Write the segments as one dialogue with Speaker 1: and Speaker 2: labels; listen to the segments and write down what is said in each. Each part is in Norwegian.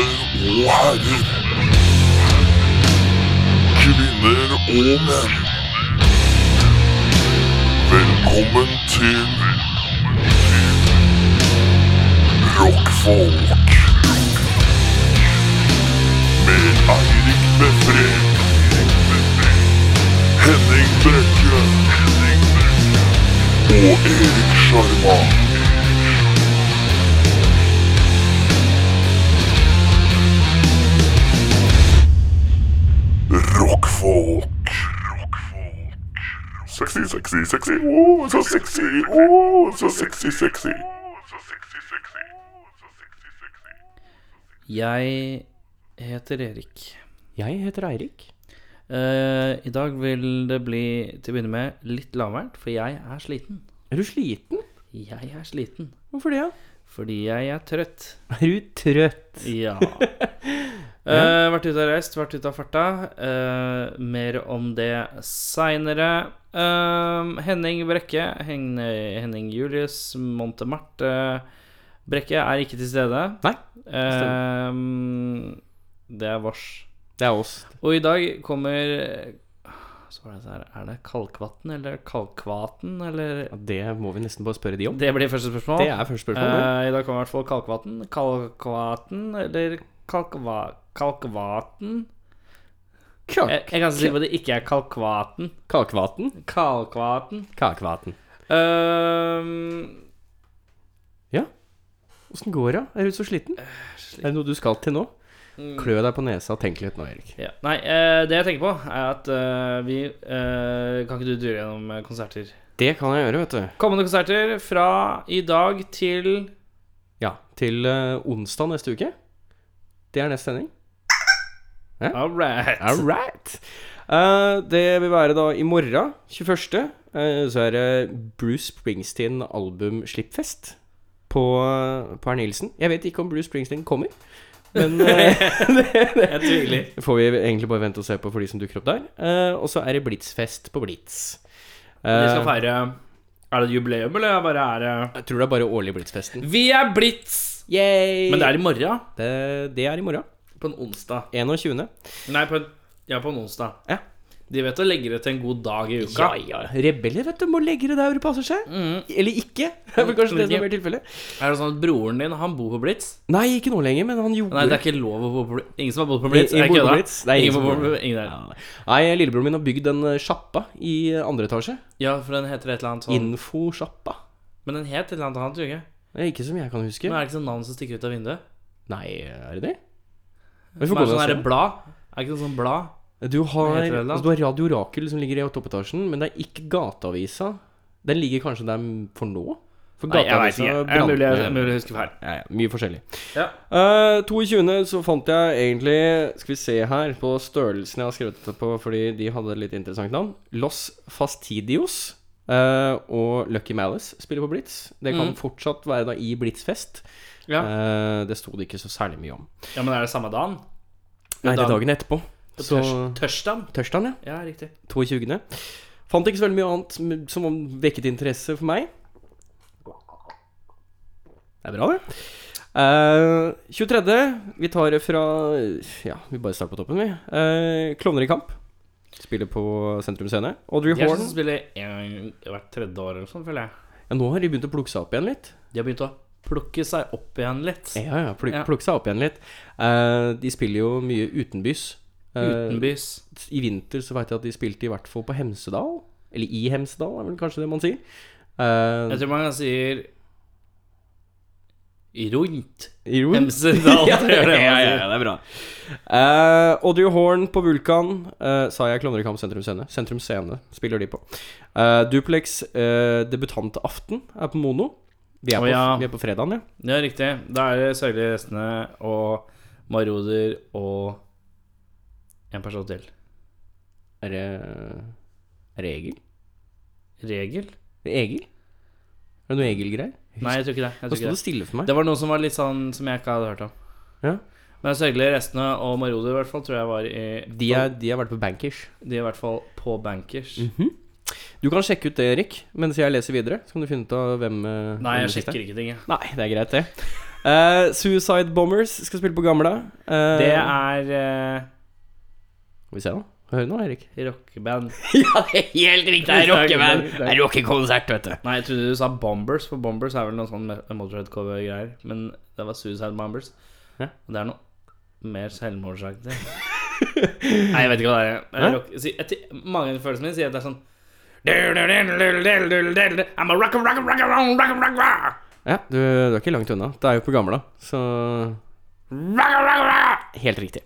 Speaker 1: og herrer. Kvinner og menn. Velkommen til Rockfolk. Med Eirik Befre. Henning Brekke. Og Erik Sjarma. Rockfolk. Sexy, sexy, sexy. Oh, so sexy. Oh, so sexy, sexy.
Speaker 2: Jeg heter Erik.
Speaker 3: Jeg heter Eirik.
Speaker 2: Eh, I dag vil det bli til å begynne med litt lavmælt, for jeg er sliten.
Speaker 3: Er du sliten?
Speaker 2: Jeg er sliten
Speaker 3: Hvorfor det? da?
Speaker 2: fordi jeg er trøtt.
Speaker 3: Er du trøtt?
Speaker 2: Ja. Eh, vært ute og reist, vært ute av farta. Eh, mer om det seinere. Eh, Henning Brekke, Hen Henning Julius, Montemarte Brekke er ikke til stede.
Speaker 3: Nei,
Speaker 2: Eh, det er vårs.
Speaker 3: det er oss.
Speaker 2: Og i dag kommer så var det så her, Er det Kalkvatn eller Kalkvaten, eller
Speaker 3: Ja, det må vi nesten bare spørre de om.
Speaker 2: Det blir første spørsmål.
Speaker 3: Det er første spørsmål. det.
Speaker 2: Eh, I dag kommer i hvert fall Kalkvatn. Kalkvaten eller Kalkva... Kalkvaten? Jeg, jeg
Speaker 3: Kalk.
Speaker 2: er ganske sikker på at det ikke er Kalkvaten.
Speaker 3: Kalkvaten.
Speaker 2: Kalkvaten.
Speaker 3: Kakvaten.
Speaker 2: Ehm,
Speaker 3: Åssen går det? Er du så sliten?
Speaker 2: Øh,
Speaker 3: Er det noe du skal til nå? Klø deg på nesa og tenk litt nå, Erik.
Speaker 2: ja. Nei, eh, det jeg tenker på, er at eh, vi eh, Kan ikke du dure gjennom eh, konserter?
Speaker 3: Det kan jeg gjøre, vet du.
Speaker 2: Kommende konserter fra i dag til
Speaker 3: Ja, til eh, onsdag neste uke. Det er neste sending.
Speaker 2: All right.
Speaker 3: All right. Eh, det vil være da i morgen, 21., eh, så er det Bruce Springsteen albumslippfest på, eh, på Herr Nielsen. Jeg vet ikke om Bruce Springsteen kommer, men eh,
Speaker 2: Jeg tviler.
Speaker 3: det får vi egentlig bare vente og se på for de som dukker opp der. Eh, og så er det Blitzfest på Blitz.
Speaker 2: Vi
Speaker 3: Eh,
Speaker 2: skal feire Er det et jubileum, eller bare er det
Speaker 3: jeg tror det er bare årlig Blitzfesten.
Speaker 2: Vi er Blitz!
Speaker 3: Yay!
Speaker 2: Men det er i morgen.
Speaker 3: det, det er i morgen.
Speaker 2: På en onsdag.
Speaker 3: 21.
Speaker 2: Nei, på en, ja, på en onsdag.
Speaker 3: Ja.
Speaker 2: De vet å legge det til en god dag i uka.
Speaker 3: Ja, ja. Rebeller, vet du, må legge det der hvor det passer seg. Mm. Eller ikke. Det er vel kanskje det som er tilfellet.
Speaker 2: Er det sånn at broren din han bor på Blitz?
Speaker 3: Nei, ikke nå lenger, men han gjorde
Speaker 2: Nei, det er ikke lov å bo på Blitz. Ingen som har bodd på
Speaker 3: I-
Speaker 2: Blitz?
Speaker 3: i
Speaker 2: Er jeg
Speaker 3: bor på
Speaker 2: kødda?
Speaker 3: Blitz? Det er ingen
Speaker 2: ingen
Speaker 3: som
Speaker 2: bor
Speaker 3: bor
Speaker 2: på ingen der.
Speaker 3: Nei, lillebroren min har bygd en eh, sjappa i eh, andre etasje.
Speaker 2: Ja, for den heter et eller annet sånn
Speaker 3: Infosjappa.
Speaker 2: Men den het et eller annet annet, tror jeg. ikke?
Speaker 3: Det er Ikke som jeg kan huske.
Speaker 2: Men er det ikke sånn navn som stikker ut av vinduet?
Speaker 3: Nei, er det det? Vi
Speaker 2: Men
Speaker 3: får
Speaker 2: er
Speaker 3: gå
Speaker 2: det sånn
Speaker 3: ned
Speaker 2: her
Speaker 3: og se.
Speaker 2: blad? Er det ikke sånn blad?
Speaker 3: Du har,
Speaker 2: Hva heter det da?
Speaker 3: altså, du har Radio Rakel som ligger i toppetasjen, men det er ikke Gateavisa. Den ligger kanskje der for nå? For
Speaker 2: Nei, jeg vet
Speaker 3: Gateavisa
Speaker 2: ikke. Det er
Speaker 3: brant
Speaker 2: mulig jeg-
Speaker 3: ned.
Speaker 2: mulig jeg husker feil.
Speaker 3: Ja, ja, mye forskjellig.
Speaker 2: Ja.
Speaker 3: Eh, 22. så fant jeg egentlig Skal vi se her på størrelsen jeg har skrevet det på, fordi de hadde et litt interessant navn. Los Fastidios eh, og Lucky Malice spiller på Blitz. Det kan fortsatt være da i Blitzfest.
Speaker 2: Mm. Ja.
Speaker 3: Eh, det sto det ikke så særlig mye om.
Speaker 2: Ja, men er det samme dagen?
Speaker 3: Nei, det er
Speaker 2: da-
Speaker 3: dagen etterpå.
Speaker 2: På
Speaker 3: Så
Speaker 2: tørs- tørsdagen?
Speaker 3: Tørsdagen, ja.
Speaker 2: Ja, riktig.
Speaker 3: 22. Fant ikke så veldig mye annet m- som vekket interesse for meg. Det er bra, det. Eh, 23. Vi tar det fra Ja, vi bare starter på toppen, vi. Eh, Klovner i kamp. Spiller på Sentrum Scene. Audrey
Speaker 2: De er sånn
Speaker 3: Horn.
Speaker 2: som spiller en, hvert tredje år eller sånn, føler jeg.
Speaker 3: Ja, nå har de begynt å plukke seg opp igjen litt.
Speaker 2: De har begynt å plukke seg opp igjen litt.
Speaker 3: Ja, ja, pluk,
Speaker 2: Ja.
Speaker 3: Plukke seg opp igjen litt. Eh, de spiller jo mye utenbys. Eh,
Speaker 2: Utenbys.
Speaker 3: I vinter så veit jeg at de spilte i hvert fall på Hemsedal. Eller i Hemsedal, er vel kanskje det man sier. Eh,
Speaker 2: Jeg tror man sier rundt
Speaker 3: jo.
Speaker 2: Hemsedal.
Speaker 3: ja,
Speaker 2: tror jeg det er
Speaker 3: ja,
Speaker 2: man
Speaker 3: ja,
Speaker 2: sier.
Speaker 3: det er bra. Uh, Audrey Horn på Vulkan, eh, sa jeg Klovner i kamp sentrum scene. Sentrum scene spiller de på. Eh, Duplex uh, debutantaften er på Mono. Vi er,
Speaker 2: Å,
Speaker 3: på,
Speaker 2: ja.
Speaker 3: vi er på fredagen, ja.
Speaker 2: Ja, riktig. Da er det Sørlige Restene og Maroder og en person til.
Speaker 3: Er det, er det Egil?
Speaker 2: Regel?
Speaker 3: Er det Egil? Er det noe Egil-greier?
Speaker 2: Nei, jeg tror ikke det.
Speaker 3: Da
Speaker 2: Jeg tror
Speaker 3: sto
Speaker 2: ikke
Speaker 3: det
Speaker 2: det.
Speaker 3: stille for meg.
Speaker 2: det var noe som var litt sånn som jeg ikke hadde hørt om.
Speaker 3: Ja.
Speaker 2: Men Sørgelige Restene og Maroder i hvert fall tror jeg var i
Speaker 3: De, er, de har vært på Bankers. Mhm.
Speaker 2: De er i hvert fall på bankers.
Speaker 3: Du kan sjekke ut det, Erik, mens jeg leser videre. Så kan du finne ut av hvem eh,
Speaker 2: Nei,
Speaker 3: hvem
Speaker 2: jeg
Speaker 3: det siste er.
Speaker 2: sjekker ikke ting, jeg.
Speaker 3: Nei, det er greit, det. Eh, Suicide Bombers skal spille på Gamla. Eh,
Speaker 2: Det er eh,
Speaker 3: Skal vi se, da. Hør nå, Erik.
Speaker 2: rockeband.
Speaker 3: ja, det er helt riktig.
Speaker 2: Det er rockeband. Det er
Speaker 3: rockekonsert, vet du.
Speaker 2: Nei, jeg trodde du sa Bombers, for Bombers er vel noe sånn Motorhead-cover-greier. Men det var Suicide Bombers.
Speaker 3: Ja.
Speaker 2: Og det er noe mer selvmordsaktig. Nei, jeg vet ikke hva det er. Det
Speaker 3: Hæ?
Speaker 2: er rock, si, jeg, ti- mange av følelsene mine sier at det er sånn I'm a rock and rock and rock and rock and rock and rock
Speaker 3: Ja, du, du er ikke langt unna. Det er jo på Gamla, så
Speaker 2: Rock and rock and rock
Speaker 3: Helt riktig.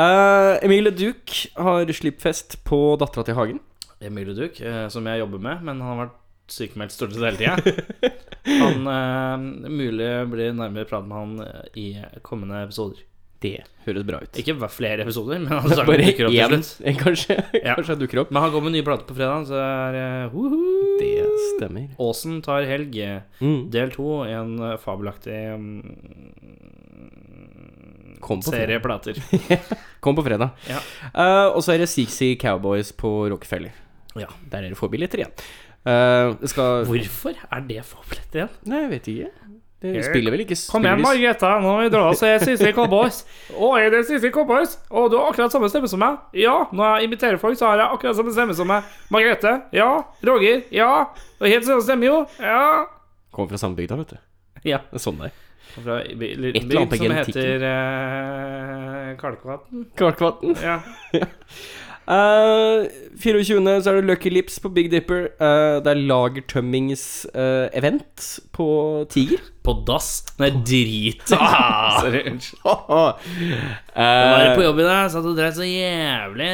Speaker 3: Eh, Emilie Duke har slippfest på Dattera til Hagen.
Speaker 2: Emilie Duke, eh, som jeg jobber med, men han har vært sykemeldt stort sett hele tida. Han eh, mulig blir nærmere prat med han eh, i kommende episoder.
Speaker 3: Det høres bra ut.
Speaker 2: Ikke hver- flere episoder, men han
Speaker 3: Bare
Speaker 2: sangen dukker opp til
Speaker 3: én,
Speaker 2: slutt.
Speaker 3: kanskje.
Speaker 2: Ja.
Speaker 3: Kanskje jeg dukker opp.
Speaker 2: Men han kommer med nye plater på fredag, så er eh, woohoo!
Speaker 3: Det stemmer.
Speaker 2: Åsen tar helg,
Speaker 3: Mm.
Speaker 2: del to, i en eh, fabelaktig mm,
Speaker 3: Kom på fredag.
Speaker 2: serie plater.
Speaker 3: Kom på fredag.
Speaker 2: Ja.
Speaker 3: Eh, og så er det Sixy Cowboys på Rockefeller.
Speaker 2: Ja.
Speaker 3: Der er det få billetter igjen. Eh, det skal
Speaker 2: Hvorfor er det fabelaktig igjen?
Speaker 3: Nei, jeg vet ikke. Det
Speaker 2: Jeg-
Speaker 3: spiller vel ikke
Speaker 2: Kom igjen,
Speaker 3: spilles-
Speaker 2: Margrethe, nå må vi dra oss til siste cowboys. Å, er det siste cowboys? Å, du har akkurat samme stemme som meg. Ja, når jeg imiterer folk, så har jeg akkurat samme stemme som meg. Margrethe, ja. Roger, ja. Og helt samme stemme, jo. Ja.
Speaker 3: Kommer fra samme bygda, vet du.
Speaker 2: Ja.
Speaker 3: Det er sånn det er.
Speaker 2: Fra en liten
Speaker 3: eller annet
Speaker 2: bygd
Speaker 3: på
Speaker 2: som
Speaker 3: genetikken.
Speaker 2: heter eh, Kalkvatn.
Speaker 3: Kvarkvatn.
Speaker 2: Ja.
Speaker 3: Eh, 24. så er det Lucky Lips på Big Dipper. Eh, det er lagertømmings-event på Tiger.
Speaker 2: På dass? Nei, drit. Ah, Sorry. unnskyld. Var
Speaker 3: Eh,
Speaker 2: på jobb i dag, satt og drev så jævlig.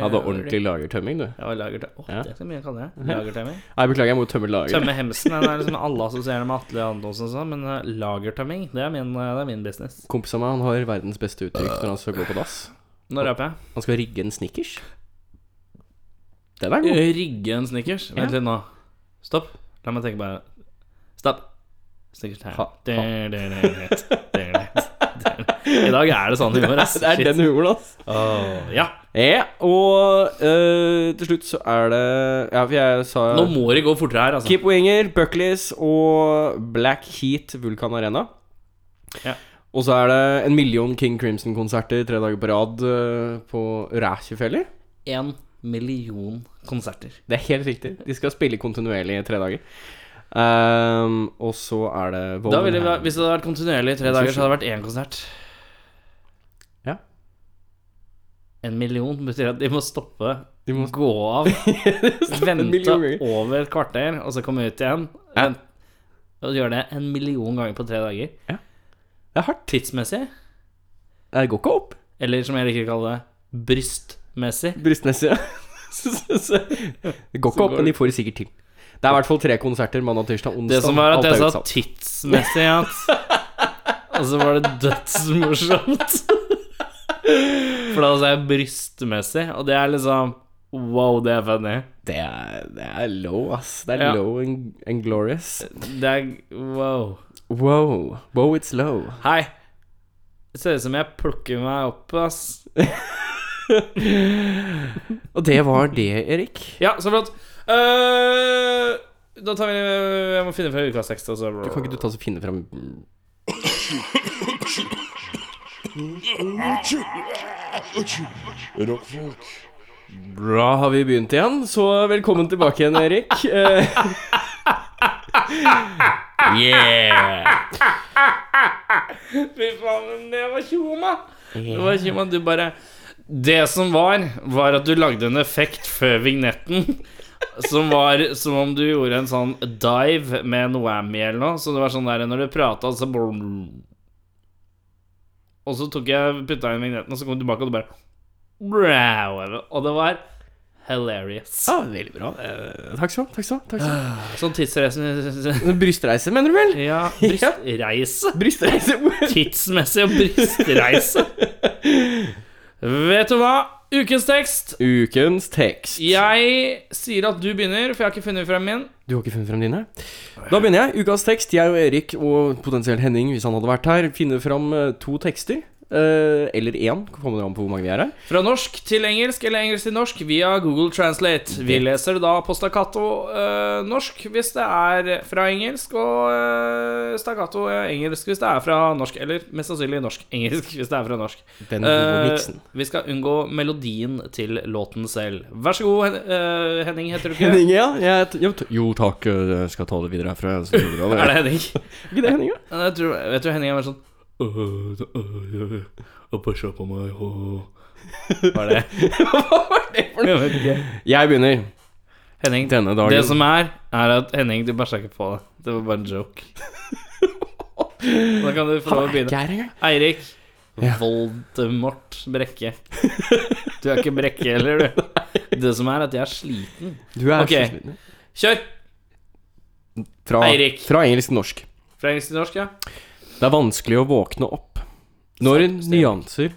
Speaker 3: hadde ordentlig lagertømming, du.
Speaker 2: Eh, Ja, lagertøy. Å,
Speaker 3: Ja.
Speaker 2: det er så mye jeg kaller det. Lagertømming.
Speaker 3: Nei, beklager, jeg må tømme lageret.
Speaker 2: Tømme hemsen den er liksom alle assosierer med Atle Antonsen og sånn, men eh, lagertømming, det er min, eh, det er min business.
Speaker 3: Kompisen min han har verdens beste uttrykk når han skal gå på dass.
Speaker 2: Når røper jeg?
Speaker 3: Han skal rigge en snickers. Den er god.
Speaker 2: Rigge en Eh, snickers. Vent litt nå. Stopp. La meg tenke bare Stopp. Snickers her.
Speaker 3: Ha- ha.
Speaker 2: Der, der, der, der, der, der. I dag er det sånn humor, ass.
Speaker 3: Det er den humoren, altså.
Speaker 2: Åh, ja.
Speaker 3: Ja, og eh, til slutt så er det Ja, for jeg sa
Speaker 2: Nå må det gå fortere her, altså.
Speaker 3: Keep Winger, Buckleys og Black Heat Vulkan Arena.
Speaker 2: Ja.
Speaker 3: Og så er det en million King Crimson-konserter tre dager på rad eh, på Rækjefjeller.
Speaker 2: En million konserter.
Speaker 3: Det er helt riktig. De skal spille kontinuerlig i tre dager. Ehm, og så er det
Speaker 2: Da ville, vi-
Speaker 3: Vollenham.
Speaker 2: hvis det hadde vært kontinuerlig i tre dager, så hadde det vært én konsert.
Speaker 3: Ja.
Speaker 2: En million betyr at de må stoppe,
Speaker 3: De må-
Speaker 2: gå av,
Speaker 3: en million
Speaker 2: vente
Speaker 3: ganger.
Speaker 2: over et kvarter, og så komme ut igjen.
Speaker 3: Ja.
Speaker 2: Og gjøre det en million ganger på tre dager.
Speaker 3: Det er hardt.
Speaker 2: Tidsmessig,
Speaker 3: Det går ikke opp.
Speaker 2: eller som jeg liker å kalle det, brystmessig.
Speaker 3: Brystmessig. ja. Så- så- så- det går ikke opp, men de får det sikkert til. Det er i hvert fall tre konserter mandag, tirsdag, onsdag.
Speaker 2: Det som var at
Speaker 3: Alt
Speaker 2: jeg
Speaker 3: er
Speaker 2: sa
Speaker 3: utsatt.
Speaker 2: tidsmessig, at Og så var det dødsmorsomt. For da sa jeg brystmessig, og det er liksom Wow, det er funny.
Speaker 3: Det er, det er low, ass. Det er
Speaker 2: Ja.
Speaker 3: low and, and glorious.
Speaker 2: Det er wow.
Speaker 3: Wow. Wow, it's low.
Speaker 2: Hei! Det ser ut som jeg plukker meg opp, ass.
Speaker 3: Og det var det, Erik.
Speaker 2: Ja, så flott. Eh, da tar vi Jeg må finne fra ukas tekst, og så
Speaker 3: Kan ikke du ta så finne fram
Speaker 1: Rockfolk.
Speaker 3: Bra, har vi begynt igjen. Så velkommen tilbake igjen, Erik. Eh,
Speaker 2: Fy faen, det var tjoma. Det var tjoma, du bare Det som var, var at du lagde en effekt før vignetten. Som var som om du gjorde en sånn dive med en whammy eller noe. Så det var sånn der når du prata, så brum. Og så tok jeg putta inn vignetten, og så kom du tilbake, og du bare brau. Og det var hilarious.
Speaker 3: ja, Ah, veldig bra. Eh, takk skal du ha. Takk skal du ha, takk skal du ha.
Speaker 2: Sånn tidsreise
Speaker 3: Brystreise, mener du vel?
Speaker 2: Ja, brystreise.
Speaker 3: Brystreise.
Speaker 2: Tidsmessig og brystreise. Vet du hva? Ukens tekst.
Speaker 3: Ukens tekst.
Speaker 2: Jeg sier at du begynner, for jeg har ikke funnet frem min.
Speaker 3: Du har ikke funnet frem dine? Da begynner jeg. Ukas tekst. Jeg og Erik, og potensielt Henning, hvis han hadde vært her, finner frem eh, to tekster. eh, eller én, kommer det an på hvor mange vi er her.
Speaker 2: Fra norsk til engelsk eller engelsk til norsk via Google Translate. Vi
Speaker 3: Det-
Speaker 2: leser da på stakkato eh, norsk hvis det er fra engelsk, og eh, stakkato eh, engelsk hvis det er fra norsk. Eller mest sannsynlig norsk-engelsk hvis det er fra norsk.
Speaker 3: Den
Speaker 2: Eh,
Speaker 3: miksen.
Speaker 2: vi skal unngå melodien til låten selv. Vær så god, Hen eh, Henning, heter du ikke?
Speaker 3: Henning, ja. Jeg, t- jo, t- jo takk, Eh, jeg skal ta det videre herfra. så blir det bra, det.
Speaker 2: Er det Henning?
Speaker 3: ikke det, Henning? Ja?
Speaker 2: Jeg tror, jeg tror Henning er mer sånn Var det
Speaker 3: Hva var det for noe?
Speaker 2: Jeg vet ikke.
Speaker 3: Jeg begynner
Speaker 2: Henning,
Speaker 3: denne dagen.
Speaker 2: det som er, er at Henning, du bæsja ikke på deg. Det var bare en joke. Da kan du få lov å begynne.
Speaker 3: her engang.
Speaker 2: Eirik.
Speaker 3: Ja.
Speaker 2: Voldemort Brekke. Du er ikke Brekke heller, du. Det som er, at jeg er sliten.
Speaker 3: Du er
Speaker 2: Ok.
Speaker 3: så sliten.
Speaker 2: Kjør!
Speaker 3: Fra,
Speaker 2: Eirik.
Speaker 3: fra engelsk til norsk.
Speaker 2: Fra engelsk til norsk, ja.
Speaker 3: Det er vanskelig å våkne opp når
Speaker 2: Stemmer.
Speaker 3: nyanser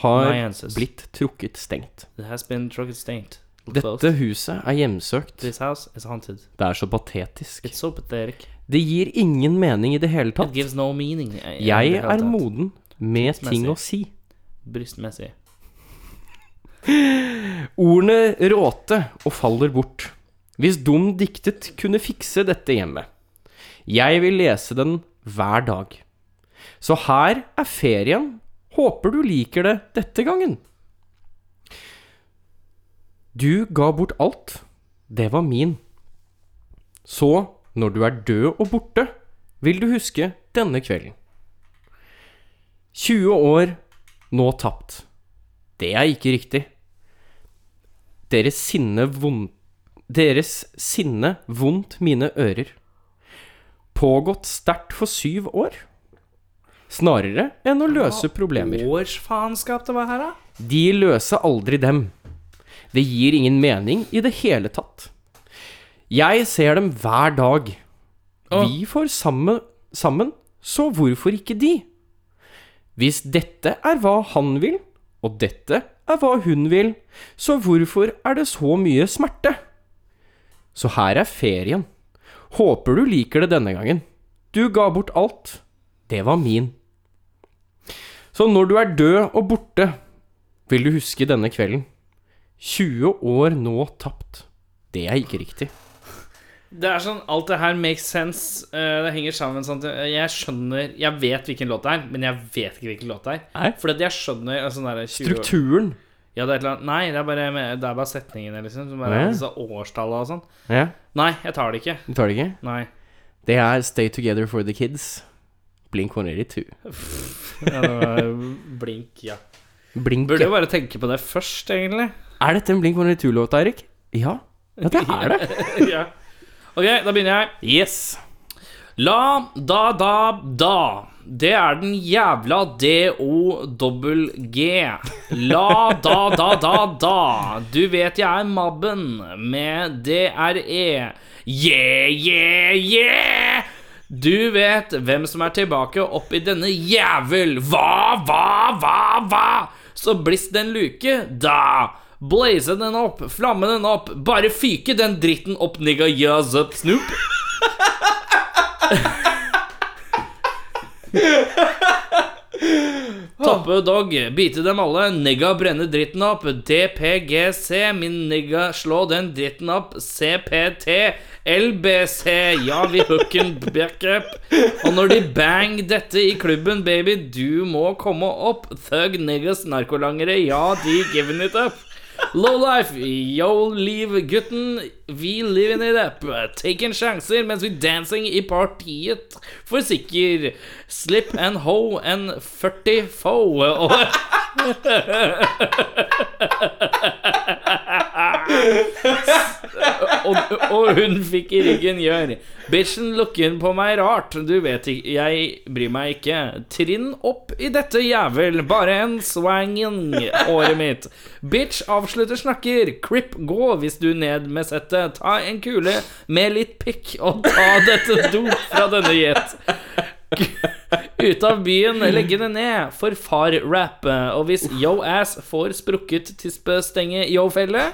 Speaker 3: har
Speaker 2: Nyanses.
Speaker 3: blitt trukket stengt.
Speaker 2: It has been drug stained.
Speaker 3: Dette huset er hjemsøkt.
Speaker 2: This house is haunted.
Speaker 3: Det er så patetisk.
Speaker 2: It's so pathetic.
Speaker 3: Det gir ingen mening i det hele
Speaker 2: It
Speaker 3: tatt.
Speaker 2: gives no meaning. eh, i
Speaker 3: Jeg
Speaker 2: det hele
Speaker 3: er
Speaker 2: tatt.
Speaker 3: moden med ting å si.
Speaker 2: Brystmessig.
Speaker 3: Ordene råte og faller bort. Hvis dum diktet kunne fikse dette hjemme. Jeg vil lese den hver dag. Så her er ferien. Håper du liker det dette gangen. Du ga bort alt. Det var min. Så, når du er død og borte, vil du huske denne kvelden. 20 år, nå tapt. Det er ikke riktig. Deres sinne vond... Deres sinne vondt mine ører. Pågått sterkt for syv år. Snarere enn å løse problemer.
Speaker 2: Årsfaenskap det var her, da?
Speaker 3: De løser aldri dem. Det gir ingen mening i det hele tatt. Jeg ser dem hver dag. Vi får sammen, sammen, så hvorfor ikke de? Hvis dette er hva han vil, og dette er hva hun vil, så hvorfor er det så mye smerte? Så her er ferien. Håper du liker det denne gangen. Du ga bort alt. Det var min. Så når du er død og borte, vil du huske denne kvelden? 20 år nå tapt. Det er ikke riktig.
Speaker 2: Det er sånn, Alt det her makes sense. eh, Det henger sammen. Sånn, at jeg skjønner Jeg vet hvilken låt det er, men jeg vet ikke hvilken låt det
Speaker 3: Nei.
Speaker 2: er. Fordi at jeg skjønner altså, sånn der 20 år-
Speaker 3: Strukturen.
Speaker 2: Ja, det er et eller annet Nei, det er bare, det er bare setningene, liksom. Som bare
Speaker 3: Ja.
Speaker 2: er disse årstallene og sånn.
Speaker 3: Ja,
Speaker 2: Nei, jeg tar det ikke.
Speaker 3: du tar det ikke?
Speaker 2: Nei.
Speaker 3: Det er Stay Together for the Kids. Blink 182.
Speaker 2: Ja, det var blink, ja.
Speaker 3: Blink
Speaker 2: Burde jo bare tenke på det først, egentlig.
Speaker 3: Er dette en Blink 182-låt, Eirik? Ja. ja, det er det.
Speaker 2: ja. Ok, da begynner jeg.
Speaker 3: Yes.
Speaker 2: La, da, da, da. Det er den jævla D-O-dobbel-G. La, da, da, da, da. Du vet jeg er Mabben med E. DRE. Yeah, yeah, yeah. Du vet hvem som er tilbake opp i denne jævel. Hva, hva, hva, hva? Så bliss den luke, da. Blaze den opp, flamme den opp. Bare fyke den dritten opp, nigga. Yes up, snoop. Tappe dog, bite dem alle, nigga brenne dritten opp, DPGC, min nigga slå den dritten opp, CPT, LBC, ja vi hooken back up. Og når de bang dette i klubben, baby, du må komme opp, thug niggas narkolangere, ja de giving it up. Low life, yo leave gutten, vi living it up. Taking sjanser mens vi dancing i partiet. For sikker, slip and ho and 40 foe. Og og, og hun fikk i ryggen gjør Bitchen lukker på meg rart Du vet ikke, jeg bryr meg ikke Trinn opp i dette jævel Bare en swangen Året mitt Bitch avslutter snakker Crip gå hvis du ned med settet Ta en kule med litt pikk Og ta dette dop fra denne jet ut av byen, legge det ned for far-rap. Og hvis yo-ass får sprukket tispestenge yo-felle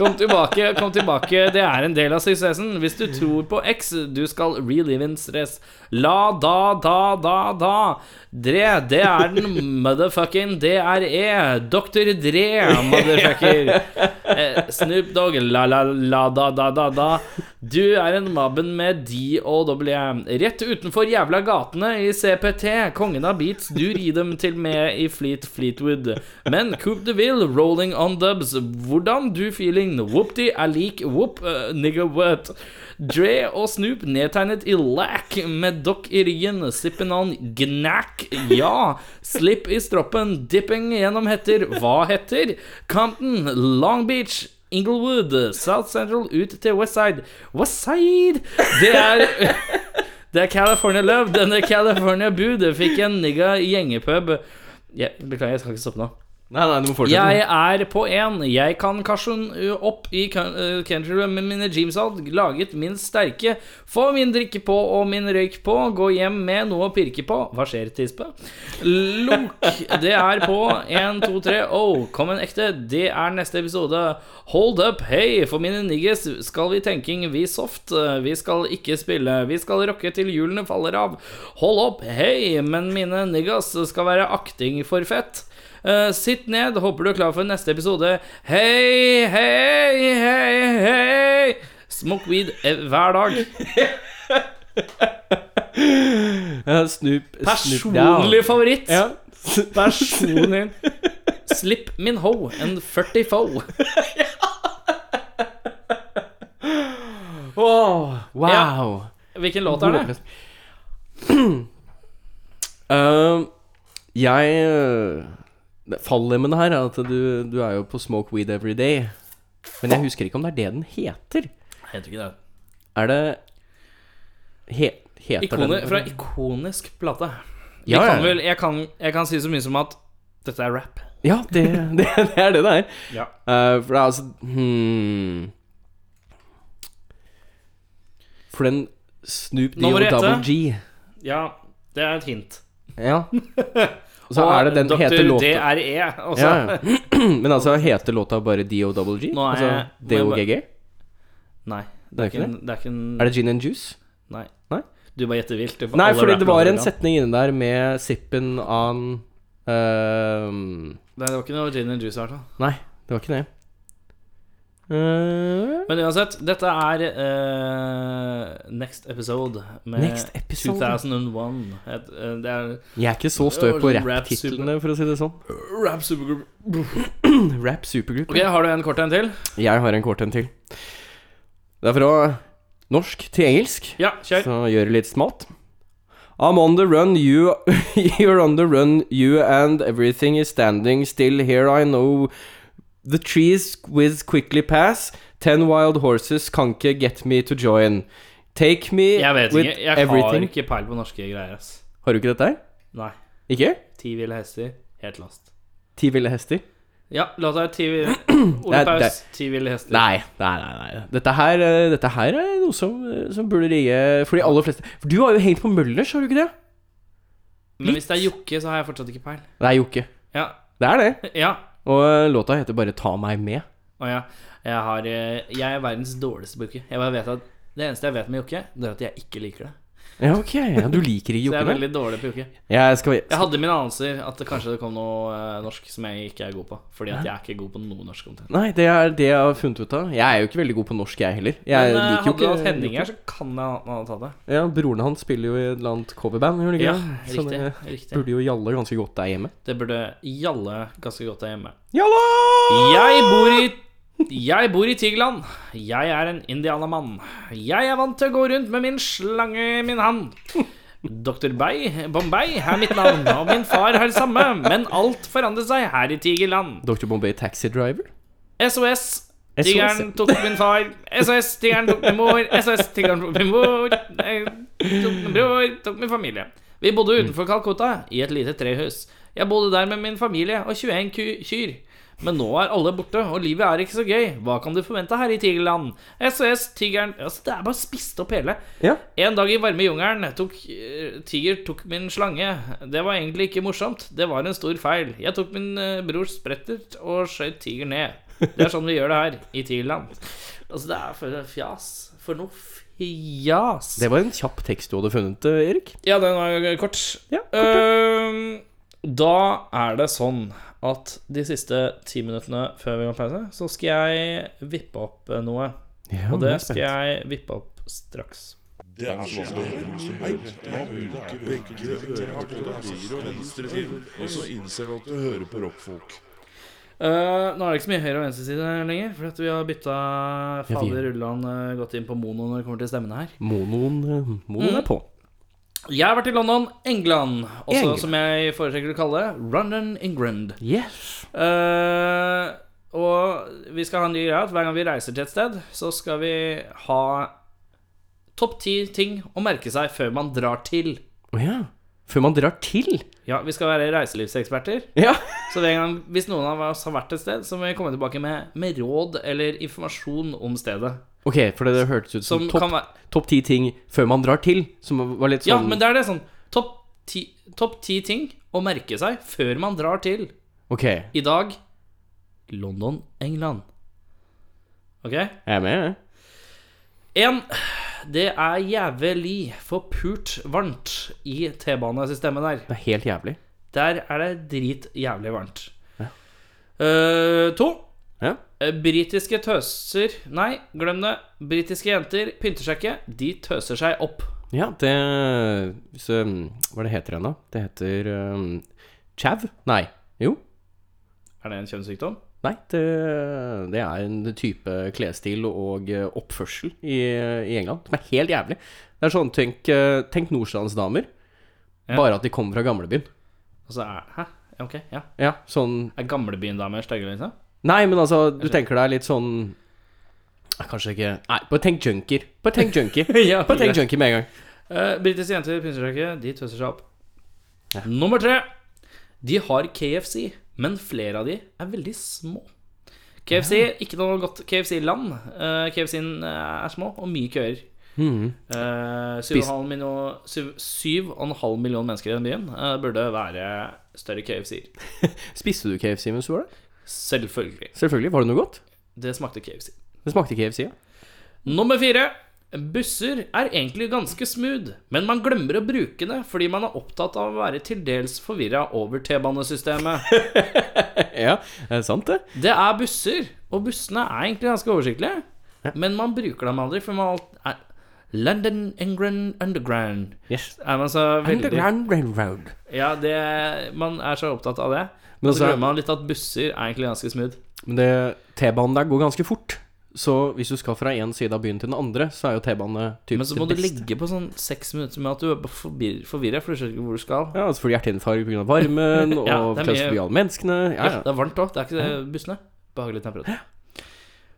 Speaker 2: Kom tilbake, kom tilbake. Det er en del av suksessen. Hvis du tror på X, du skal relive in stress. La, da, da, da, da. Dre, det er den motherfucking DRE. Dr. Dre, motherfucker. Eh, Snoop Dogg, la, la, la, da, da, da, da. Du er en mabben med D og W. Rett utenfor jævla gatene i CPT. Kongen av beats, du rir dem til med i Fleet Fleetwood. Men Coop de Ville, rolling on dubs. Hvordan du feeling? Whoopty er lik whoop, eh, nigga what? Dre og Snoop nedtegnet i lack med dokk i ryggen, sippen on gnack, ja. Slipp i stroppen, dipping gjennom hetter, hva heter? Compton, Long Beach, Inglewood, South Central ut til Westside. Westside! Det er Det er California Love. Denne California Boo fikk en nigga gjengepub. Jeg, beklager, jeg skal ikke stoppe nå.
Speaker 3: Nei, nei, du må fortsette.
Speaker 2: Jeg er på én. Jeg kan cashen opp i kan- eh, country med mine jeans alt, laget min sterke. Få min drikke på og min røyk på. Gå hjem med noe å pirke på. Hva skjer, tispe? Lunk, det er på. Én, to, tre, oh, kom en ekte. Det er neste episode. Hold up, hei, for mine niggas skal vi tenking, vi soft. Vi skal ikke spille. Vi skal rocke til hjulene faller av. Hold opp, hei, men mine niggas skal være akting for fett. Eh, sitt ned, håper du er klar for neste episode. Hei, hei, hei, hei! Smoke weed eh, hver dag.
Speaker 3: Ja, Snoop Snoop Dogg.
Speaker 2: Personlig favoritt.
Speaker 3: Ja.
Speaker 2: Personlig. Slipp min ho, en 40 fo.
Speaker 3: Åh, wow.
Speaker 2: Ja. Hvilken låt er det?
Speaker 3: Eh, jeg eh, det- Fallemmene her er at du, du er jo på smoke weed every day. Men jeg husker ikke om det er det den heter.
Speaker 2: Jeg heter ikke det.
Speaker 3: Er det he, Heter
Speaker 2: Ikone,
Speaker 3: den
Speaker 2: fra ikonisk plate. Vi
Speaker 3: Ja, ja.
Speaker 2: kan vel, jeg, kan, jeg kan si så mye som at dette er rap.
Speaker 3: Ja, det, det, det er det det er.
Speaker 2: Ja.
Speaker 3: Eh, for det er altså hmm. For den Snoop
Speaker 2: Nå må du gjette.
Speaker 3: D.O.G.
Speaker 2: eh? ja det er et hint.
Speaker 3: Ja. Og så er det den
Speaker 2: Dr.
Speaker 3: heter låta
Speaker 2: DRE. Også.
Speaker 3: ja, ja. Men altså, heter låta bare DOWG?
Speaker 2: altså. Nå er
Speaker 3: Altså
Speaker 2: jeg- må jeg bare-
Speaker 3: DOGG?
Speaker 2: Nei.
Speaker 3: Det er
Speaker 2: Det
Speaker 3: ikke det?
Speaker 2: er ikke en
Speaker 3: Er det gin and juice?
Speaker 2: Nei.
Speaker 3: Nei?
Speaker 2: Du bare gjetter vilt. du, for
Speaker 3: Nei,
Speaker 2: alle
Speaker 3: fordi det
Speaker 2: rapperne
Speaker 3: var
Speaker 2: gjør
Speaker 3: en
Speaker 2: det.
Speaker 3: setning inne der med sippen um, on ehm,
Speaker 2: Nei, det var ikke noe gin and juice, i hvert fall.
Speaker 3: Nei, det var ikke det. Eh,
Speaker 2: Men uansett, dette er eh, next episode med
Speaker 3: Next episode.
Speaker 2: 2001. Et, eh, det er
Speaker 3: jeg er ikke så stø på
Speaker 2: Rap
Speaker 3: rap-titlene, for å si det sånn.
Speaker 2: rap supergroup.
Speaker 3: Rap supergroup.
Speaker 2: Ok, har du en kort en til?
Speaker 3: Jeg har en kort en til. Det er fra norsk til engelsk.
Speaker 2: Ja, kjør.
Speaker 3: Så gjør det litt smalt. I'm on the run, you You're on the run, you and everything is standing still here, I know The trees whiz quickly pass Ten wild horses can't get me to join Take me
Speaker 2: Jeg vet
Speaker 3: with
Speaker 2: ikke. Jeg har
Speaker 3: everything
Speaker 2: ikke peil på norske greier, ass.
Speaker 3: Har du ikke dette her?
Speaker 2: Nei.
Speaker 3: Ikke?
Speaker 2: Ti ville hester. Helt lost.
Speaker 3: Ti ville hester?
Speaker 2: Ja, låta er Ti ville
Speaker 3: Det
Speaker 2: Ole
Speaker 3: er-
Speaker 2: Paus, Ti ville hester.
Speaker 3: Nei, nei, nei, nei. Dette, her, eh, dette her er noe som, eh, som burde rigge for de aller fleste For du har jo hengt på Møllers, har du ikke det?
Speaker 2: Men hvis det er Jokke, så har jeg fortsatt ikke peil.
Speaker 3: Det er jo ikke
Speaker 2: Ja.
Speaker 3: Det er det
Speaker 2: ja.
Speaker 3: Og eh, låta heter bare Ta meg med
Speaker 2: Å ja. Jeg, har, eh, jeg er verdens dårligste booker. Jeg bare vet at Det eneste jeg vet med jokke, det er at jeg ikke liker det.
Speaker 3: Ja, ok. Ja, du liker ikke
Speaker 2: Så jeg er
Speaker 3: jokkene?
Speaker 2: veldig dårlig på jokke.
Speaker 3: Jeg skal
Speaker 2: Jeg hadde mine anelser at det kanskje kom noe eh, norsk som jeg ikke er god på. Fordi at jeg er ikke god på noe norsk content.
Speaker 3: Nei, det er det jeg har funnet ut av. Jeg er jo ikke veldig god på norsk, jeg heller. Jeg
Speaker 2: Men eh,
Speaker 3: liker jo
Speaker 2: hadde
Speaker 3: ikke
Speaker 2: du hatt Henning her, så kan jeg ha tatt det.
Speaker 3: Ja, Broren hans spiller jo i et eller annet coverband, gjør han ikke
Speaker 2: Ja,
Speaker 3: det? Så
Speaker 2: riktig.
Speaker 3: det
Speaker 2: riktig.
Speaker 3: burde jo gjalle ganske godt der hjemme.
Speaker 2: Det burde gjalle ganske godt der hjemme.
Speaker 3: Jalla!
Speaker 2: Jeg bor i jeg bor i Tigerland. Jeg er en indianermann. Jeg er vant til å gå rundt med min slange i min hand. Dr. Bay, Bombay er mitt navn, og min far har samme, men alt forandret seg her i Tigerland.
Speaker 3: Dr. Bombay Taxi Driver?
Speaker 2: SOS. Tigeren tok min far. SOS, tigeren tok min mor. SOS, tigeren tok min mor. Eh, Tok min bror. Tok min familie. Vi bodde utenfor Calcutta, i et lite trehus. Jeg bodde der med min familie og 21 ku kyr. Men nå er alle borte, og livet er ikke så gøy. Hva kan du forvente her i Tigerland? SOS, tigeren Altså, det er bare spist opp hele.
Speaker 3: Ja.
Speaker 2: En dag i varme jungelen tok eh, Tiger tok min slange. Det var egentlig ikke morsomt. Det var en stor feil. Jeg tok min eh, brors sprettert og skjøt tiger ned. Det er sånn vi gjør det her, i Tyskland. Altså, det er for noe fjas. For noe fjas.
Speaker 3: Det var en kjapp tekst du hadde funnet, eh, Erik.
Speaker 2: Ja, den var kort.
Speaker 3: Ja,
Speaker 2: Ehm, da er det sånn at de siste ti minuttene før vi går på pause, så skal jeg vippe opp eh, noe.
Speaker 3: Ja,
Speaker 2: Og det skal jeg vippe opp straks. Eh, nå er det ikke så mye høyre- og venstreside lenger, for at vi har bytta
Speaker 3: Ja, vi-
Speaker 2: fader Ulland eh, godt inn på mono når det kommer til stemmene her.
Speaker 3: Monoen, eh, monoen
Speaker 2: Mm.
Speaker 3: er på.
Speaker 2: Jeg har vært i London, England. Også
Speaker 3: England.
Speaker 2: som jeg foretrekker å kalle det, London, England.
Speaker 3: Yes.
Speaker 2: Eh, og vi skal ha en ny greie at hver gang vi reiser til et sted, så skal vi ha topp ti ting å merke seg før man drar til.
Speaker 3: Å ja. Før man drar til.
Speaker 2: Ja, vi skal være reiselivseksperter.
Speaker 3: Ja.
Speaker 2: Så hver gang, hvis noen av oss har vært et sted, så må vi komme tilbake med, med råd eller informasjon om stedet.
Speaker 3: Ok, for det, det hørtes ut som
Speaker 2: Som
Speaker 3: topp
Speaker 2: kan være
Speaker 3: topp ti ting før man drar til, som var litt sånn
Speaker 2: Ja, men det er det sånn Topp ti, topp ti ting å merke seg før man drar til.
Speaker 3: Ok, jeg
Speaker 2: I dag London, England. Ok?
Speaker 3: er med, jeg.
Speaker 2: En, det er jævlig forpult varmt i T-banesystemet der.
Speaker 3: Det er helt jævlig.
Speaker 2: Der er det dritjævlig varmt.
Speaker 3: Ja.
Speaker 2: Eh, to,
Speaker 3: Ja.
Speaker 2: eh, britiske tøser Nei, glem det. Britiske jenter pynter seg ikke. De tøser seg opp.
Speaker 3: ja, det hvis, um, Hva det heter det da? Det heter um, Chav? Nei. Jo.
Speaker 2: Er det en kjønnssykdom?
Speaker 3: Nei, det, det er en type klesstil og eh, oppførsel i, i England som er helt jævlig. Det er sånn, tenk, eh, tenk nordstrandsdamer,
Speaker 2: Ja.
Speaker 3: bare at de kommer fra gamlebyen.
Speaker 2: Altså, er, hæ? Ja, Ok, ja.
Speaker 3: Ja, sånn
Speaker 2: Er gamlebyen damer stygge, liksom?
Speaker 3: Nei, men altså, du tenker deg litt sånn Nei, Kanskje ikke Nei, bare tenk junkier. Bare tenk junkier.
Speaker 2: ja,
Speaker 3: Bare tenk junkie med en gang.
Speaker 2: Eh, britiske jenter pynter seg ikke. De tøser seg opp. Nummer tre. De har KFC, men flere av de er veldig små. KFC ikke noe godt KFC-land. Eh, KFC-en er små, og mye køer.
Speaker 3: Mhm.
Speaker 2: Eh, syv og en
Speaker 3: Spis-
Speaker 2: halv million- syv- syv og en halv million mennesker i den byen eh, burde være større KFC-er.
Speaker 3: Spiste du KFC mens du var der?
Speaker 2: Selvfølgelig.
Speaker 3: Selvfølgelig. Var det noe godt?
Speaker 2: Det smakte KFC.
Speaker 3: Det smakte KFC, ja.
Speaker 2: Nummer fire. Busser er egentlig ganske smooth, men man glemmer å bruke det fordi man er opptatt av å være til dels forvirra over T-banesystemet.
Speaker 3: ja, det er sant, det.
Speaker 2: Det er busser, og bussene er egentlig ganske oversiktlige, men man bruker dem aldri, for man alt er London England Underground.
Speaker 3: Yes.
Speaker 2: Er man så veldig
Speaker 3: Underground Railroad.
Speaker 2: Ja, det, man er så opptatt av det.
Speaker 3: Men
Speaker 2: Men så
Speaker 3: altså-
Speaker 2: glemmer man litt at busser er egentlig ganske smooth.
Speaker 3: Men det, T-banen der går ganske fort. Så hvis du skal fra én side av byen til den andre, så er jo T-bane typ
Speaker 2: Men så må du legge på sånn seks minutter med at du er forvirra, for du skjønner ikke hvor du skal.
Speaker 3: Ja, altså får du hjerteinfarkt pga. varmen, og
Speaker 2: Ja,
Speaker 3: ja,
Speaker 2: det er
Speaker 3: kløs
Speaker 2: mye-
Speaker 3: forbi alle menneskene. Ja,
Speaker 2: Ja,
Speaker 3: ja.
Speaker 2: det er varmt òg. Det er ikke det bussene. Behagelig temperatur.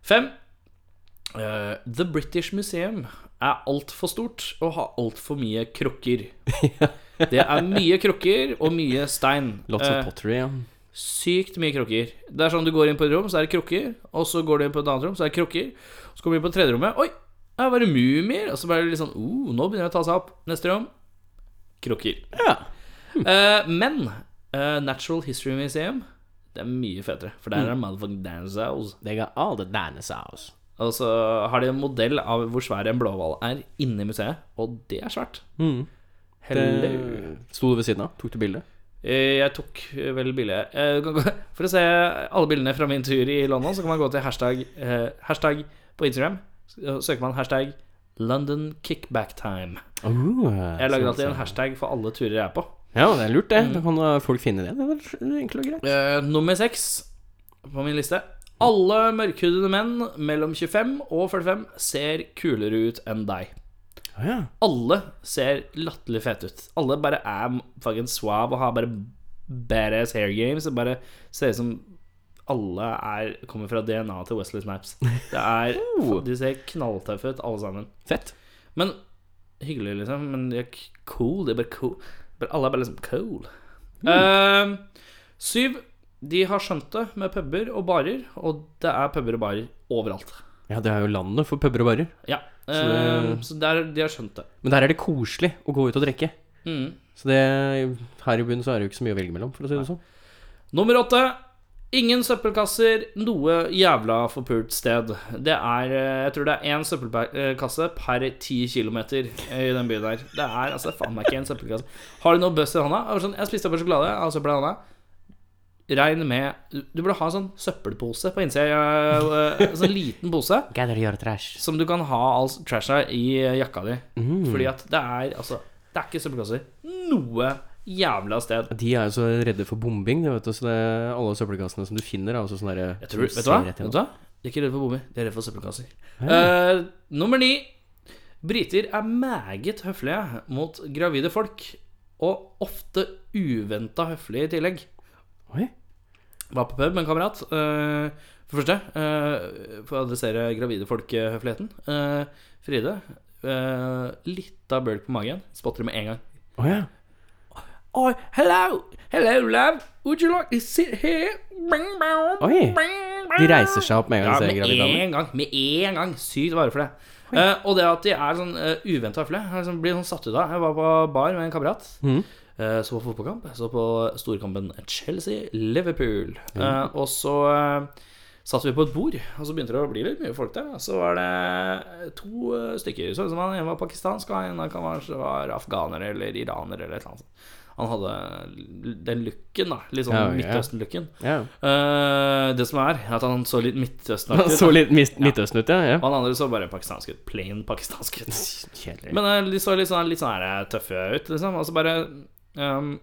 Speaker 2: Fem. Eh, The British Museum er altfor stort og har altfor mye krukker. Det er mye krukker og mye stein.
Speaker 3: Lots of
Speaker 2: Eh,
Speaker 3: pottery, ja.
Speaker 2: sykt mye krukker. Det er sånn du går inn på et rom, så er det krukker. Og så går du inn på et annet rom, så er det krukker. Så kommer du inn på tredje rommet. Oi, her var det mumier. Og så bare litt sånn oh, Nå begynner det å ta seg opp. Neste rom krukker.
Speaker 3: ja.
Speaker 2: Eh, men eh, Natural History Museum Det er mye fetere, for der er motherfucking dinosaurs.
Speaker 3: Hmm. They got all the dinosaurs.
Speaker 2: Og så har de en modell av hvor svær en blåhval er inni museet, og det er svært.
Speaker 3: Mm.
Speaker 2: Hello.
Speaker 3: Sto du ved siden av? Tok du bilde?
Speaker 2: Eh, Jeg tok eh, vel bildet Eh, du kan gå- For å se alle bildene fra min tur i London, så kan man gå til hashtag, eh, hashtag på Instagram. Så søker man hashtag 'London kickbacktime'. Jeg lager alltid en hashtag for alle turer jeg er på.
Speaker 3: Ja, det er lurt, det. Da kan eh, folk finne det. Det er enkelt og greit.
Speaker 2: Eh, nummer seks på min liste. Alle mørkhudede menn mellom 25 og 45 ser kulere ut enn deg.
Speaker 3: Å, Ah, ja.
Speaker 2: Alle ser latterlig fete ut. Alle bare er fucking swab og har bare badass hair games. Det bare ser ut som alle er, kommer fra DNA til Wesley Snipes. Det er, de ser knalltøffe ut, alle sammen.
Speaker 3: Oh. Fett.
Speaker 2: Men hyggelig, liksom. Men de er k- cool. De er bare cool. Bare, alle er bare liksom cool.
Speaker 3: Mm.
Speaker 2: Eh, syv. De har skjønt det med puber og barer, og det er puber og barer overalt.
Speaker 3: Ja, det er jo landet for puber og barer.
Speaker 2: Ja. Eh,
Speaker 3: Ehm, Så
Speaker 2: så der, de har skjønt det.
Speaker 3: Men der er det koselig å gå ut og drikke.
Speaker 2: Mm.
Speaker 3: Så det, her i byen så er det jo ikke så mye å velge mellom, for å si det sånn.
Speaker 2: Nummer åtte. Ingen søppelkasser noe jævla forpult sted. Det er eh, Jeg tror det er én søppelkasse per ti kilometer i den byen der. Det er altså faen meg ikke en søppelkasse. Har du noe bøss i hånda? Jeg var Sånn, jeg spiste opp en sjokolade av søpla i hånda. Regn med Du burde ha en sånn søppelpose på innsida. eh, En sånn liten pose
Speaker 3: Gather your trash.
Speaker 2: som du kan ha all trasha i eh, jakka di. Fordi at det er altså Det er ikke søppelkasser noe jævla sted.
Speaker 3: De er jo så redde for bombing, det vet du, så det er alle søppelkassene som du finner, er sånn også sånne der,
Speaker 2: Jeg tror, vet du hva? Vet du hva? De er ikke redde for bomber, de er redde for søppelkasser. Eh, nummer ni. Briter er meget høflige mot gravide folk, og ofte uventa høflige i tillegg.
Speaker 3: Oi.
Speaker 2: Var på pub med en kamerat. eh, for det første, eh, for å adressere gravide folk-høfligheten. eh, Fride, uh, litt av bølg på magen. Spotter det med en gang.
Speaker 3: Å ja.
Speaker 2: Oh, hello! Hello, love! Would you like to sit here? Bing, bong,
Speaker 3: Oi.
Speaker 2: bing,
Speaker 3: De
Speaker 2: bong.
Speaker 3: reiser seg opp med en gang de
Speaker 2: Ja,
Speaker 3: ser en
Speaker 2: med
Speaker 3: gravid dame.
Speaker 2: en gang. Med en gang. Sykt vare for det. Eh, og det at de er sånn uh, uventa høflige, jeg liksom blir sånn satt ut av. Jeg var på bar med en kamerat.
Speaker 3: Mhm.
Speaker 2: eh, så på fotballkamp. Så på storkampen Chelsea-Liverpool. Eh, og så eh, satt vi på et bord, og så begynte det å bli litt mye folk der. da. Så var det to eh, stykker. Så ut som han ene var pakistansk, og han ene kan være- var afghaner eller iraner eller et eller annet. sånt. Han hadde den looken, da. Litt sånn
Speaker 3: Ja, ja.
Speaker 2: Midtøsten-looken.
Speaker 3: Ja.
Speaker 2: Eh, det som er, er at han så litt Midtøsten-aktig
Speaker 3: Han
Speaker 2: ut.
Speaker 3: så litt mis- Midtøsten ut, ja.
Speaker 2: Og han andre så bare pakistansk ut. Plain pakistansk ut.
Speaker 3: ja. Kjedelig.
Speaker 2: Men eh, de så litt sånn, litt sånn her, eh, tøffe ut, liksom. Og så bare um,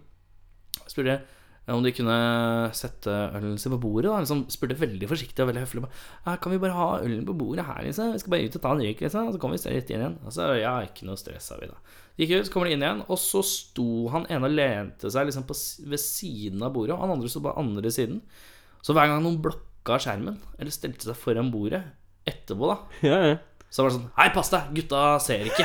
Speaker 2: spurte jeg eh, om de kunne sette ølen sin på bordet. Da. Liksom spurte veldig forsiktig og veldig høflig. Bare, «Ja, kan vi bare ha ølen på bordet her, liksom? Vi skal bare ut og ta en røyk, liksom. Og så kommer vi rett inn igjen. Og så ja, ikke noe stress, sa vi da. Gikk ut, så kommer de inn igjen, og så sto han ene og lente seg liksom på, s- ved siden av bordet, og han andre sto på andre siden. Så hver gang noen blokka skjermen, eller stelte seg foran bordet etterpå, da,
Speaker 3: Ja, ja.
Speaker 2: så var det sånn Hei, pass deg! Gutta ser ikke!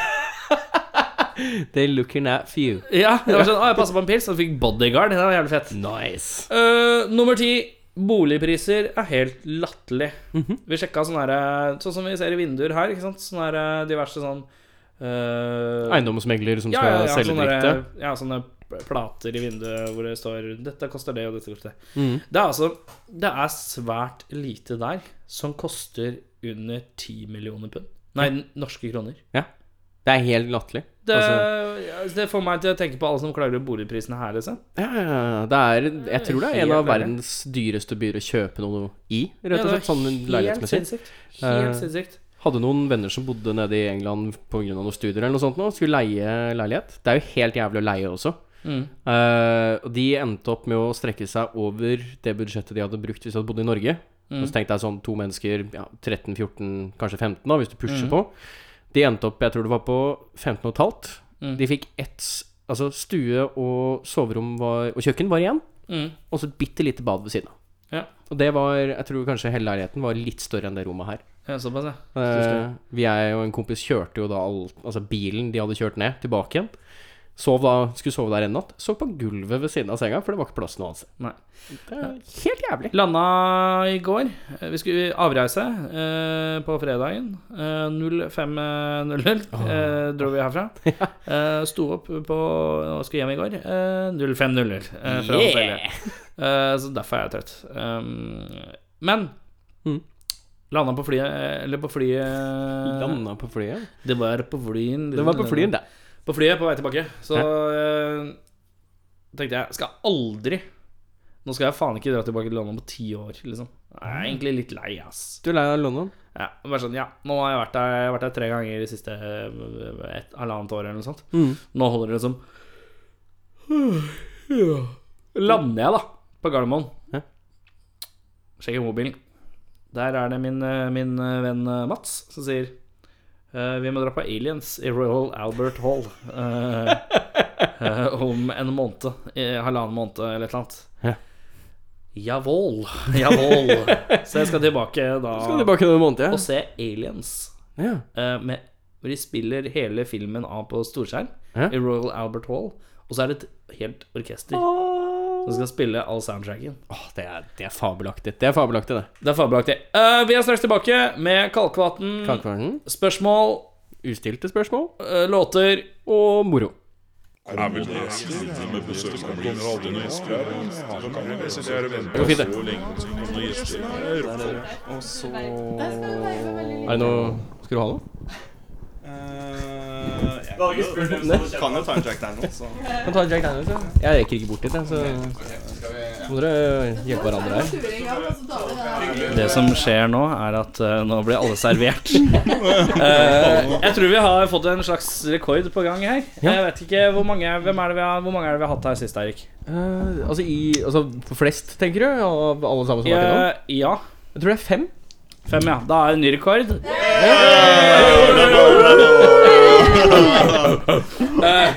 Speaker 3: They looking at you.
Speaker 2: Ja, det var sånn, å, jeg passet på en pils og fikk bodyguard. Det var jævlig fett.
Speaker 3: Nice.
Speaker 2: Eh, nummer ti. Boligpriser er helt latterlig.
Speaker 3: Mhm.
Speaker 2: Vi sjekka sånne her, sånn som vi ser i vinduer her. Ikke sant? Sånne her, diverse sånn eh,
Speaker 3: Eiendomsmegler som
Speaker 2: ja,
Speaker 3: skal
Speaker 2: ja, ja,
Speaker 3: selge
Speaker 2: sånne
Speaker 3: direkte.
Speaker 2: der- Ja, sånne plater i vinduet hvor det står 'Dette koster det, og dette koster det'.
Speaker 3: Mhm.
Speaker 2: Det er altså Det er svært lite der som koster under 10 millioner pund. Nei, norske kroner.
Speaker 3: Det er helt latterlig.
Speaker 2: Det,
Speaker 3: Altså,
Speaker 2: det får meg til å tenke på alle som klager over boligprisene her, liksom.
Speaker 3: ja, ja, ja. det er, jeg tror det er en av
Speaker 2: Helt ærlig.
Speaker 3: verdens dyreste byer å kjøpe noe i, rett og
Speaker 2: Ja, det
Speaker 3: slett.
Speaker 2: var
Speaker 3: Sånn
Speaker 2: Helt
Speaker 3: leilighetsmessig.
Speaker 2: sinnssykt.
Speaker 3: Eh,
Speaker 2: Helt sinnssykt.
Speaker 3: Hadde noen venner som bodde nede i England pga. noen studier eller noe sånt nå, skulle leie leilighet. Det er jo helt jævlig å leie også.
Speaker 2: Mm.
Speaker 3: Eh, og de endte opp med å strekke seg over det budsjettet de hadde brukt hvis de hadde bodd i Norge.
Speaker 2: Mm.
Speaker 3: Og så tenkte jeg sånn to mennesker, ja, 13-14, kanskje 15 da, hvis du
Speaker 2: Mm.
Speaker 3: pusher på. De endte opp, jeg tror det var på 15 og et halvt.
Speaker 2: Mm.
Speaker 3: De fikk ett s- Altså stue og soverom var, og kjøkken var igjen,
Speaker 2: Mm.
Speaker 3: og så et bitte lite bad ved siden av.
Speaker 2: Ja.
Speaker 3: Og det var, jeg tror kanskje hele leiligheten var litt større enn det rommet her.
Speaker 2: ja, såpass, ja.
Speaker 3: Eh, vi er jo en kompis kjørte jo da all, altså bilen de hadde kjørt ned, tilbake igjen. Sov da, skulle sove der en natt. Sov på gulvet ved siden av senga, for det var ikke plass noe annet sted.
Speaker 2: Nei.
Speaker 3: Det er Eh, helt jævlig.
Speaker 2: Landa i går. Eh, Vi skulle avreise eh, på fredagen. Eh, 05.00 eh, dro vi herfra. Eh, sto opp på og skulle hjem i går. Eh, 05.00 eh, fra
Speaker 3: Yeah!
Speaker 2: hotellet. Eh, så derfor er jeg trøtt. Um, men
Speaker 3: Mm.
Speaker 2: landa på flyet Eller på flyet eh,
Speaker 3: Landa på flyet.
Speaker 2: Det var på flyen.
Speaker 3: Det var på flyet, det.
Speaker 2: På flyet på vei tilbake. Så eh, tenkte jeg skal aldri Nå skal jeg faen ikke dra tilbake til landet på ti år, liksom. Jeg er egentlig litt lei, ass.
Speaker 3: Du er lei av London?
Speaker 2: Ja, bare sånn, ja, nå har jeg vært der, jeg har vært der tre ganger de siste eh, et, halvannet året eller noe sånt.
Speaker 3: Mm.
Speaker 2: Nå holder det liksom ja. Lander jeg, da, på Gardermoen.
Speaker 3: Ja.
Speaker 2: Sjekker mobilen. Der er det min, eh, min eh, venn eh, Mats som sier eh, Vi må dra på Aliens i Royal Albert Hall eh, eh, om en måned. eh, Halvannen måned eller et eller annet.
Speaker 3: Ja.
Speaker 2: Javål. Javål. Så jeg skal tilbake da
Speaker 3: Skal tilbake om en måned,
Speaker 2: og se Aliens.
Speaker 3: ja. ja.
Speaker 2: Eh, med, hvor de spiller hele filmen av på storskjerm
Speaker 3: Ja.
Speaker 2: i Royal Albert Hall. Og så er det et helt orkester som skal spille all soundtracken.
Speaker 3: Åh, det, er, det er fabelaktig. Det er fabelaktig, det.
Speaker 2: Det er fabelaktig. Eh, vi er straks tilbake med Kalkvatn.
Speaker 3: Kakvarten,
Speaker 2: Spørsmål,
Speaker 3: ustilte spørsmål
Speaker 2: eh, låter
Speaker 3: og moro.
Speaker 4: er vel det siste med besøkskomplinen og alle noen gjester her. Da kan vi presentere hvem
Speaker 3: går fint, det.
Speaker 4: så lenge som noen gjester er.
Speaker 5: Og så
Speaker 3: Er det noe Skal du ha noe?
Speaker 5: Eh, Jeg kan jo- kan jo ta en Jack Daniel, så
Speaker 3: Kan ta Jack Daniels, ja. Jeg rekker ikke bort dit, jeg, så må dere hjelpe hverandre her.
Speaker 2: Det som skjer nå, er at eh, nå blir alle servert. Eh, jeg tror vi har fått en slags rekord på gang her. Jeg vet ikke hvor mange, hvem er det vi har, hvor mange er det vi har hatt her sist, Eirik?
Speaker 3: Eh, altså i Altså for flest, tenker du? Av alle sammen som har vært innom?
Speaker 2: Eh, ja.
Speaker 3: Jeg tror det er fem.
Speaker 2: Fem, ja. Da er det en ny rekord. Eh,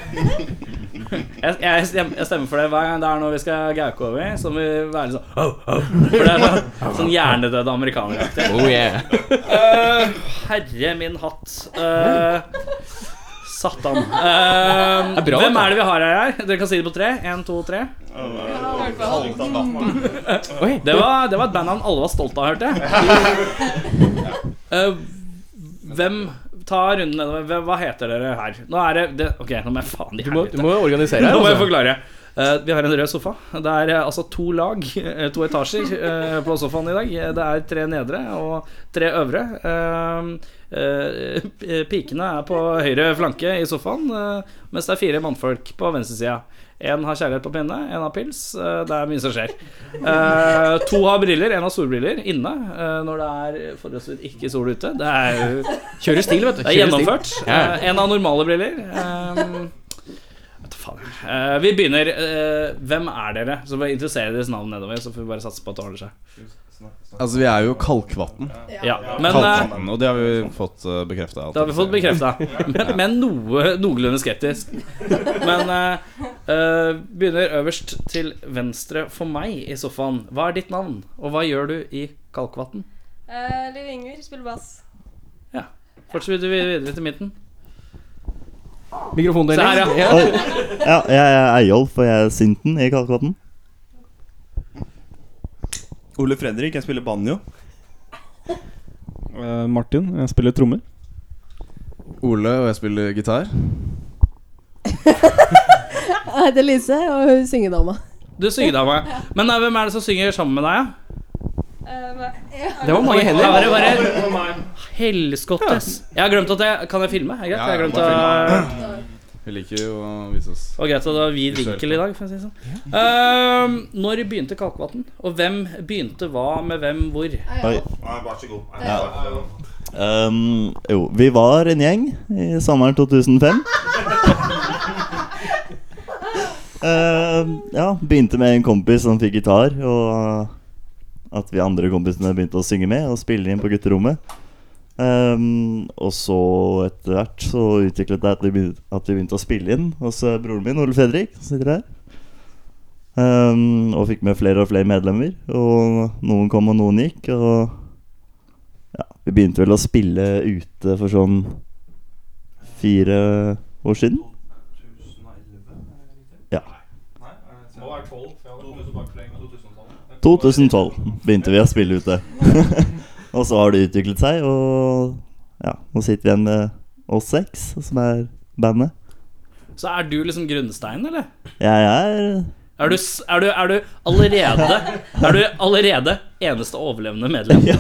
Speaker 2: jeg, jeg, stem- jeg stemmer for det hver gang det er noe vi skal gauke over. Så må vi være litt sånn oh, oh. For det er sånn, sånn hjernedøde amerikaneraktig.
Speaker 3: Oh yeah.
Speaker 2: Eh, herre min hatt. Eh, satan. Eh,
Speaker 3: er bra,
Speaker 2: hvem
Speaker 3: da.
Speaker 2: er det vi har her? her? Dere kan si det på tre. En, to, tre.
Speaker 3: Oi,
Speaker 2: Det var, det var et bandnavn alle var stolte av, hørte jeg. Eh, hvem tar runden nedover? Hvem- Hva heter dere her? Nå er det, det Ok, nå må jeg faen i
Speaker 3: du må,
Speaker 2: helvete.
Speaker 3: du må organisere her.
Speaker 2: Nå må jeg
Speaker 3: Altså.
Speaker 2: forklare. Eh, vi har en rød sofa. Det er eh, altså to lag, eh, to etasjer, eh, på sofaen i dag. Eh, Det er tre nedre og tre øvre. Eh, eh, p- pikene er på høyre flanke i sofaen, eh, mens det er fire mannfolk på venstresida. Én har kjærlighet på pinne, én har pils. eh, det er mye som skjer. Eh, to har briller, én har solbriller inne eh, når det er forholdsvis ikke sol ute. Det er jo
Speaker 3: Kjøre stil, vet du. Kjøre
Speaker 2: det er
Speaker 3: stil.
Speaker 2: gjennomført.
Speaker 3: Ja.
Speaker 2: Eh, en av normale briller.
Speaker 6: Um,
Speaker 2: Ehm, vet du faen. Eh, vi begynner. eh, hvem er dere? Så bare interesserer deres navn nedover. Så får vi bare satse på at det ordner seg.
Speaker 6: Altså, vi er jo Kalkvatn.
Speaker 2: Ja, Men eh,
Speaker 6: Kalkvatn, og det har vi fått uh, bekrefta.
Speaker 2: det har vi fått bekrefta. Men, men noe noenlunde skeptisk. Men eh, eh, begynner øverst til venstre for meg i sofaen. Hva er ditt navn, og hva gjør du i Kalkvatn?
Speaker 7: Eh, Lille Inger spiller bass.
Speaker 2: Fortsetter vi videre til midten.
Speaker 3: Mikrofonen
Speaker 2: Se her,
Speaker 3: deres.
Speaker 2: ja.
Speaker 3: Ja.
Speaker 8: Ja, jeg er Eyolf, og jeg er Sinten i Kalkvatn.
Speaker 5: Ole Fredrik, jeg spiller banjo.
Speaker 9: Eh, Martin, jeg spiller trommer.
Speaker 6: Ole, og jeg spiller gitar.
Speaker 10: Jeg heter Lise, og hun synger dama.
Speaker 2: Du synger da, meg. Men eh, hvem er det som synger sammen med deg? Ja?
Speaker 7: Eh, men-
Speaker 3: Det var mange hender.
Speaker 2: Da er det bare Helskottes. Jeg har glemt at jeg Kan jeg filme? Er det greit?
Speaker 6: Ja,
Speaker 2: Jeg har glemt å
Speaker 6: bare Vi liker jo å vise oss
Speaker 2: Det var greit at det var vid vinkel i dag, for å si det sånn. Ehm, når begynte Kalkvatn? Og hvem begynte hva med hvem hvor?
Speaker 8: Oi. Um, jo, vi var en gjeng i sommeren 2005. Um, ja, begynte med en kompis som fikk gitar, og at vi andre kompisene begynte å synge med og spille inn på gutterommet. Um, og så etter hvert så utviklet det at vi, begynte, at vi begynte å spille inn hos eh, broren min, Ole Fredrik, som sitter her. Um, og fikk med flere og flere medlemmer. Og noen kom, og noen gikk. Og ja, vi begynte vel å spille ute for sånn fire år siden. Ja. 2012 begynte vi å spille ute. og så har det utviklet seg, og ja, nå sitter vi igjen med oss seks, som er bandet.
Speaker 2: Så er du liksom grunnsteinen, eller?
Speaker 8: Jeg er
Speaker 2: Er du, s- er du, er du allerede Er du allerede eneste overlevende medlem?
Speaker 8: Jeg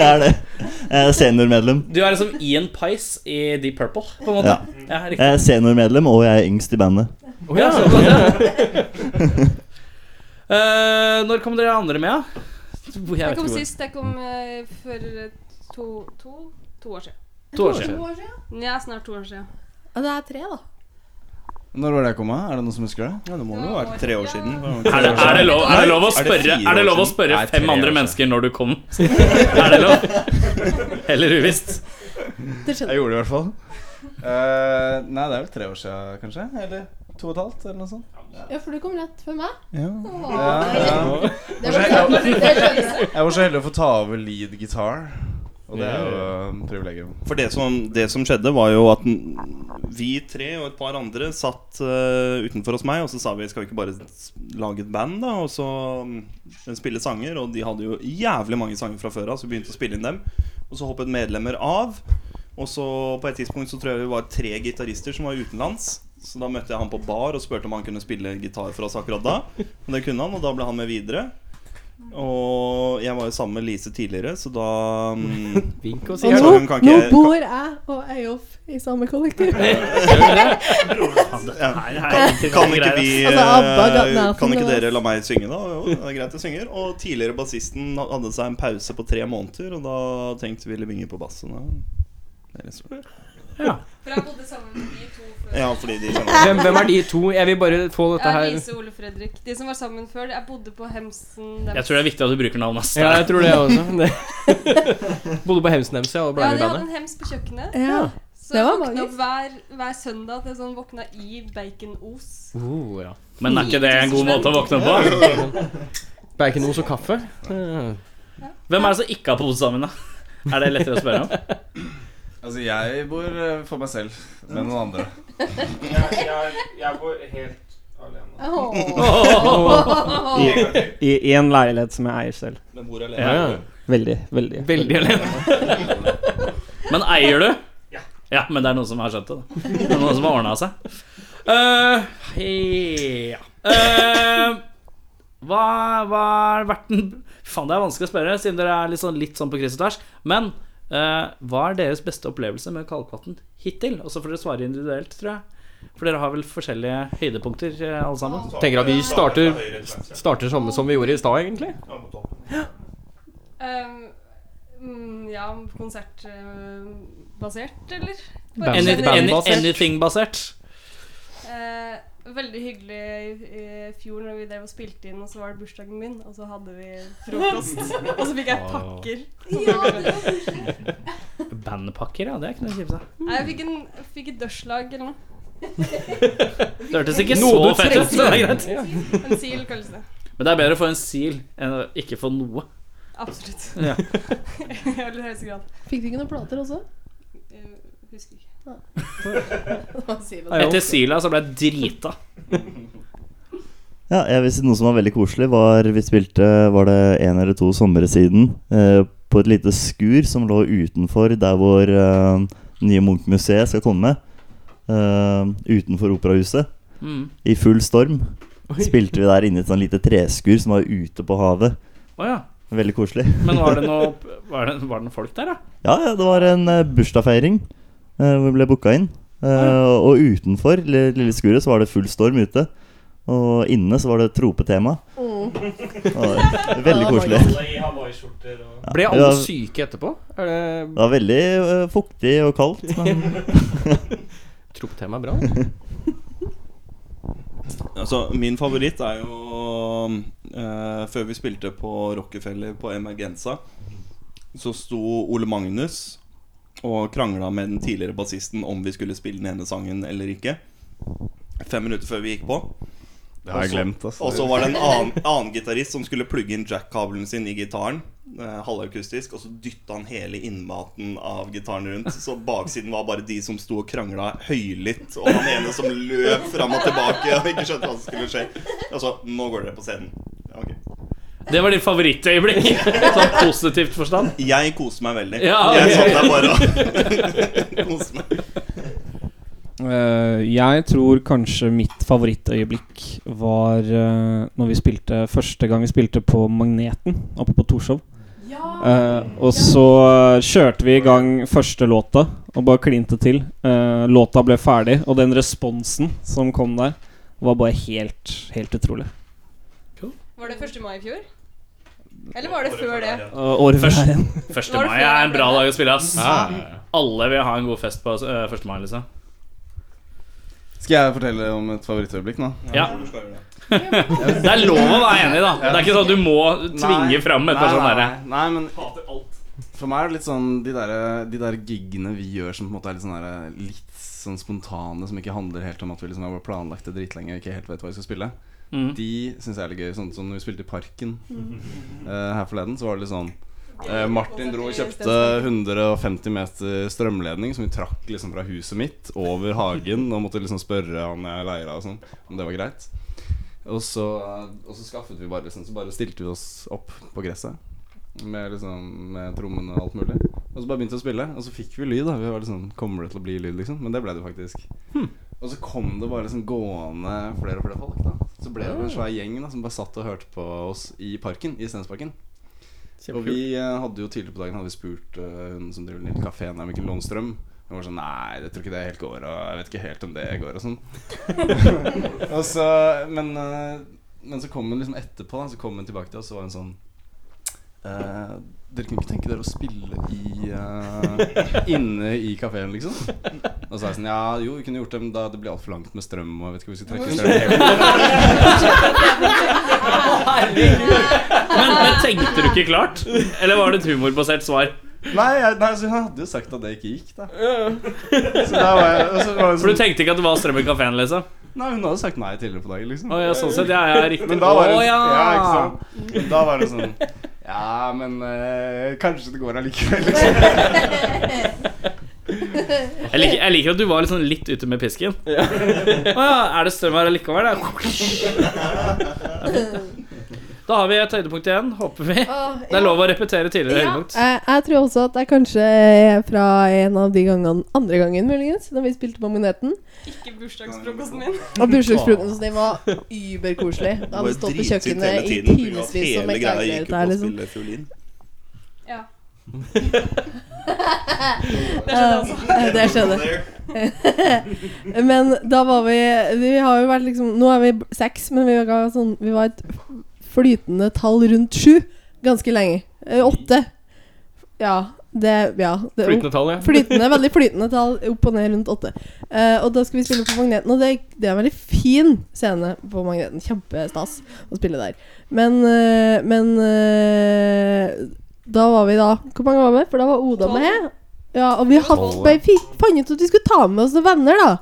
Speaker 8: er det. Jeg er seniormedlem.
Speaker 2: Du er liksom Ian Pice i Deep Purple, på en måte?
Speaker 8: Ja.
Speaker 2: Ja, riktig.
Speaker 8: Jeg er seniormedlem, og jeg er yngst i bandet.
Speaker 2: Å, ja, sånn, ja. Eh, når kom dere andre med, da? Jeg vet
Speaker 7: Jeg kom
Speaker 2: ikke hvor.
Speaker 7: sist. Jeg kom eh, for eh, to, to, to år siden.
Speaker 2: To år siden.
Speaker 10: To år siden?
Speaker 7: Ja, snart to år siden.
Speaker 10: Ja, det er tre, da.
Speaker 6: Når var det jeg kom av? Er det noen som husker det?
Speaker 5: Ja, det må jo være tre år siden.
Speaker 2: Er det, er, det lov, er, det lov
Speaker 5: Nei, er det
Speaker 2: å spørre,
Speaker 5: fire
Speaker 2: er det lov
Speaker 5: år
Speaker 2: å
Speaker 5: siden?
Speaker 2: spørre
Speaker 5: Nei, tre
Speaker 2: fem
Speaker 5: år
Speaker 2: andre
Speaker 5: siden.
Speaker 2: mennesker når du kom? Er det lov? Heller uvisst.
Speaker 10: Det skjedde.
Speaker 6: Jeg gjorde det i hvert fall. Eh, nei, det er vel tre år siden, kanskje? Eller to og et halvt, eller noe sånt.
Speaker 10: Ja, for du kom rett før meg.
Speaker 6: Ja.
Speaker 10: Åh.
Speaker 6: Ja,
Speaker 10: Det var søtt. Det skjønner jeg.
Speaker 6: Jeg var så heldig å få ta over lead gitar, og det er jo eh, privilegium.
Speaker 5: For det som, det som skjedde, var jo at n- vi tre og et par andre satt eh, utenfor hos meg, og så sa vi skal vi ikke bare s- lage et band, da? Og så mm, spille sanger. Og de hadde jo jævlig mange sanger fra før av, så vi begynte å spille inn dem. Og så hoppet medlemmer av. Og så på et tidspunkt så tror jeg vi var tre gitarister som var utenlands. Så da møtte jeg han på bar og spurte om han kunne spille gitar for oss akkurat da. Og det kunne han, og da ble han med videre. Og jeg var jo sammen med Lise tidligere, så da mm,
Speaker 3: Vink og si
Speaker 10: Og
Speaker 5: Jeg
Speaker 10: nå,
Speaker 5: tror hun kan
Speaker 10: nå
Speaker 5: ikke-
Speaker 10: bor jeg og Eyolf i samme kollektiv.
Speaker 5: ja.
Speaker 2: Nei,
Speaker 5: Kan ikke vi
Speaker 10: Altså, ABBA ga den her
Speaker 5: eh, Kan ikke
Speaker 10: for noe,
Speaker 5: dere la meg synge, da? Jo, det er greit jeg synger. Og tidligere bassisten hadde seg en pause på tre måneder, og da tenkte vi Levinge på bass. så da- det er litt stort.
Speaker 7: For jeg bodde sammen med de to før.
Speaker 5: Ja, fordi de kjenner
Speaker 3: Hvem, hvem er de to? Jeg vil bare få dette
Speaker 7: Jeg er
Speaker 3: her
Speaker 7: Lise og Ole Fredrik. De som var sammen før, jeg bodde på Hemsen deres.
Speaker 2: Jeg tror det er viktig at du bruker navnet hans.
Speaker 3: Ja, jeg tror det, jeg også. Det. Bodde på Hemsen Hems, ja, og ble
Speaker 7: Ja,
Speaker 3: med i
Speaker 7: de hadde
Speaker 3: bandet.
Speaker 7: en hems på kjøkkenet.
Speaker 10: Ja.
Speaker 7: Så
Speaker 10: Det
Speaker 7: jeg
Speaker 10: var
Speaker 7: våkna
Speaker 10: magisk.
Speaker 7: opp hver, hver søndag til sånn våkna i baconos.
Speaker 3: Oh, ja.
Speaker 2: Men er ikke det en god måte å våkne på?
Speaker 3: Baconos og kaffe. Eh,
Speaker 2: Hvem er det som ikke har pose sammen, da? Er det lettere å spørre om?
Speaker 6: Altså, jeg bor eh, for meg selv med noen andre.
Speaker 10: Åh.
Speaker 9: I, I en leilighet som jeg eier selv.
Speaker 5: Men hvor alene?
Speaker 3: Ja, ja.
Speaker 9: Veldig, veldig.
Speaker 3: Veldig alene.
Speaker 2: Men eier du? Ja, men det er noen som har skjønt det. da. Det er noen som har ordna seg. Eh, hei, ja. Eh, hva, hva er vært den Faen, det er vanskelig å spørre, siden dere er litt sånn, litt sånn på kryss og tvers. Men eh, hva er deres beste opplevelse med Kalkvatn hittil? Og så får dere svare individuelt, tror jeg. For dere har vel forskjellige høydepunkter, eh, alle sammen.
Speaker 3: Tenker at vi starter, starter samme som vi gjorde i stad, egentlig.
Speaker 7: Um, mm, ja, konsertbasert, eller?
Speaker 3: Band-
Speaker 7: Bare
Speaker 2: Any,
Speaker 7: generelt.
Speaker 2: any,
Speaker 3: Bandbasert.
Speaker 2: Anything-basert.
Speaker 7: Eh, veldig hyggelig i, i fjor når vi drev og spilte inn, og så var det bursdagen min, og så hadde vi frokost. og så fikk jeg pakker.
Speaker 2: Bandpakker, ja. Det er ikke noe å kjipt.
Speaker 7: Nei, jeg fikk, en, fikk et dørslag eller noe.
Speaker 2: Det hørtes ikke
Speaker 3: Noe
Speaker 2: så
Speaker 3: du
Speaker 2: fett ut. så det er greit.
Speaker 3: Ja.
Speaker 7: En sil, kalles det.
Speaker 2: Men det er bedre å få en sil enn å ikke få noe.
Speaker 7: Absolutt.
Speaker 9: Ja.
Speaker 7: I aller høyeste grad.
Speaker 10: Fikk du ikke noen plater også?
Speaker 7: Eh, husker ikke.
Speaker 10: Hva sier vi da?
Speaker 9: Ja, jo.
Speaker 2: Etter sila så ble jeg drita.
Speaker 8: Ja, jeg vil si noe som var veldig koselig var Vi spilte, var det en eller to somre siden eh, På et lite skur som lå utenfor Der hvor eh, nye Munch-museet skal komme eh, Utenfor operahuset
Speaker 2: Mm.
Speaker 8: I full storm Spilte vi der inne i et sånn lite treskur Som var ute på havet
Speaker 2: Å ja.
Speaker 8: Veldig koselig
Speaker 2: Men var det noe Var det, var det noen folk der, da?
Speaker 8: Ja, ja, det var en eh, bursdagsfeiring eh, hvor vi ble booka inn. Eh, Og utenfor lille, lille skuret så var det full storm ute. Og inne så var det tropetema. Det var Veldig koselig.
Speaker 3: Ble
Speaker 8: Ja.
Speaker 3: alle syke etterpå? Er det
Speaker 8: Det var veldig eh, fuktig og kaldt. Men
Speaker 3: Tropetema er bra?
Speaker 5: Altså, min favoritt er jo eh, Før vi spilte på Rockefeller på Emergenza, så sto Ole Magnus og krangla med den tidligere bassisten om vi skulle spille den ene sangen eller ikke. Fem minutter før vi gikk på.
Speaker 6: Det har jeg glemt, altså.
Speaker 5: Og så var det en annen, annen gitarist som skulle plugge inn jack-kabelen sin i gitaren. Eh, halvakustisk. Og så dytta han hele innmaten av gitaren rundt. Så baksiden var bare de som sto og krangla høylytt. Og han ene som løp fram og tilbake og ikke skjønte hva som skulle skje. Og så Nå går dere på scenen. Ja, ok.
Speaker 2: Det var ditt favorittøyeblikk. Sånn positivt forstand.
Speaker 5: Jeg koste meg veldig.
Speaker 2: Ja, ok.
Speaker 5: Jeg satt der bare og koste meg.
Speaker 9: Eh, jeg tror kanskje mitt favorittøyeblikk var eh, når vi spilte første gang vi spilte på Magneten oppe på Torshov. Eh, og så eh, kjørte vi i gang første låta og bare klinte til. Eh, låta ble ferdig, og den responsen som kom der, var bare helt, helt utrolig.
Speaker 7: Var det 1. mai i fjor? Eller var det før det?
Speaker 9: Eh, året før
Speaker 2: Først-
Speaker 9: der igjen.
Speaker 2: 1.
Speaker 7: Var det
Speaker 2: mai er en bra
Speaker 7: flere?
Speaker 2: dag å spille, ass. Alle vil ha en god fest på eh, 1. mai, liksom.
Speaker 6: Skal jeg fortelle om et favorittøyeblikk nå?
Speaker 2: Ja.
Speaker 5: Du skal gjøre det.
Speaker 2: Det er lov å være enig, da. Det er ikke sånn at du må tvinge fram et
Speaker 6: Nei,
Speaker 2: par sånne
Speaker 6: nei,
Speaker 2: derre
Speaker 6: nei, nei, men For meg er det litt sånn de der, de der giggene vi gjør som på en måte er litt sånn der, litt sånn spontane, som ikke handler helt om at vi liksom har planlagt det dritlenge og ikke helt vet hva vi skal spille,
Speaker 2: Mm.
Speaker 6: de syns jeg er litt gøy. Sånn som når vi spilte i Parken
Speaker 5: Mm.
Speaker 6: eh, her forleden, så var det litt sånn eh, Martin dro og kjøpte 150 meter strømledning som vi trakk liksom fra huset mitt over hagen, og måtte liksom spørre han jeg leier av og sånn, om det var greit. Og så, og så skaffet vi bare liksom, Så bare stilte vi oss opp på gresset med, liksom, med trommene og alt mulig. Og så bare begynte vi å spille, og så fikk vi lyd. da Vi var liksom Kommer det til å bli lyd, liksom? Men det ble det faktisk. Og Og så kom det bare liksom gående flere og flere folk. da Så ble det en svær gjeng da som bare satt og hørte på oss i parken. I Stensparken. Og vi eh, hadde jo tidligere på dagen Hadde vi spurt eh, hun som driver den lille kafeen her, Mikkel Lånstrøm. Hun var sånn Nei, jeg tror ikke det helt går, og jeg vet ikke helt om det går, og sånn. og så, men, eh, men så kom hun liksom etterpå, da, så kom hun tilbake til oss, og så var hun sånn eh, Dere kunne ikke tenke dere å spille i eh, inne i kafeen, liksom? Og så er jeg sånn Ja, jo, vi kunne gjort det, men da det blir altfor langt med strøm, og jeg vet ikke hvor vi skal trekke strøm. hele tiden.»
Speaker 2: Men, men tenkte du ikke klart? Eller var det et humorbasert svar?
Speaker 6: Nei, jeg, nei, så hun hadde jo sagt at det ikke gikk, da. Så da var jeg, og så var jeg
Speaker 2: For du
Speaker 6: sånn,
Speaker 2: tenkte ikke at det var strøm i kafeen, liksom?
Speaker 6: nei, hun hadde sagt nei tidligere på dagen, liksom.
Speaker 2: Å ja, sånn sett. Ja, ja, riktig.
Speaker 6: Men da var det,
Speaker 2: Å, ja.
Speaker 6: ja, ikke sant? Men da var det sånn Ja, men eh, kanskje det går allikevel, liksom.
Speaker 2: Jeg liker, jeg liker at du var litt sånn litt ute med pisken. Å ja, er det strøm her allikevel? Da? da har vi et høydepunkt igjen, håper vi.
Speaker 10: Åh,
Speaker 2: Det er lov å repetere tidligere høydepunkt.
Speaker 10: Jeg, Eh, jeg tror også at det er kanskje er fra en av de gangene Andre gangen, muligens, da vi spilte på Magneten.
Speaker 7: Ikke bursdagsfrokosten min.
Speaker 10: Og bursdagsfrokosten din var überkoselig. Det
Speaker 5: var
Speaker 10: hadde
Speaker 5: jo
Speaker 10: stått på
Speaker 5: dritfint hele
Speaker 10: kjøkkenet i
Speaker 5: tiden, fordi at
Speaker 10: timevis som
Speaker 5: Hele
Speaker 10: en
Speaker 5: greia
Speaker 10: kvelertak
Speaker 5: gikk ut på
Speaker 10: der,
Speaker 5: å
Speaker 10: liksom.
Speaker 5: spille fiolin.
Speaker 7: Ja.
Speaker 10: Eh, Det skjedde. men da var vi Vi har jo vært liksom Nå er vi b- seks, men vi var, sånn, vi var et flytende tall rundt sju ganske lenge. Eh, Åtte. Ja. Det, ja, det,
Speaker 3: Flytende tall, ja.
Speaker 10: Flytende, veldig flytende tall opp og ned rundt åtte. Eh, og da skal vi spille på Magneten, og det, det er en veldig fin scene på Magneten. Kjempestas å spille der. Men, eh, men eh, da var vi da Hvor mange var vi? For da var Oda med. Ja, og vi hadde,
Speaker 6: Tolv, ja.
Speaker 10: bare fi- fant ut at vi skulle ta med oss noen venner, da.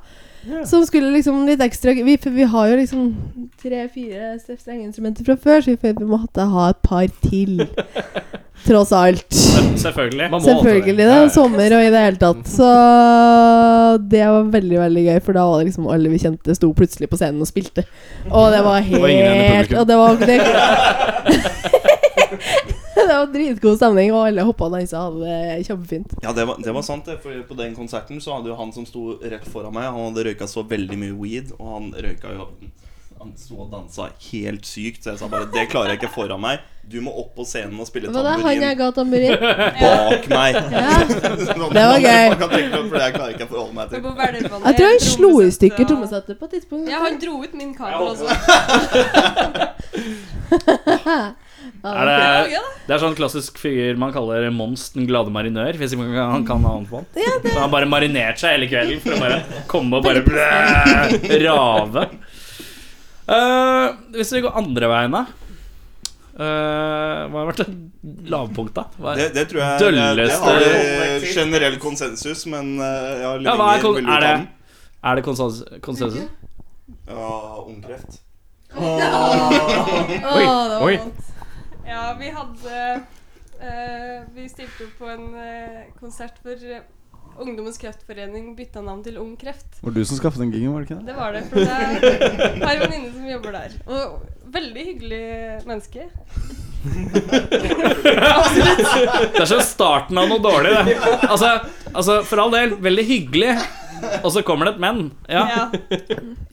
Speaker 10: Som skulle liksom litt ekstra vi, For vi har jo liksom tre-fire strengeinstrumenter fra før, så vi følte vi måtte ha et par til. Tross alt.
Speaker 2: Selvfølgelig.
Speaker 3: Man må alltid
Speaker 10: Selvfølgelig. Det er sommer og i det hele tatt. Så det var veldig veldig gøy, for da var det liksom alle vi kjente, sto plutselig på scenen og spilte. Og det var
Speaker 6: var ingen igjen i
Speaker 10: helt
Speaker 6: publikum.
Speaker 10: Og det var det, det var dritgod stemning, og alle hoppa og dansa og hadde det kjempefint.
Speaker 5: Ja, det var, det var sant, det. For på den konserten så hadde jo han som sto rett foran meg, han hadde røyka så veldig mye weed, og han røyka jo Han sto og dansa helt sykt, så jeg sa bare Det klarer jeg ikke foran meg. Du må opp på scenen og spille
Speaker 10: Det var da han jeg
Speaker 5: tamburin
Speaker 10: ga tamburin.
Speaker 5: bak meg.
Speaker 10: Ja.
Speaker 5: Sånn,
Speaker 10: Det var gøy.
Speaker 5: man kan tenke på, For det klarer jeg ikke å forholde meg
Speaker 7: Så
Speaker 5: til.
Speaker 7: på Verdalbanen,
Speaker 10: Jeg tror han slo i
Speaker 7: trommesettet,
Speaker 10: stykker
Speaker 7: og-
Speaker 10: Eh, trommesettet på et tidspunkt.
Speaker 7: Ja, han dro ut min kabel også.
Speaker 10: Ja,
Speaker 7: Det
Speaker 2: Er
Speaker 7: var
Speaker 2: det,
Speaker 7: gøy, da.
Speaker 2: det er sånn klassisk fyr man kaller Mons den glade marinør, hvis ikke man kan- han kan noe annet på han. Så han bare marinerte seg hele kvelden for å bare komme og bare blæ, rave. Eh, hvis vi går andre veien, da eh, Hva har vært det lavpunkt, da? Hva
Speaker 5: Det,
Speaker 2: er,
Speaker 5: det tror jeg det- Det
Speaker 2: Dølleste-
Speaker 5: har vi generell konsensus, men eh, jeg har
Speaker 2: ja, hva er,
Speaker 5: Lillinger
Speaker 2: kon
Speaker 5: vil du
Speaker 2: er
Speaker 5: ta
Speaker 2: det,
Speaker 5: den?
Speaker 2: er det konsens- konsensus?
Speaker 5: Ja, ungkreft.
Speaker 3: Oi.
Speaker 7: Ja, vi hadde eh, Vi stilte opp på en eh, konsert for eh, Ungdommens kreftforening bytta navn til Ung Kreft.
Speaker 6: Var det du som skaffet den gigen, var det ikke det?
Speaker 7: Det var det. For det er- har en venninne som jobber der. Og veldig hyggelig menneske.
Speaker 2: Det er sånn starten av noe dårlig, det. Altså, altså, for all del, veldig hyggelig, og så kommer det et men. Ja.
Speaker 7: Ja.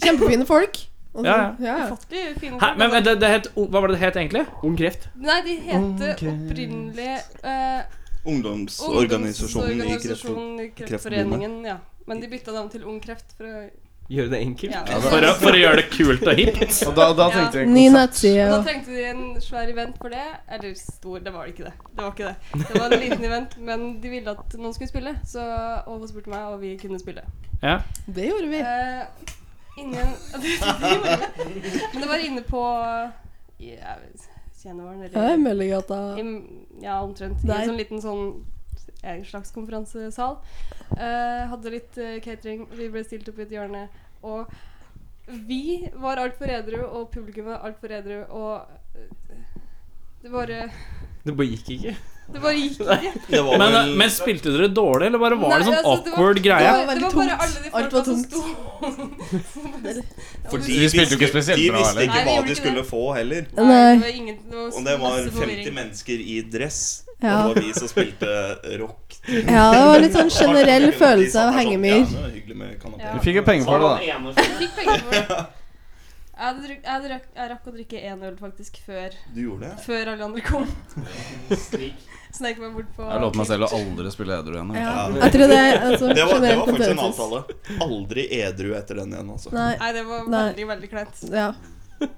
Speaker 10: Kjempefine folk. Og så-
Speaker 2: Ja, ja.
Speaker 10: ja.
Speaker 7: Ufattelig fine
Speaker 2: Hæ,
Speaker 7: folk.
Speaker 2: men men det, det het, hva var det det het egentlig?
Speaker 3: Ung kreft.
Speaker 7: Nei, de heter
Speaker 6: Ok.
Speaker 7: opprinnelig eh,
Speaker 5: Ungdomsorganisasjonen i Kreftforbundet.
Speaker 7: Ungdomsorganisasjonen i Kreftforeningen. Ja. Men de bytta navn til Ung Kreft for å
Speaker 3: Gjøre det enkelt.
Speaker 7: ja.
Speaker 2: For å, for å gjøre det kult og hipt.
Speaker 6: Og da, da tenkte jeg
Speaker 10: Ny
Speaker 6: konsert.
Speaker 10: nettside.
Speaker 7: Og da
Speaker 10: og-
Speaker 7: trengte de en svær event for det. Eller stor, det var det ikke det. Det var ikke det. Det var en liten event, men de ville at noen skulle spille. Så Åbo spurte meg, og vi kunne spille.
Speaker 10: Det gjorde vi.
Speaker 7: Eh, inni en det gjorde vi. Men det var inne på ja, Tjenervaren,
Speaker 10: Ja, i
Speaker 7: eller
Speaker 10: Møllergata.
Speaker 7: i, Ja, omtrent. I
Speaker 10: Der.
Speaker 7: en sånn liten sånn en slags konferansesal. Eh, hadde litt eh, catering, vi ble stilt opp i et hjørne. Og vi var altfor edru, og publikum var altfor edru, og eh, det bare
Speaker 3: Det bare gikk ikke.
Speaker 7: Det bare gikk ikke.
Speaker 5: Det var
Speaker 2: Men,
Speaker 6: eh,
Speaker 2: eh,
Speaker 5: vel
Speaker 2: men spilte dere dårlig, eller bare var
Speaker 7: Nei,
Speaker 2: det sånn
Speaker 7: altså, det var-
Speaker 2: awkward
Speaker 7: Det
Speaker 2: greie?
Speaker 7: var, det
Speaker 10: veldig
Speaker 7: var bare
Speaker 10: tungt.
Speaker 7: alle de
Speaker 10: Alt
Speaker 7: folka
Speaker 10: var
Speaker 7: som
Speaker 10: tungt.
Speaker 7: sto
Speaker 5: Fordi
Speaker 6: Vi spilte jo ikke spesielt
Speaker 5: de
Speaker 6: bra,
Speaker 5: visste
Speaker 6: eller?
Speaker 5: ikke
Speaker 7: Nei, vi
Speaker 5: hva
Speaker 7: gjorde
Speaker 5: de
Speaker 7: ikke
Speaker 5: skulle få heller.
Speaker 7: Nei, det var ingen det var
Speaker 5: Og det var
Speaker 7: masse forvirring.
Speaker 5: 50 mennesker i dress.
Speaker 10: Ja.
Speaker 5: Og det var vi som spilte rock.
Speaker 10: ja, det var litt sånn generell
Speaker 5: Det var
Speaker 10: følelse av
Speaker 5: de som var sånn,
Speaker 10: hengemyr.
Speaker 5: Ja, det var hyggelig med kanapé.
Speaker 7: Ja.
Speaker 6: Vi fikk jo penger for det, da.
Speaker 7: Jeg fikk penger for det. Jeg, hadde druk, jeg, hadde rakk, jeg rakk å drikke én øl faktisk før,
Speaker 5: Du gjorde det?
Speaker 7: før alle andre kom. Snek meg bort på
Speaker 6: Jeg lovte meg selv å aldri spille edru igjen.
Speaker 10: Ja.
Speaker 5: Ja.
Speaker 10: Jeg tror det er altså,
Speaker 5: Det var, det
Speaker 10: generell
Speaker 5: var faktisk en
Speaker 10: konsensus.
Speaker 5: avtale. Aldri edru etter den igjen, altså.
Speaker 10: Nei.
Speaker 7: Nei, det var
Speaker 10: Nei.
Speaker 7: veldig, veldig kleint.
Speaker 10: Ja.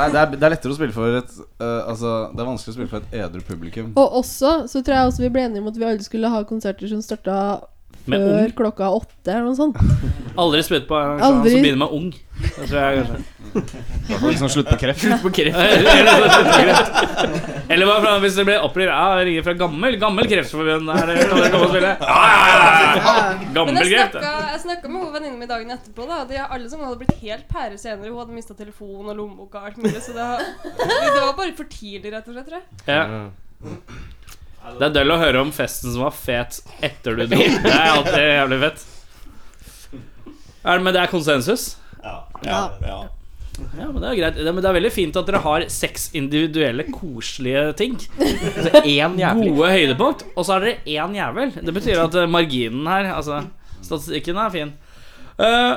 Speaker 6: Nei, det er, det er lettere å spille for et eh, Altså, det er vanskelig å spille for et edru publikum.
Speaker 10: Og også så tror jeg også vi ble enige om at vi alle skulle ha konserter som starta
Speaker 2: Med
Speaker 10: før klokka åtte, eller noe sånt.
Speaker 2: Aldri spilt på en
Speaker 10: Aldri.
Speaker 2: som begynner med ung. Det tror jeg kanskje.
Speaker 6: Det var liksom slutt på kreft.
Speaker 2: På kreft. Eller hva fra, hvis det blir opprør Ja, jeg ringer fra gammel Gammel kreftforbund her, kan dere komme og spille? Ja, ja, ja, ja.
Speaker 7: Men
Speaker 2: Gammel
Speaker 7: jeg
Speaker 2: kreft.
Speaker 7: snakka, jeg snakka med hun venninnen min dagen etterpå. da De, Alle som hadde blitt helt pære senere. Hun hadde mista telefon og lommebok og alt mulig. Så det, det var bare for tidlig, rett og slett. tror jeg.
Speaker 2: Ja. Det er døll å høre om festen som var fet etter du dro. Det er alltid jævlig fett. Er, men det er konsensus?
Speaker 5: Ja. ja, ja.
Speaker 2: Ja, men Det er greit. Det, men det er veldig fint at dere har seks individuelle, koselige ting. Altså, én jævlig. Gode høydepunkt, og så har dere én jævel. Det betyr at eh, marginen her Altså, statistikken er fin. Eh,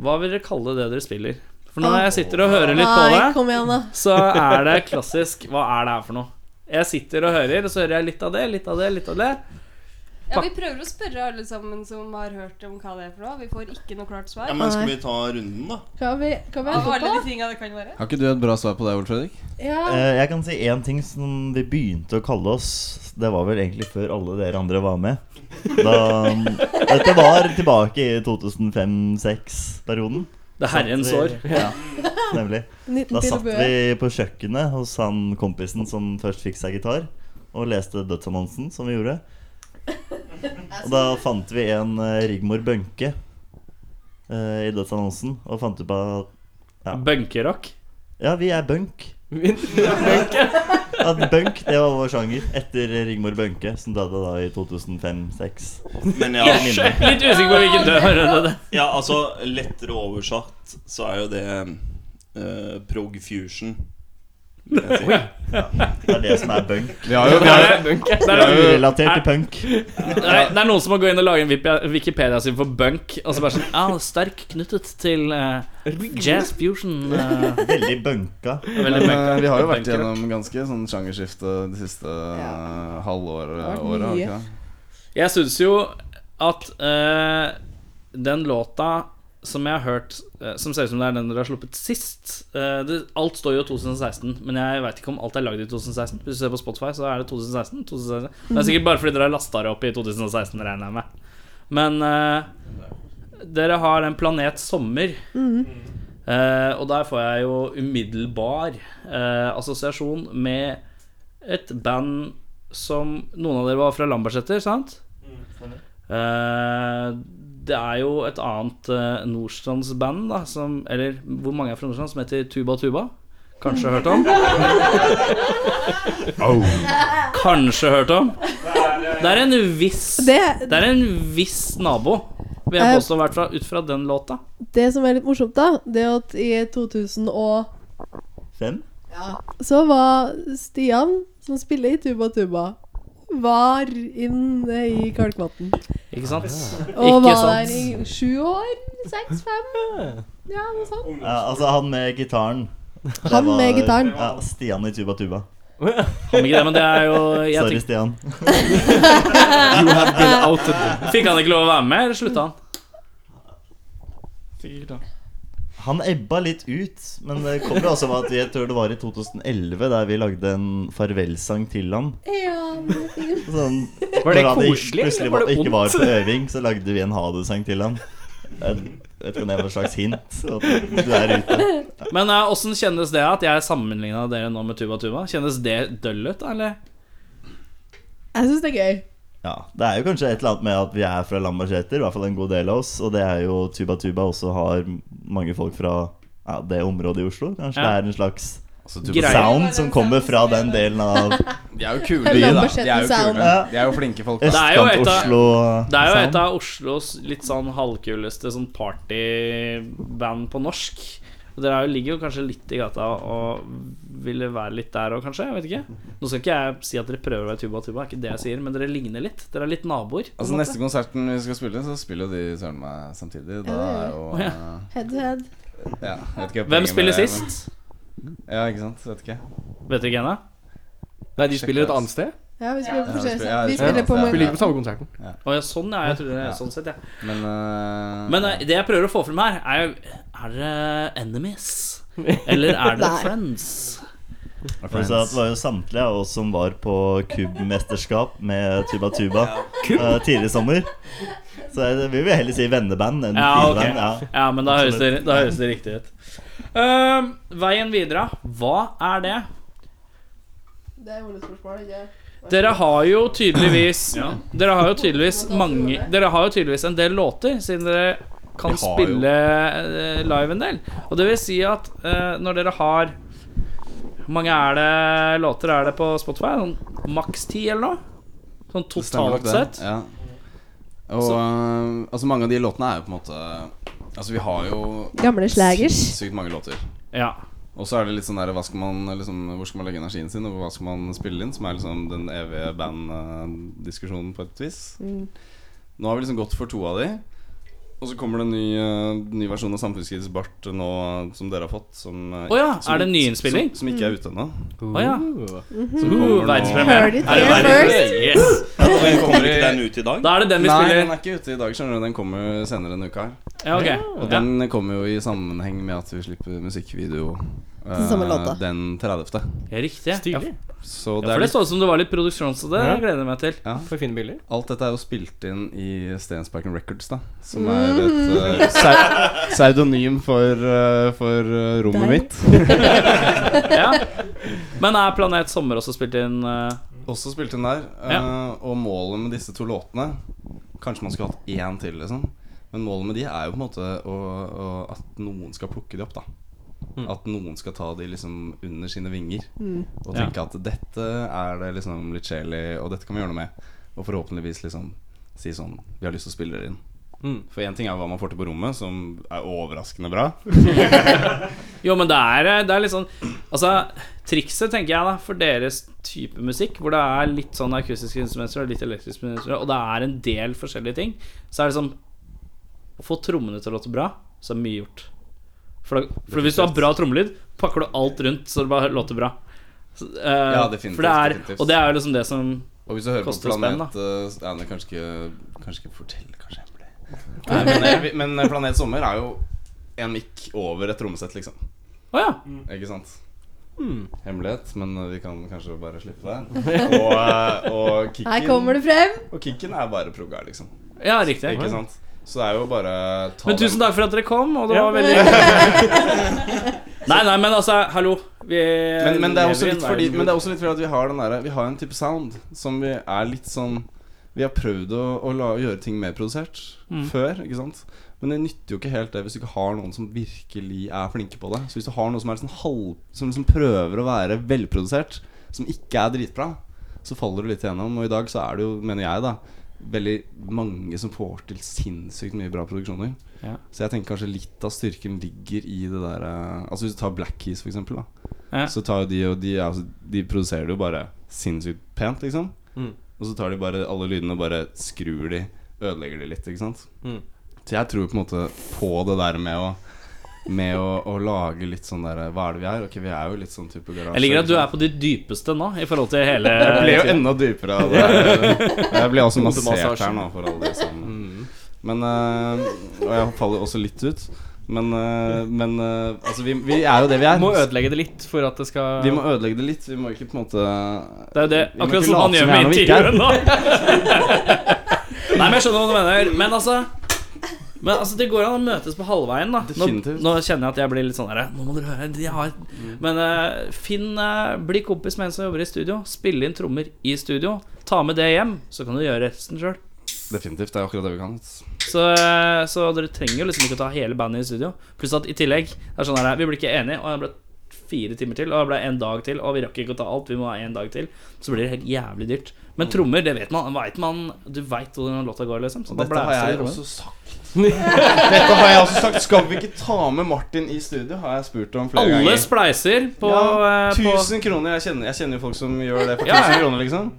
Speaker 2: hva vil dere kalle det dere spiller? For når jeg sitter og hører litt på det
Speaker 10: Nei, kom igjen, da.
Speaker 2: så er det klassisk Hva er det her for noe? Jeg sitter og hører, og så hører jeg litt av det, litt av det, litt av det.
Speaker 7: Ja, Vi prøver å spørre alle sammen som har hørt om hva det er for noe. Vi får ikke noe klart svar.
Speaker 5: ja men skal vi ta runden, da?
Speaker 10: Hva har vi, hva har
Speaker 7: Av
Speaker 10: vi
Speaker 7: alle
Speaker 10: etterpå?
Speaker 7: de tinga det kan være.
Speaker 6: Har ikke du et bra svar på det, Ole Fredrik?
Speaker 10: Ja.
Speaker 8: Eh, Jeg kan si én ting som vi begynte å kalle oss. Det var vel egentlig før alle dere andre var med. Da, dette var tilbake i 2005-2006-perioden.
Speaker 2: Det er herrens år.
Speaker 8: Ja, nemlig.
Speaker 10: En liten
Speaker 8: Da satt
Speaker 10: pillebø.
Speaker 8: vi på kjøkkenet hos han kompisen som først fikk seg gitar, og leste dødsannonsen, som vi gjorde. Og da fant vi en eh, Rigmor Bønke eh, i dødsannonsen, og fant ut på at
Speaker 2: Bunkerock.
Speaker 8: ja, vi er bunk. At bunk, det var vår sjanger etter Rigmor Bønke, som døde da i 2005-2006.
Speaker 5: Men ja,
Speaker 2: Jeg er Litt usikker på hvilken dør det er.
Speaker 5: ja, altså lettere oversatt så er jo det eh, prog fusion. vil jeg si.
Speaker 8: Det er det som er bunk.
Speaker 6: Vi har jo,
Speaker 2: Det er- det er-
Speaker 8: Urelatert til punk.
Speaker 2: Nei, det er noen som må gå inn og lage en Wip- Wikipedia sin for bunk. Og så bare sånn Ja, sterk knyttet til eh, jazz fusion. eh,
Speaker 8: Veldig bunka.
Speaker 2: veldig
Speaker 6: men,
Speaker 2: bunk-
Speaker 6: eh, vi har jo vært
Speaker 2: bunker.
Speaker 6: gjennom ganske sånn sjangerskifte de siste ja. halvåret.
Speaker 10: Det har vært
Speaker 6: året, har vi ikke
Speaker 10: mye.
Speaker 6: det?
Speaker 2: Jeg syns jo at eh, den låta som jeg har hørt, eh, som ser ut som det er den dere har sluppet sist eh, det, Alt står jo 2016, men jeg veit ikke om alt er lagd i 2016. Hvis du ser på Spotify, så er det 2016. 2016. Det er sikkert bare fordi dere har lasta det opp i 2016, regner jeg med. Men eh, dere har en planet sommer. Mm. Eh, og der får jeg jo umiddelbar eh, assosiasjon med et band som Noen av dere var fra Lambertseter, sant? Eh, det er jo et annet eh, Nordstrandsband, da, som Eller hvor mange er fra Nordstrand? Som heter Tuba Tuba. Kanskje hørt om? Kanskje hørt om? Det er en viss Det,
Speaker 10: Det-
Speaker 2: er en viss nabo, vil jeg
Speaker 10: Eh,
Speaker 2: påstå, i hvert fall ut fra den låta.
Speaker 10: Det som er litt morsomt, da, det er at i 2000 og
Speaker 8: Fem?
Speaker 10: Så var Stian, som spiller i Tuba Tuba, var inne i Kalkvatn.
Speaker 2: Ikke sant?
Speaker 8: Ah.
Speaker 10: Og
Speaker 2: Ikke
Speaker 10: var
Speaker 2: sant?
Speaker 10: der i sju år. Seks, fem Ja, sånn. noe sånt.
Speaker 8: Ja, altså han med gitaren. Det
Speaker 10: Han
Speaker 8: var-
Speaker 10: med gitaren.
Speaker 8: Ja, Stian i Tuba Tuba.
Speaker 2: Kan ikke det, men det er jo jeg
Speaker 8: Sorry,
Speaker 2: tenker,
Speaker 8: Stian.
Speaker 2: Fikk han ikke lov å være med, eller slutta han?
Speaker 8: Han ebba litt ut, men det kommer også av at jeg tror det var i 2011 der vi lagde en farvelsang til han.
Speaker 10: Ja, men det er fint.
Speaker 8: Sånn,
Speaker 3: Var det
Speaker 8: når han ikke-
Speaker 3: koselig,
Speaker 8: Plutselig
Speaker 3: eller var det
Speaker 8: ikke var
Speaker 3: vondt?
Speaker 8: på øving, så lagde vi en ha det-sang til han. Jeg vet ikke om det var et slags hint. At du er ute.
Speaker 2: Men eh, åssen kjennes det at jeg sammenligna dere nå med Tuba Tuba? Kjennes det døll ut, da, eller?
Speaker 10: Jeg syns det er gøy.
Speaker 8: Ja, Det er jo kanskje et eller annet med at vi er fra Lambertseter, i hvert fall en god del av oss. Og det er jo Tuba Tuba også har mange folk fra ja, det området i Oslo. Kanskje det
Speaker 2: Ja.
Speaker 8: er en slags
Speaker 6: Altså, du,
Speaker 2: Greit.
Speaker 8: sound som kommer fra den delen av
Speaker 6: de er jo kule, de,
Speaker 10: Eller
Speaker 6: da. De er jo,
Speaker 10: Lambertseter Sound.
Speaker 6: kule. de er jo flinke folk. Da.
Speaker 2: Det er jo et av-
Speaker 8: Østkant-Oslo.
Speaker 2: Det er jo et av Oslos litt sånn halvkuleste sånn partyband på norsk. Og Dere er jo, ligger jo kanskje litt i gata og ville være litt der òg, kanskje? Jeg vet ikke. Nå skal ikke jeg si at dere prøver å være tuba og tuba, det er ikke det jeg sier, men dere ligner litt. Dere er litt naboer.
Speaker 6: Altså Neste konserten vi skal spille, så spiller jo de søren meg samtidig. Da
Speaker 10: Ja, ja, ja.
Speaker 6: er jo
Speaker 2: Å, ja.
Speaker 6: eh,
Speaker 10: Head to head.
Speaker 6: ja, jeg vet ikke hva poenget
Speaker 2: Hvem
Speaker 6: med
Speaker 2: spiller
Speaker 6: det er,
Speaker 2: sist?
Speaker 6: men- Ja, ikke sant? Vet ikke.
Speaker 2: Vet dere ikke ennå?
Speaker 3: Nei, de spiller et annet sted.
Speaker 10: Ja, vi spiller
Speaker 6: Ja,
Speaker 10: på
Speaker 6: vi spiller-
Speaker 10: forskjellige
Speaker 6: ja, vi
Speaker 10: Vi
Speaker 6: spiller-
Speaker 10: spiller på
Speaker 6: ja.
Speaker 10: mange
Speaker 3: Vi ligger på samme konserten.
Speaker 2: Å ja, sånn, ja. Jeg trodde det
Speaker 6: Ja.
Speaker 2: sånn sett, ja.
Speaker 6: Men, eh,
Speaker 2: Men eh, det jeg prøver å få frem her, er jo Er dere enemies? Eller er dere
Speaker 10: Nei.
Speaker 2: friends?
Speaker 8: For du sa at Det var jo samtlige av oss som var på kubbmesterskap med Tuba Tuba eh, tidligere i sommer. Så jeg- vi vil heller si venneband enn
Speaker 2: Ja, ok.
Speaker 8: fiendeband. Ja.
Speaker 2: Ja, men da høres det,
Speaker 8: Absolutt.
Speaker 2: da høres det riktig ut. Ehm, veien videre, hva er det?
Speaker 10: Det er hovedspørsmål, ikke
Speaker 2: Dere har jo tydeligvis Dere har jo tydeligvis mange Dere har jo tydeligvis en del låter, siden dere kan
Speaker 6: Vi har jo.
Speaker 2: spille eh, live en del. Og det vil si at eh, når dere har Hvor mange er det låter er det på Spotify? Sånn maks ti, eller noe? Sånn
Speaker 6: det stemmer nok
Speaker 2: totalt
Speaker 6: det.
Speaker 2: sett?
Speaker 6: Ja. Og eh, altså mange av de låtene er jo på en måte Altså vi har jo
Speaker 10: Gamle slagers.
Speaker 6: sinnssykt mange låter.
Speaker 2: Ja.
Speaker 6: Og så er det litt sånn der hva skal man, liksom, Hvor skal man legge energien sin, og hva skal man spille inn? Som er liksom den evige banddiskusjonen på et vis.
Speaker 10: Mm.
Speaker 6: Nå har vi liksom gått for to av de. Og så kommer det en ny, eh, ny versjon av Samfunnskritisk bart nå eh, som dere har fått. Som, eh,
Speaker 2: Å ja,
Speaker 6: som-
Speaker 2: er det en nyinnspilling?
Speaker 6: Som, som ikke
Speaker 10: Mm.
Speaker 6: er ute ennå.
Speaker 2: Å ja.
Speaker 5: Mm-hmm.
Speaker 6: Som
Speaker 2: Uh,
Speaker 6: kommer nå-
Speaker 2: Verdenspremiere.
Speaker 10: Heard it
Speaker 2: Er det
Speaker 10: here
Speaker 2: verdenspremiere? Yes.
Speaker 5: Kommer ikke den ut i dag?
Speaker 2: Da er det den vi
Speaker 6: Nei, den
Speaker 2: spiller.
Speaker 6: er ikke ute i dag, skjønner du. Den kommer senere denne uka her.
Speaker 2: Ja, ok.
Speaker 6: Og
Speaker 2: Ja.
Speaker 6: den kommer jo i sammenheng med at vi slipper musikkvideo eh,
Speaker 10: Til samme låta.
Speaker 6: den 30.
Speaker 2: Riktig. Ja,
Speaker 3: Stilig.
Speaker 6: Så
Speaker 2: Ja,
Speaker 6: det er
Speaker 2: for det
Speaker 6: litt,
Speaker 2: så ut som det var litt produksjon, så det
Speaker 3: Ja.
Speaker 2: gleder jeg meg til.
Speaker 3: Får vi fine bilder?
Speaker 6: alt dette er jo spilt inn i Stensparken Records, da. Som er
Speaker 2: Mm.
Speaker 6: et eh, pseu- pseudonym for, eh, for eh, rommet
Speaker 10: Der.
Speaker 6: mitt.
Speaker 2: Ja. Men er Planet Sommer også spilt inn eh,
Speaker 6: Også spilt inn der. eh, Og målet med disse to låtene Kanskje man skulle hatt én til, liksom. Men målet med de er jo på en måte å, å, at noen skal plukke de opp, da. At noen skal ta de liksom under sine vinger. Og tenke at dette er det liksom litt sjel i, og dette kan vi gjøre noe med. Og forhåpentligvis liksom si sånn Vi har lyst til å spille det inn. For én ting er hva man får til på rommet, som er overraskende bra.
Speaker 2: Jo, men det er, det er litt sånn Altså, trikset, tenker jeg, da for deres type musikk, hvor det er litt sånn akustiske instrumenter og litt elektriske instrumenter, og det er en del forskjellige ting, så er det sånn Å få trommene til å låte bra, så er mye gjort. For, da, for hvis du har bra trommelyd, pakker du alt rundt så det bare låter bra. Så, eh,
Speaker 6: Ja, definitivt,
Speaker 2: For det er,
Speaker 6: definitivt.
Speaker 2: Og det er jo liksom det som
Speaker 6: Og hvis du hører
Speaker 2: Koster
Speaker 6: på
Speaker 2: spenn,
Speaker 6: Planet eh, ja, det er kanskje ikke Kanskje ikke fortelle, kanskje hemmelig. Nei, men, eh, vi- men Planet Sommer er jo en mikk over et trommesett, liksom. Mm.
Speaker 2: Å ja.
Speaker 6: Ikke sant? Hmm. Hemmelighet, men eh, vi kan kanskje bare slippe det. Og, eh, og,
Speaker 10: Her
Speaker 6: kicken,
Speaker 10: kommer det frem.
Speaker 6: og kicken er bare progga, liksom.
Speaker 2: Ja, riktig.
Speaker 6: Ikke sant? Så det er jo bare ta
Speaker 2: Men tusen
Speaker 6: den-
Speaker 2: takk for at dere kom, og det var veldig Nei, nei, men altså, hallo. Vi
Speaker 6: Men, men, det er også
Speaker 2: lever i en
Speaker 6: litt fordi,
Speaker 2: verden hvor-
Speaker 6: men det er også litt fordi at vi har den derre Vi har en type sound som vi er litt sånn Vi har prøvd å, å la, gjøre ting mer produsert før, ikke sant? Men det nytter jo ikke helt det hvis du ikke har noen som virkelig er flinke på det. Så hvis du har noen som, er sånn halv, som liksom prøver å være velprodusert, som ikke er dritbra, så faller du litt igjennom. Og i dag så er det jo, mener jeg, da veldig mange som får til sinnssykt mye bra produksjoner.
Speaker 2: Ja.
Speaker 6: Så jeg tenker kanskje litt av styrken ligger i det der eh, Altså hvis du tar Black Keys, for eksempel, da.
Speaker 2: Ja.
Speaker 6: Så tar jo de og de, er altså, de produserer det jo bare sinnssykt pent, liksom.
Speaker 3: Mm.
Speaker 6: Og så tar de bare alle lydene og bare skrur de, ødelegger de litt, ikke sant.
Speaker 3: Mm.
Speaker 6: Så jeg tror på en måte på det der med å med å, å lage litt sånn derre Hva er det vi er? Ok, vi er jo litt sånn type garasje.
Speaker 2: Jeg liker at du
Speaker 6: liksom.
Speaker 2: er på ditt dypeste nå, i forhold til hele
Speaker 6: Jeg ble jo enda dypere av det. Jeg ble også massert her
Speaker 3: Hodemassasjen.
Speaker 6: nå for alle de som
Speaker 2: Mm.
Speaker 6: Men eh, Og jeg faller også litt ut. Men, eh, men eh, altså, vi, vi er jo det vi er.
Speaker 3: Må ødelegge det litt for at det skal
Speaker 6: Vi må ødelegge det litt. Vi må ikke på en måte
Speaker 2: Det er jo det,
Speaker 6: vi må
Speaker 2: akkurat
Speaker 6: ikke
Speaker 2: som han
Speaker 6: late vi er
Speaker 2: gjør med
Speaker 6: noe vi ikke er.
Speaker 2: intervjuet nå. Nei, men jeg skjønner hva du mener. Men altså Men altså, det går an å møtes på halvveien, da. Nå,
Speaker 6: Definitivt. Mm.
Speaker 2: nå kjenner jeg at jeg blir litt sånn herre Nå må dere høre, de har Men eh, Finn eh, Bli kompis med en som jobber i studio. Spille inn trommer i studio. Ta med det hjem, så kan du gjøre resten sjøl.
Speaker 6: Definitivt. Det er akkurat det vi kan.
Speaker 2: Så, så dere trenger jo liksom ikke å ta hele bandet i studio. Pluss at i tillegg det er sånn her, Vi blir ikke enige, og jeg ble fire timer til, og det ble en dag til, og vi rakk ikke å ta alt, vi må ha en dag til, så blir det helt jævlig dyrt.
Speaker 6: Mm.
Speaker 2: Men trommer, det vet man. Vet man du veit hvordan låta går, liksom. Så
Speaker 6: Og
Speaker 2: da
Speaker 6: dette har
Speaker 2: blæser
Speaker 6: jeg
Speaker 2: vi trommer.
Speaker 6: også sagt. dette har jeg også sagt. Skal vi ikke ta med Martin i studio? Har jeg spurt om flere
Speaker 2: Alle
Speaker 6: ganger.
Speaker 2: spleiser på,
Speaker 6: ja,
Speaker 2: eh, på
Speaker 6: 1000 kroner. Jeg kjenner, jeg kjenner jo folk som gjør det for
Speaker 2: Ja,
Speaker 6: 1000 kroner, liksom.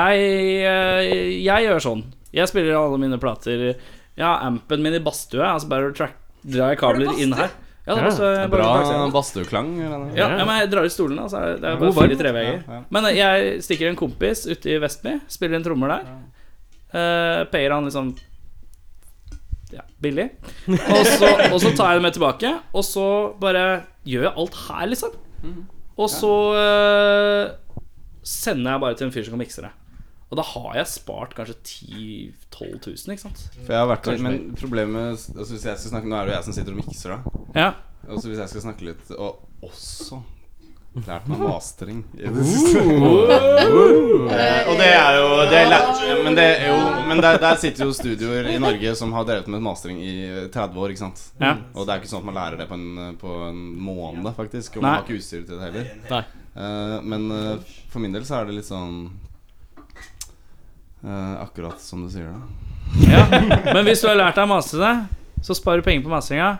Speaker 2: Jeg, eh, jeg gjør sånn. Jeg spiller alle mine plater Jeg har ampen min i badstue. Altså bare track, drar jeg kabler inn her. Ja, det er også, bare
Speaker 6: Bra
Speaker 2: track-
Speaker 6: badstueklang. eller?
Speaker 2: ja, ja, men jeg drar ut stolene. Altså, det er
Speaker 3: God
Speaker 2: bare
Speaker 3: varm.
Speaker 2: fire treveier.
Speaker 6: Ja, ja.
Speaker 2: Men eh, jeg stikker en kompis ute i Vestby, spiller en trommer der. Eh, payer han liksom Ja, billig. Og så, og så tar jeg det med tilbake, og så bare gjør jeg alt her, liksom. Og så eh, sender jeg bare til en fyr som kan mikse det. Og da har jeg spart kanskje 10 000-12 000, ikke sant?
Speaker 6: For jeg har vært
Speaker 2: Kanskje
Speaker 6: Men problemet altså hvis jeg skal snakke, Nå er det jo jeg som sitter og mikser, da.
Speaker 2: Ja.
Speaker 6: Altså Hvis jeg skal snakke litt Og også lært meg mastering i det siste. Eh, Og det er jo det er lært, Men, det, er jo- men der, der sitter jo studioer i Norge som har drevet med mastering i 30 år, ikke sant.
Speaker 2: Ja.
Speaker 6: Og det er ikke sånn at man lærer det på en, på en måned, faktisk. Og
Speaker 2: Nei.
Speaker 6: man har ikke utstyr til det heller.
Speaker 2: Nei.
Speaker 6: Eh, men eh, for min del så er det litt sånn eh, Akkurat som du sier, da.
Speaker 2: ja. Men hvis du har lært deg å mase det, så sparer du penger på masinga.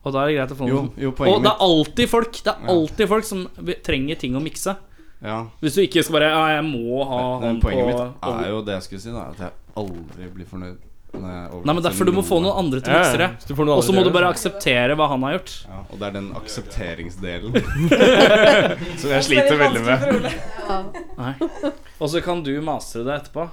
Speaker 2: Og da er det greit å få
Speaker 6: Jo,
Speaker 2: noen
Speaker 6: jo
Speaker 2: Og
Speaker 6: poenget
Speaker 2: det
Speaker 6: mitt
Speaker 2: er alltid folk Det er
Speaker 6: Ja.
Speaker 2: alltid folk som trenger ting å mikse.
Speaker 6: ja.
Speaker 2: Hvis du ikke skal bare Ja, jeg må ha
Speaker 6: Men
Speaker 2: hånd på
Speaker 6: poenget mitt
Speaker 2: over-
Speaker 6: er jo det jeg skulle si, da, at jeg aldri blir fornøyd. Når jeg overgår
Speaker 2: Nei, men derfor du må få noen andre til å mikse det.
Speaker 3: Hvis du får noe
Speaker 2: Og så må
Speaker 3: annet
Speaker 2: du
Speaker 3: å
Speaker 2: bare
Speaker 3: gjøre.
Speaker 2: akseptere hva han har gjort.
Speaker 6: ja, Og det er den aksepteringsdelen som jeg sliter veldig
Speaker 7: Veldig
Speaker 6: med.
Speaker 2: Nei. Og så kan du mastre det etterpå.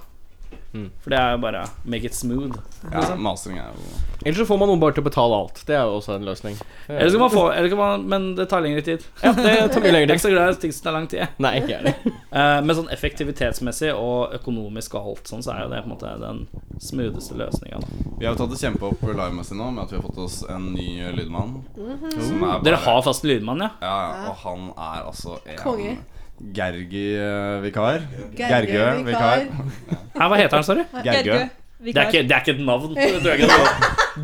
Speaker 3: Mm.
Speaker 2: For det er jo bare make it smooth. liksom.
Speaker 6: Ja, Masering er jo
Speaker 3: Ellers så får man noen bare til å betale alt. Det er jo også en løsning.
Speaker 2: Eller skal man få eller skal man, Men det tar lengre tid.
Speaker 3: Ja, det tar mye
Speaker 2: Jeg er
Speaker 3: lengre tid.
Speaker 2: ikke så glad i ting som tar lang tid. jeg.
Speaker 3: Nei, ikke jeg heller.
Speaker 2: Eh, Men sånn effektivitetsmessig og økonomisk og alt sånn, så er jo det på en måte den smootheste løsninga.
Speaker 6: Vi har jo tatt det kjempeopp livemessig nå med at vi har fått oss en ny lydmann. Som er
Speaker 2: Dere
Speaker 6: bare-
Speaker 2: har fast lydmann, ja?
Speaker 6: Ja, Mhm. ja, og han er altså en eh,
Speaker 10: Konge.
Speaker 6: Gergi-vikar.
Speaker 10: Gergø,
Speaker 6: Gergø-vikar.
Speaker 2: Her, hva heter han, sorry?
Speaker 6: Gergø.
Speaker 2: Det er ikke, det er ikke et navn. Det tror jeg ikke det er.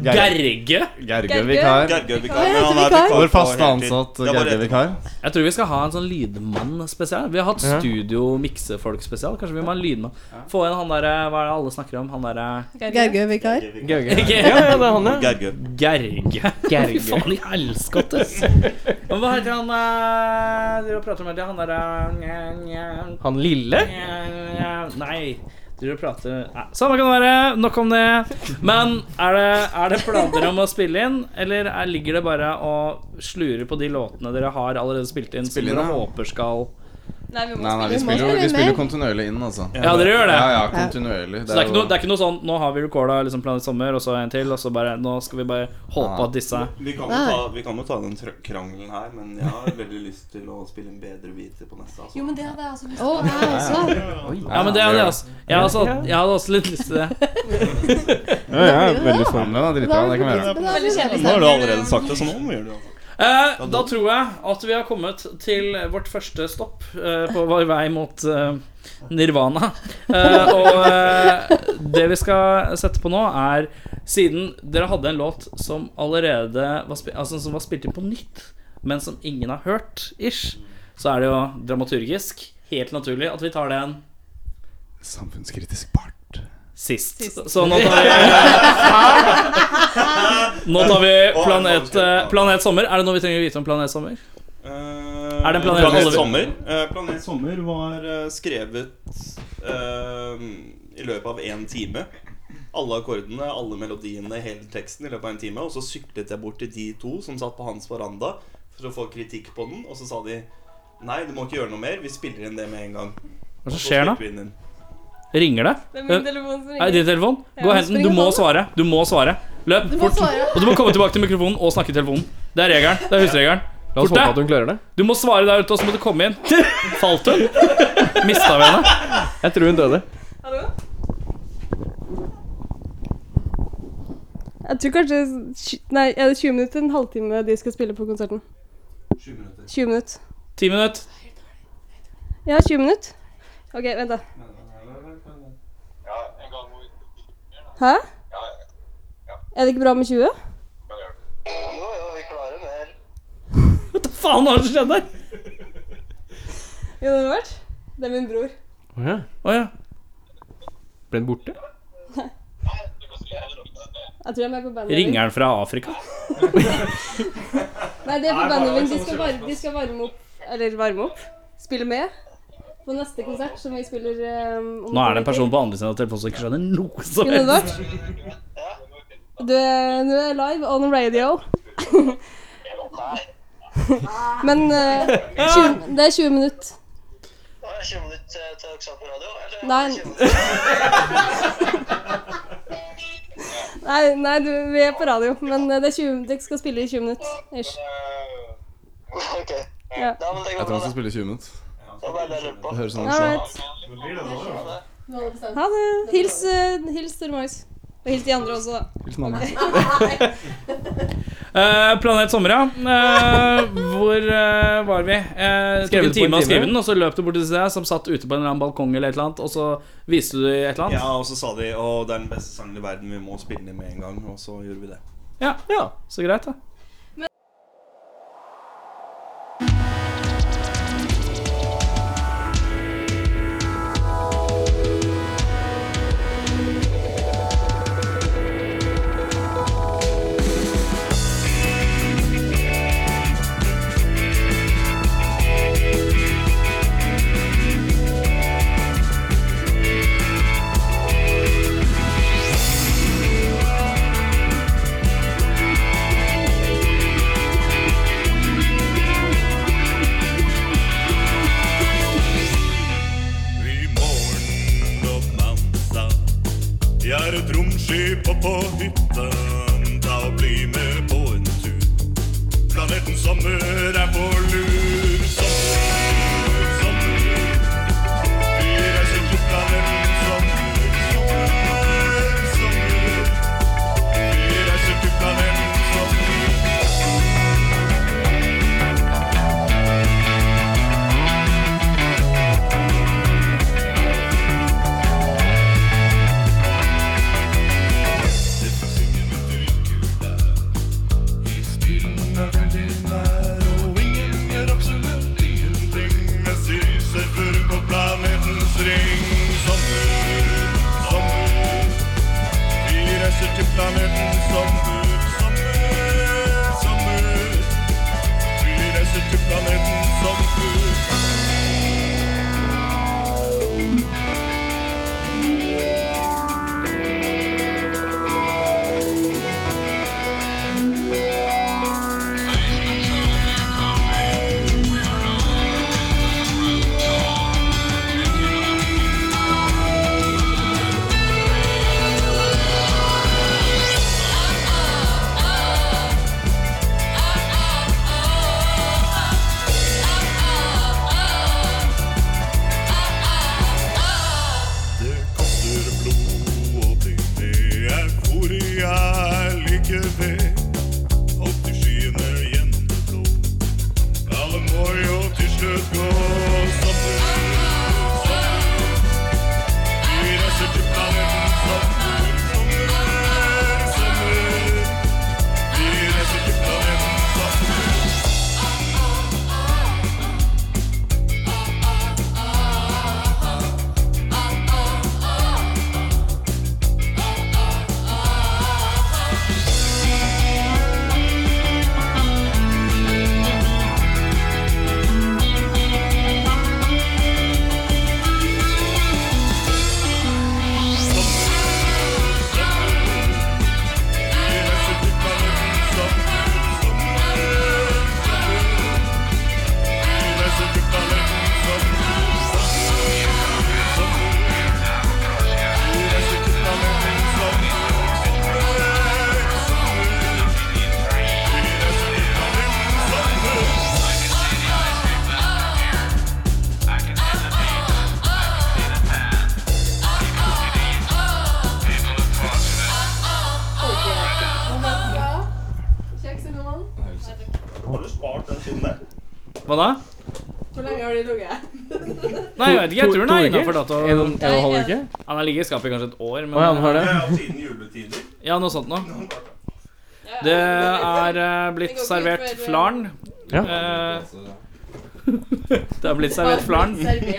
Speaker 2: Gerge?
Speaker 6: Gergø-vikar.
Speaker 5: Gergøvikar.
Speaker 10: Ja,
Speaker 5: men han er
Speaker 10: vikar.
Speaker 5: vikar
Speaker 6: Vår
Speaker 5: på
Speaker 6: faste
Speaker 5: heltid.
Speaker 6: ansatt
Speaker 5: Det er bare
Speaker 6: Gergø-vikar.
Speaker 2: Jeg tror vi skal ha en sånn lydmann spesial. Vi har hatt studio-miksefolk spesial. Kanskje vi må ha en lydmann. Få inn han derre Hva er det alle snakker om? Han derre
Speaker 10: Gergø vikar.
Speaker 3: Gauge. Ja, ja, det er han, ja.
Speaker 5: Gergø.
Speaker 2: Gerge. Fy faen i helskotte! Men Hva heter han eh, Dere prater om det, han derre nja, nja,
Speaker 3: Han lille?
Speaker 2: nja, nja. Eh, Nei. Dere prater Nei, Samme kan det være. Nok om det. Men er det, er det planer om å spille inn, eller er, ligger det bare og slurer på de låtene dere har allerede spilt inn,
Speaker 6: Spille
Speaker 2: som dere
Speaker 6: inn, ja.
Speaker 2: håper skal
Speaker 7: Nei, vi må
Speaker 6: Nei, nei, vi
Speaker 10: Vi må
Speaker 6: spiller, jo-
Speaker 10: spille
Speaker 6: vi spiller
Speaker 10: mer.
Speaker 6: kontinuerlig inn, altså.
Speaker 2: Ja, dere gjør det?
Speaker 6: Ja, ja, kontinuerlig.
Speaker 2: Så det er, ikke
Speaker 6: jo-
Speaker 2: noe, det er ikke noe sånn Nå har vi recorda liksom Planet Sommer, og så en til, og så bare Nå skal vi bare håpe
Speaker 6: Ja.
Speaker 2: at disse
Speaker 5: Vi kan, jo ta, vi kan jo ta den tr- krangelen her, men jeg har veldig lyst til å spille en bedre hvite på neste. Altså.
Speaker 7: Jo, men det hadde jeg også lyst
Speaker 10: Å, jeg
Speaker 6: sånn.
Speaker 10: også.
Speaker 2: Ja, men det hadde jeg også. Jeg hadde også, jeg hadde også litt lyst til det.
Speaker 9: Ja, jeg er veldig for
Speaker 6: Ja, men den er dritbra, det kan vi gjøre.
Speaker 10: Men da er
Speaker 7: Veldig
Speaker 10: det
Speaker 7: kjedelig.
Speaker 10: kjedelig.
Speaker 5: Nå har du allerede sagt det, så nå må vi gjøre det. Altså.
Speaker 2: Eh, da tror jeg at vi har kommet til vårt første stopp eh, på vår vei mot eh, Nirvana. Eh, og eh, det vi skal sette på nå, er Siden dere hadde en låt som allerede var, spi altså, som var spilt inn på nytt, men som ingen har hørt, ish, så er det jo dramaturgisk helt naturlig at vi tar den
Speaker 6: Samfunnskritisk part.
Speaker 2: sist. Så nå tar vi Nå tar vi Planet, eh, planet Sommer. Er det noe vi trenger å vite om Planet Sommer?
Speaker 5: Eh,
Speaker 2: Er det en planet alle-
Speaker 5: Sommer? Eh, planet Sommer var eh, skrevet eh, i løpet av én time. Alle akkordene, alle melodiene, hele teksten i løpet av en time. Og så syklet jeg bort til de to som satt på hans veranda for å få kritikk på den. Og så sa de nei, du må ikke gjøre noe mer, vi spiller inn det med en gang.
Speaker 2: Hva
Speaker 5: Og
Speaker 2: som
Speaker 5: så
Speaker 2: skjer da?
Speaker 5: spilte vi den inn.
Speaker 2: Ringer det?
Speaker 7: Det er min telefon som
Speaker 2: Er det
Speaker 7: ringer.
Speaker 2: din telefon?
Speaker 7: Ja,
Speaker 2: Gå og hent den.
Speaker 10: spring
Speaker 2: Du må
Speaker 10: og ta
Speaker 2: svare. Du må svare. Løp
Speaker 10: Du må
Speaker 2: fort.
Speaker 10: svare.
Speaker 2: Og du må komme tilbake til mikrofonen og snakke i telefonen. Det er regelen. Det er husregelen.
Speaker 3: La oss
Speaker 2: Fort
Speaker 3: håpe
Speaker 2: deg.
Speaker 3: at hun klarer det.
Speaker 2: Du må svare der ute, og så må du komme inn. Falt hun? Mista vi henne?
Speaker 3: Jeg tror hun døde.
Speaker 7: Hallo? Jeg tror kanskje tj- Nei, er det 20 minutter? En halvtime de skal spille på konserten. 20 minutter.
Speaker 2: Ti minutter.
Speaker 7: Ja, 20 minutter. OK, vent, da. Hæ? Er det ikke bra med 20?
Speaker 2: faen har det skjedd der?
Speaker 7: Jo, det har vært. Det er min bror.
Speaker 3: Å ja.
Speaker 2: Å ja.
Speaker 3: Ble den borte?
Speaker 7: Jeg tror de er på bandet
Speaker 2: Ringer han fra Afrika?
Speaker 7: Nei, det er på bandet
Speaker 2: sånn
Speaker 7: mitt. De, skal var- de skal varme opp Eller varme opp. Spille med. På neste konsert, som vi spiller eh, om
Speaker 2: Nå er det en
Speaker 7: to
Speaker 2: person
Speaker 7: uker.
Speaker 2: på andre siden av telefonen som ikke skjønner noe som
Speaker 7: Kunne det
Speaker 2: helst.
Speaker 7: vært? Du er, du er live on radio. Men eh, 20, det er 20 minutter. Nei. Nei, nei du, vi er på radio, men eh, det er 20, dere skal spille i 20 minutter. Ish. Ja.
Speaker 6: Jeg tror han skal spille 20 minutter. Det høres sånn
Speaker 7: All
Speaker 6: ut.
Speaker 7: right. Ha det. Hils, uh, hils Tormais. Og hils de andre også. da.
Speaker 6: Hils mamma.
Speaker 2: Eh, Planet Sommer, ja. Eh, hvor eh, var vi? Uh,
Speaker 3: Skrevet
Speaker 2: tok en
Speaker 3: på en
Speaker 2: time å skrive
Speaker 3: time.
Speaker 2: den, og så løp du bort til deg som satt ute på en eller annen balkong, eller et eller annet, og så viste du et eller annet.
Speaker 5: Ja, og så sa de å, det er den beste sangen i verden, vi må spille den med en gang. Og så gjorde vi det.
Speaker 2: Ja. Så greit, da.
Speaker 1: I morgen og mandag Jeg er et romskip og på hytten Ta og bli med på en tur Planeten sommer er på lur Sommer, sommer Vi reiser til planeten sommer Sommer, sommer Vi reiser til planeten sommer Planeten sommer, sommer, sommer. Vi reiser til planeten sommer. Det koster blod og penger. Euforia er like ved. Opp i skyene gjennom det blå. Alle må jo til slutt gå. Sommer, sommer. Vi reiser til planeten sommer, sommer, sommer. Vi reiser til planeten sommer.
Speaker 10: Kjeks, Ullemann.
Speaker 5: Har du spart den siden der?
Speaker 2: Hva da?
Speaker 10: Hvor lenge har de ligget?
Speaker 2: Nei, jeg vet ikke. Jeg tror den
Speaker 3: To
Speaker 2: er
Speaker 3: uker?
Speaker 2: innafor dato.
Speaker 3: En, en og en halv uke?
Speaker 2: Han har ligget i skapet i kanskje et år, men
Speaker 3: Å ja, den har det?
Speaker 5: Ja, siden juletider.
Speaker 2: Ja, noe sånt noe. Det er eh, blitt servert flarn. Eh, det har blitt servert flaren. Eh,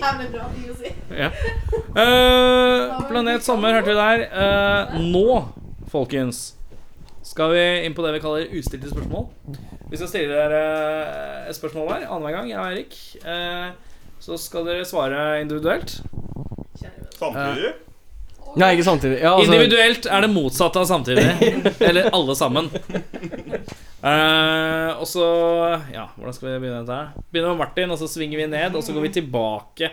Speaker 10: Jævlig bra ting å si.
Speaker 2: ja. Eh, Planet Sommer hørte vi der. Eh, nå, folkens, skal vi inn på det vi kaller ustilte spørsmål. Vi skal stille dere eh, et spørsmål hver annenhver gang, jeg og Eirik. Eh, så skal dere svare individuelt. Eh,
Speaker 5: Samtidig?
Speaker 3: Nei, ikke samtidig. Ja, altså,
Speaker 2: Individuelt er det motsatte av samtidig. Eller alle sammen. Eh, og så Ja, hvordan skal vi begynne dette her? Begynner med Martin, og så svinger vi ned, og så går vi tilbake.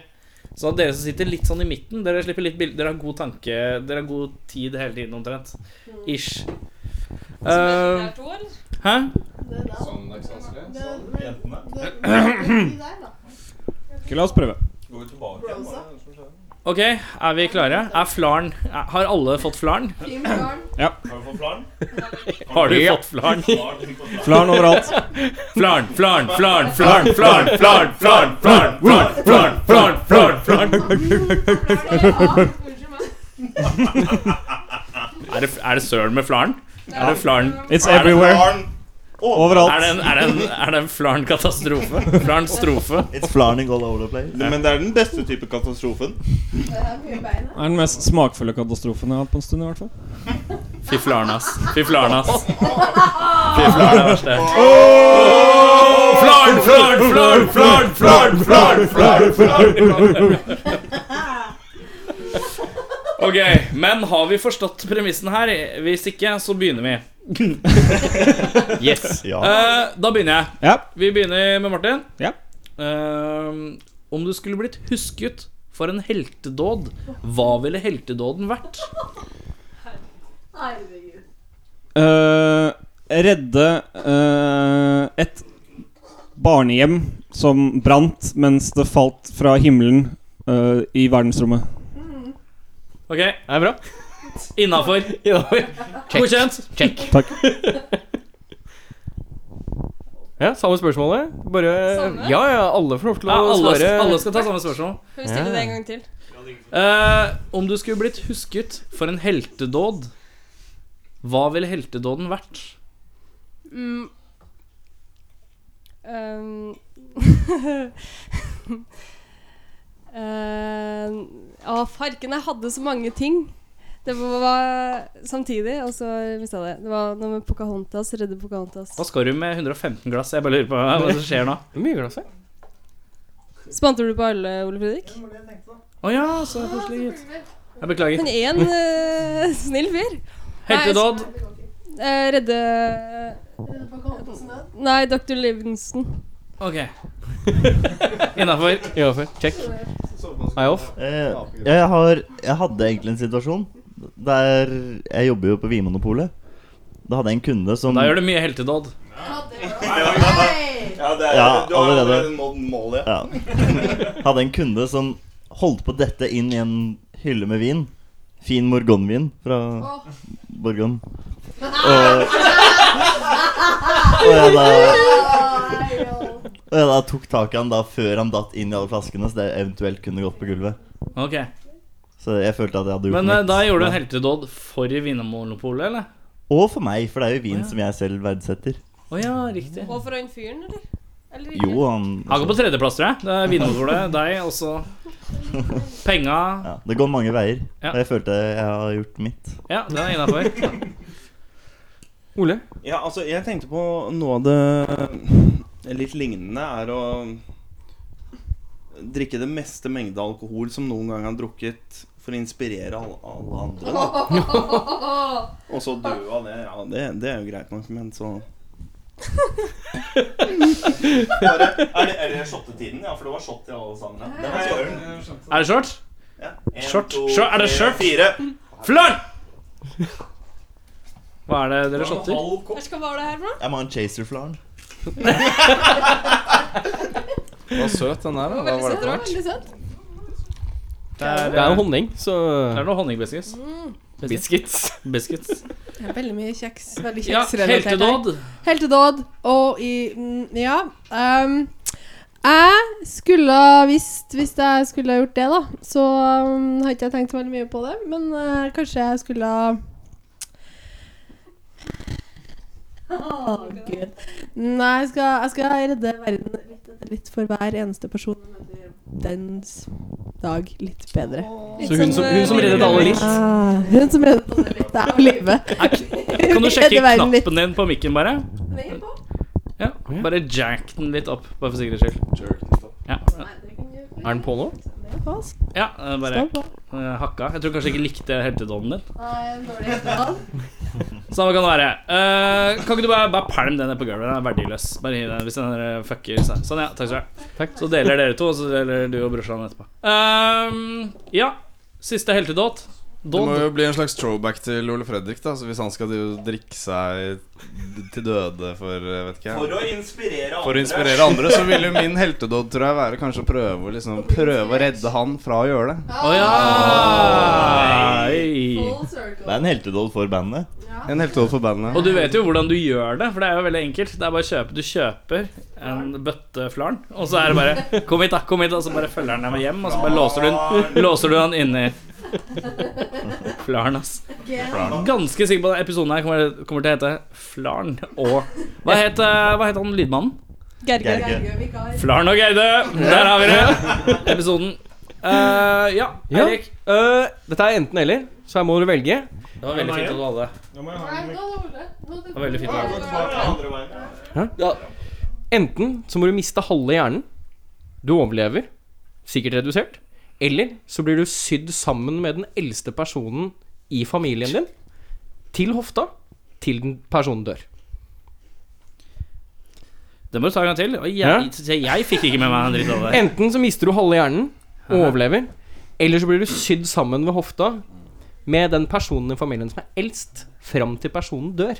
Speaker 2: Så at dere som sitter litt sånn i midten, dere slipper litt bilder Dere har god tanke Dere har god tid hele tiden, omtrent. Ish. Eh, hæ?
Speaker 9: Ok, La oss prøve.
Speaker 2: Ok, er vi klare? Er flaren er, Har alle fått flaren?
Speaker 5: Har du fått flaren?
Speaker 2: Har du fått
Speaker 5: Har du fått flaren?
Speaker 2: flaren?
Speaker 9: Flaren overalt.
Speaker 2: Flarn, flarn, flarn, flarn, flarn, flarn, flarn, flarn, flarn, flarn, flarn, flarn, flarn. Er det, er det søren med flarn? Er det flarn?
Speaker 9: It's
Speaker 5: Er det
Speaker 9: everywhere.
Speaker 5: flaren?
Speaker 2: Er det
Speaker 9: Overalt.
Speaker 2: en, er det en, er det en flarn-katastrofe? Flarn-strofe?
Speaker 8: It's flarning all over the place.
Speaker 5: Men det er den beste type katastrofen.
Speaker 9: Det er den mest smakfulle katastrofen jeg har hatt på en stund, i hvert fall.
Speaker 2: Fy flarn, ass. Fy flarn, ass. Fy flarn er det verste. Flarn, flarn, flarn, flarn, flarn, flarn, flarn, flarn. Ok, men har vi forstått premissen her? Hvis ikke, så begynner vi.
Speaker 3: yes.
Speaker 8: Ja.
Speaker 2: Eh, da begynner jeg.
Speaker 9: Ja.
Speaker 2: Vi begynner med Martin.
Speaker 9: Ja.
Speaker 2: Eh, om du skulle blitt husket for en heltedåd, hva ville heltedåden vært?
Speaker 9: Eh, redde eh, et barnehjem som brant mens det falt fra himmelen eh, i verdensrommet.
Speaker 2: Ok,
Speaker 3: Er det bra?
Speaker 2: innafor. Godkjent.
Speaker 9: Takk.
Speaker 3: Ja, samme spørsmålet. Bare
Speaker 7: Samme?
Speaker 3: Ja, ja, alle får lov til å
Speaker 2: Ja, alle,
Speaker 3: svare.
Speaker 2: alle skal ta samme spørsmål.
Speaker 7: Kan vi stille det en gang til?
Speaker 2: Eh, om du skulle blitt husket for en heltedåd, hva ville heltedåden vært?
Speaker 7: Mm. Um. Eh, Å, farken, jeg hadde så mange ting. Det var samtidig, og så mista jeg det. Det var noe med Pocahontas, redde Pocahontas.
Speaker 2: Hva skal du med 115 glass? Jeg bare lurer på hva som skjer nå.
Speaker 3: Hvor mye glass er det?
Speaker 7: Spante du på alle, Ole Fredrik?
Speaker 2: Å ja, så koselig. gitt. Jeg beklager.
Speaker 7: Han er en eh, snill fyr.
Speaker 2: Heltedåd.
Speaker 7: Eh, redde Nei, Dr. Livingston.
Speaker 2: Ok. Innafor.
Speaker 3: Ja, for. Check. Hei, off.
Speaker 8: Eh, ja, jeg, har, jeg hadde egentlig en situasjon der Jeg jobber jo på Vinmonopolet. Da hadde jeg en kunde som
Speaker 2: Sånn. Da gjør du mye heltedåd.
Speaker 5: Ja, det er,
Speaker 8: Ja,
Speaker 5: du har
Speaker 8: allerede.
Speaker 5: allerede nådd målet.
Speaker 8: ja. Hadde en kunde som holdt på dette inn i en hylle med vin. Fin morgonvin fra Borgon. Og, og jeg da Og jeg da tok tak i han da før han datt inn i alle flaskene, så det eventuelt kunne gått på gulvet.
Speaker 2: Ok.
Speaker 8: Så jeg følte at jeg hadde gjort
Speaker 2: Men eh,
Speaker 8: mitt.
Speaker 2: da gjorde du en heltedåd for Vinmonopolet, eller?
Speaker 8: Og for meg, for det er jo vin
Speaker 2: Å, ja.
Speaker 8: som jeg selv verdsetter.
Speaker 2: Å ja, riktig.
Speaker 7: Og for han fyren, eller? eller ikke?
Speaker 8: Jo, han
Speaker 2: Han går på tredjeplass, tror jeg. Det er Vinmonopolet, deg, og så Penga.
Speaker 8: ja, Det går mange veier.
Speaker 2: Ja.
Speaker 8: Og jeg følte jeg har gjort mitt.
Speaker 2: Ja, det er innafor.
Speaker 3: Ole?
Speaker 5: Ja, altså, jeg tenkte på noe av det litt lignende er å drikke det meste mengde alkohol som noen gang har drukket, for å inspirere alle, alle andre. Da. Og så dø av det. Ja, det, det er jo greit nok, men så Bare, er, det, er det shottetiden? Ja, for det var shot i alle sammen. Ja. Det var søren.
Speaker 2: Er det short?
Speaker 5: Ja. En,
Speaker 2: Short.
Speaker 5: to,
Speaker 2: Short. Er det
Speaker 5: tre,
Speaker 2: short?
Speaker 5: Fire.
Speaker 2: Flarn! Hva er det dere shotter?
Speaker 7: Hva skal være det her for noe?
Speaker 8: Jeg må ha en chaser-flaren.
Speaker 6: Den var søt, den der. da. Hva var det for hvert?
Speaker 7: Veldig søtt.
Speaker 2: Det er,
Speaker 3: Det er jo honning, så
Speaker 2: det er noe honningbiscuits.
Speaker 10: Mm.
Speaker 3: Biscuits.
Speaker 2: Biscuits.
Speaker 10: Veldig mye kjeks. Veldig
Speaker 2: Ja,
Speaker 10: kjeksrelatert. her.
Speaker 2: heltedåd.
Speaker 10: Heltedåd og i mm, Ja. ehm, jeg skulle visst Hvis jeg skulle ha gjort det, da, så um, har ikke jeg tenkt så veldig mye på det. Men eh, kanskje jeg skulle ha Å, Gud. Nei, jeg skal, jeg skal redde verden litt etter litt for hver eneste person. jeg møter. Dens dag litt bedre.
Speaker 7: Litt
Speaker 3: Så hun som, hun som reddet alle litt.
Speaker 10: Ah, hun som reddet oss litt, det er jo livet.
Speaker 2: Kan du sjekke
Speaker 10: Redde verden litt.
Speaker 2: knappen din på mikken, bare?
Speaker 10: Den er på.
Speaker 2: Ja, Bare jack den litt opp, bare for sikkerhets skyld. Ja,
Speaker 10: Nei, det kan du-
Speaker 3: Er den på nå?
Speaker 10: Den er på, altså.
Speaker 2: ja eh, bare
Speaker 10: Den er på.
Speaker 2: eh, hakka. Jeg tror kanskje jeg ikke likte heltedåden din.
Speaker 10: Nei, dårlig etterpå.
Speaker 2: Samme kan det være. Eh, kan ikke du bare, bare pælme den ned på gulvet? Den er verdiløs. Bare hiv den hvis den der fucker seg. Sånn, ja. Takk skal du ha. Så deler dere to, og så deler du og brorsan etterpå. Ehm, ja. Siste heltedåd.
Speaker 6: Det må
Speaker 2: Dåd.
Speaker 6: jo bli en slags throwback til Ole Fredrik, da. Så hvis han skal jo drikke seg d- til døde for eh, vet ikke jeg
Speaker 5: å inspirere
Speaker 6: For å inspirere andre, så ville jo min heltedåd tror jeg være kanskje å prøve, å liksom, prøve å redde han fra å gjøre det.
Speaker 2: Å ja! Oi.
Speaker 10: Full circle.
Speaker 8: Ah, Det er en heltedåd for bandet.
Speaker 6: En heltedåd for bandet.
Speaker 2: Og du vet jo hvordan du gjør det, for det er jo veldig enkelt. Det er bare å kjøpe. Du kjøper en bøtte flarn, og så er det bare 'Kom hit, da. Kom hit', og så bare følger han deg med hjem, og så bare låser du den, låser du han inni Flarn, ass. Ganske sikker på at episoden her kommer, kommer til å hete Flarn og Hva het, eh, hva het han lydmannen?
Speaker 10: Gerge.
Speaker 8: Gerge.
Speaker 10: vikar.
Speaker 2: Flarn og Geide. Der har vi det. Episoden. Eh, ja,
Speaker 3: Ja.
Speaker 2: Eirik.
Speaker 3: Øh, dette er enten-eller, så her må du velge.
Speaker 2: Det var veldig fint at du hadde det.
Speaker 10: Nei, nå er det Ole. Nå er det
Speaker 2: var veldig fint.
Speaker 10: Ole.
Speaker 3: Ja. Enten så må du miste halve hjernen. Du overlever, sikkert redusert. Eller så blir du sydd sammen med den eldste personen i familien din til hofta til den personen dør.
Speaker 2: Det må du ta en gang til. Og jeg, jeg fikk ikke med meg en dritt av det.
Speaker 3: Enten så mister du halve hjernen og overlever, eller så blir du sydd sammen ved hofta med den personen i familien som er eldst, fram til personen dør.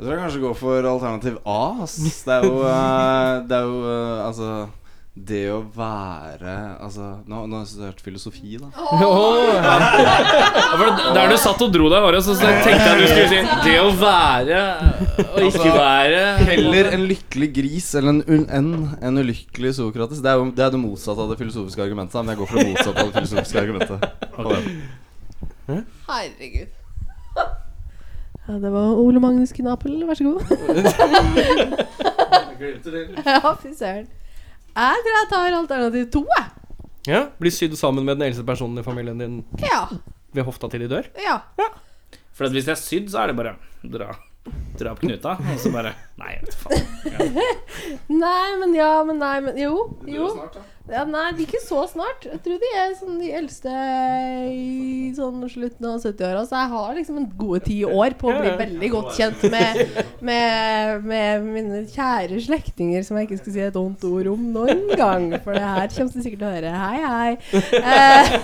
Speaker 6: Jeg tror jeg kanskje går for alternativ A. ass. Det er jo, eh, det er jo eh, Altså Det å være Altså Nå, nå har jeg studert filosofi, da.
Speaker 2: Ja, for det- Der du satt og dro deg i håret, så så tenkte jeg du skulle si Det å være og ikke være
Speaker 6: Altså, Heller en lykkelig gris eller en un- enn en ulykkelig Sokrates. Det er jo det, er det motsatte av det filosofiske argumentet. da, Men jeg går for det motsatte av det filosofiske argumentet.
Speaker 10: Herregud. Ja, det var Ole Magnus Knappel, vær så god. ja, fy søren. Jeg tror jeg tar alternativ to, jeg.
Speaker 3: Ja, Blir sydd sammen med den eldste personen i familien din
Speaker 10: Ja.
Speaker 3: ved hofta til de dør.
Speaker 10: ja.
Speaker 2: For at hvis det er sydd, så er det bare dra Dra opp knuta, og så bare Nei, jeg vet faen.
Speaker 10: Nei, men ja, men nei, men jo. jo. Ja, nei, de er ikke så snart. Jeg tror de er sånn de eldste i sånn slutten av 70-åra. Så jeg har liksom en gode ti år på å bli veldig godt kjent med, med, med mine kjære slektninger, som jeg ikke skal si et ondt ord om noen gang. For det her kommer du sikkert til å høre. Hei, hei. Eh,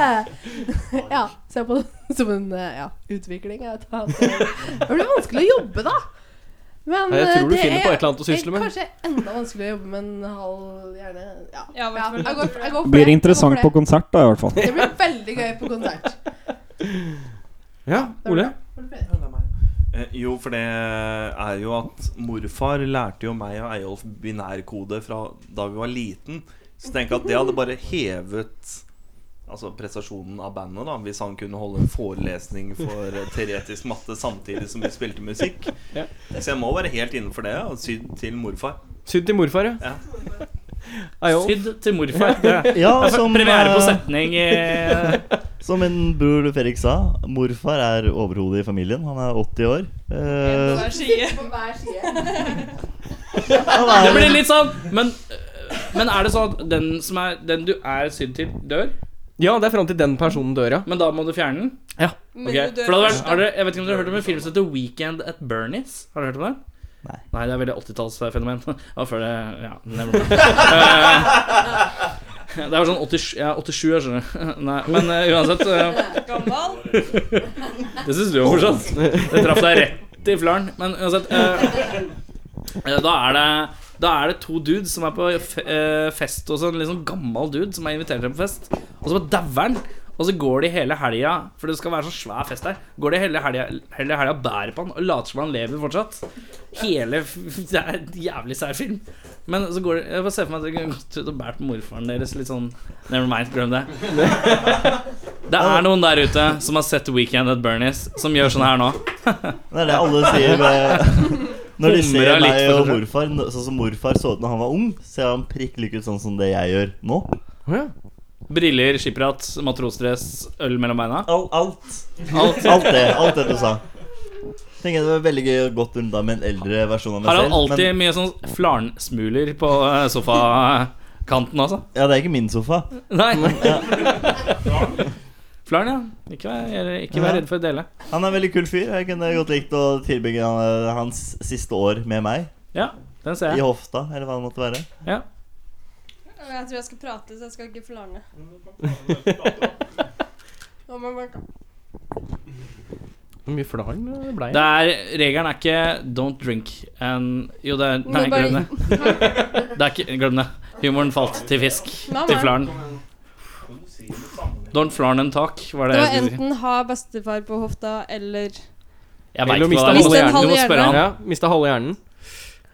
Speaker 10: ja. Se på det som en eh, ja, utvikling. Jeg vet da. Det blir vanskelig å jobbe, da. Men
Speaker 3: Nei, jeg
Speaker 10: eh,
Speaker 3: tror du
Speaker 10: det
Speaker 3: finner på
Speaker 10: er-
Speaker 3: et eller annet å
Speaker 10: det
Speaker 3: sysle med.
Speaker 10: er Kanskje enda vanskeligere å jobbe med en halv hjerne. Ja,
Speaker 7: Ja, i hvert fall.
Speaker 10: jeg går, for- jeg går for
Speaker 9: Blir
Speaker 10: det.
Speaker 9: interessant
Speaker 10: Jeg
Speaker 9: på
Speaker 10: går for
Speaker 9: konsert, da, i hvert fall.
Speaker 10: det. Det blir veldig gøy på konsert.
Speaker 3: Ja, Ole?
Speaker 5: Eh, Jo, for det er jo at morfar lærte jo meg og Eyolf binærkode fra da vi var liten. Så tenk at det hadde bare hevet Altså prestasjonen av bandet, da hvis han kunne holde en forelesning for eh, teoretisk matte samtidig som vi spilte musikk.
Speaker 3: Ja.
Speaker 5: Så jeg må være helt innenfor det, og sydd til morfar.
Speaker 3: Sydd til morfar, ja.
Speaker 5: Ja.
Speaker 3: Ayo.
Speaker 2: Sydd til morfar. Det
Speaker 8: Ja,
Speaker 2: er
Speaker 8: som,
Speaker 2: premiere på
Speaker 8: eh,
Speaker 2: setning eh,
Speaker 8: som min bror Fredrik sa, morfar er overhodet i familien. Han er 80 år. Eh,
Speaker 10: På hver side.
Speaker 2: Det blir litt sånn, men men er det sånn at den, som er, den du er sydd til, dør?
Speaker 3: Ja, det er fram til den personen dør, ja.
Speaker 2: Men da må du fjerne den?
Speaker 3: Ja.
Speaker 2: Ok, For det hadde vært, har dere, jeg vet ikke om dere har hørt om en film som heter Weekend at Bernies? Har dere hørt om den?
Speaker 8: Nei.
Speaker 2: Nei, det er veldig 80-tallsfenomen. Ja, før det Ja, never mind. Eh, Det er jo sånn 87 Jeg er 87 år, skjønner du. Nei, men eh, uansett eh,
Speaker 7: Gammel.
Speaker 2: Det syns du jo er morsomt. Det traff deg rett i flaren. Men uansett eh, eh, Da er det da er det to dudes som er på fe- eh, fest hos en litt sånn gammel dude som er invitert til en fest. Og så bare dauer han. Og så går de hele helga, for det skal være så svær fest her, går de hele helga hele helga og bærer på han og later som han lever fortsatt. Hele f- Det er en jævlig sær film. Men så går de Jeg bare ser for meg at dere kunne gått ut og båret på morfaren deres litt sånn Never mind, glem det. Det er noen der ute som har sett Weekend at Bernies, som gjør sånn her nå.
Speaker 8: Det er det alle sier ved Når de ser
Speaker 2: Humrer litt
Speaker 8: meg
Speaker 2: for
Speaker 8: og
Speaker 2: seg.
Speaker 8: morfar n- Sånn som morfar så ut når han var ung, ser han prikk like ut sånn som det jeg gjør nå.
Speaker 2: Briller, skipperhatt, matrosdress, øl mellom beina.
Speaker 8: Al- alt.
Speaker 2: Alt.
Speaker 8: alt det alt det du sa. Tenker jeg Det var veldig gøy og godt unna med en eldre versjon av meg
Speaker 2: Har han
Speaker 8: selv.
Speaker 2: alltid
Speaker 8: men,
Speaker 2: mye sånn flarnsmuler på eh, sofakanten, altså?
Speaker 8: ja, det er ikke min sofa.
Speaker 2: Nei. Flarn, ja. Ikke vær, ikke vær redd for å dele.
Speaker 8: Han er en veldig kul fyr. Jeg kunne godt likt å tilbringe han- eh, hans siste år med meg.
Speaker 2: Ja, den ser
Speaker 8: I
Speaker 2: jeg.
Speaker 8: hofta, eller hva det måtte være.
Speaker 7: Jeg tror jeg skal prate, så jeg skal ikke forlange. Å, men man kan-
Speaker 3: Hvor mye flarn det ble
Speaker 2: Det er, regelen er ikke 'don't drink' and Jo, det er Nei,
Speaker 7: Men bare-
Speaker 2: glem det. det er ikke, glem det. Humoren falt til fisk.
Speaker 7: Nei,
Speaker 2: Til
Speaker 7: nei.
Speaker 2: flarn. Don't flarn and talk, var
Speaker 7: Det
Speaker 2: det
Speaker 7: var
Speaker 2: jeg skulle si.
Speaker 7: enten ha bestefar på hofta eller
Speaker 2: Jeg
Speaker 3: Eller å
Speaker 2: vet ikke
Speaker 3: miste
Speaker 2: hva det
Speaker 3: halve
Speaker 2: er.
Speaker 3: hjernen.
Speaker 2: Du må spørre han.
Speaker 3: Ja, mista halve hjernen.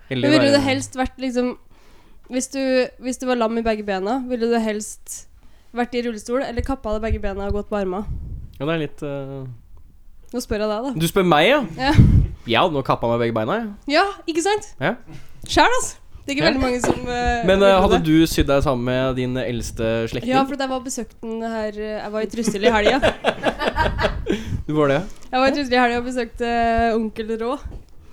Speaker 7: Men
Speaker 3: Eller
Speaker 7: ville
Speaker 3: være-
Speaker 7: det helst vært liksom hvis du, hvis du var lam i begge bena, ville du helst vært i rullestol eller kappa av deg begge bena og gått på arma?
Speaker 3: Ja, det er litt eh,
Speaker 7: Nå spør jeg deg, da.
Speaker 3: Du spør meg, ja?
Speaker 7: Ja.
Speaker 3: Jeg hadde nå kappa meg begge beina. jeg.
Speaker 7: Ja, ikke sant?
Speaker 3: Ja.
Speaker 7: Sjæl, altså. Det er ikke
Speaker 3: Ja.
Speaker 7: veldig mange som eh,
Speaker 3: Men eh,
Speaker 7: ville
Speaker 3: hadde
Speaker 7: det.
Speaker 3: du sydd deg sammen med din eldste slektning?
Speaker 7: Ja, for at jeg var besøkt den her eh, Jeg var i Trussel i helga.
Speaker 3: Du var det?
Speaker 7: Jeg var i Trussel i helga og besøkte eh, onkel Rå.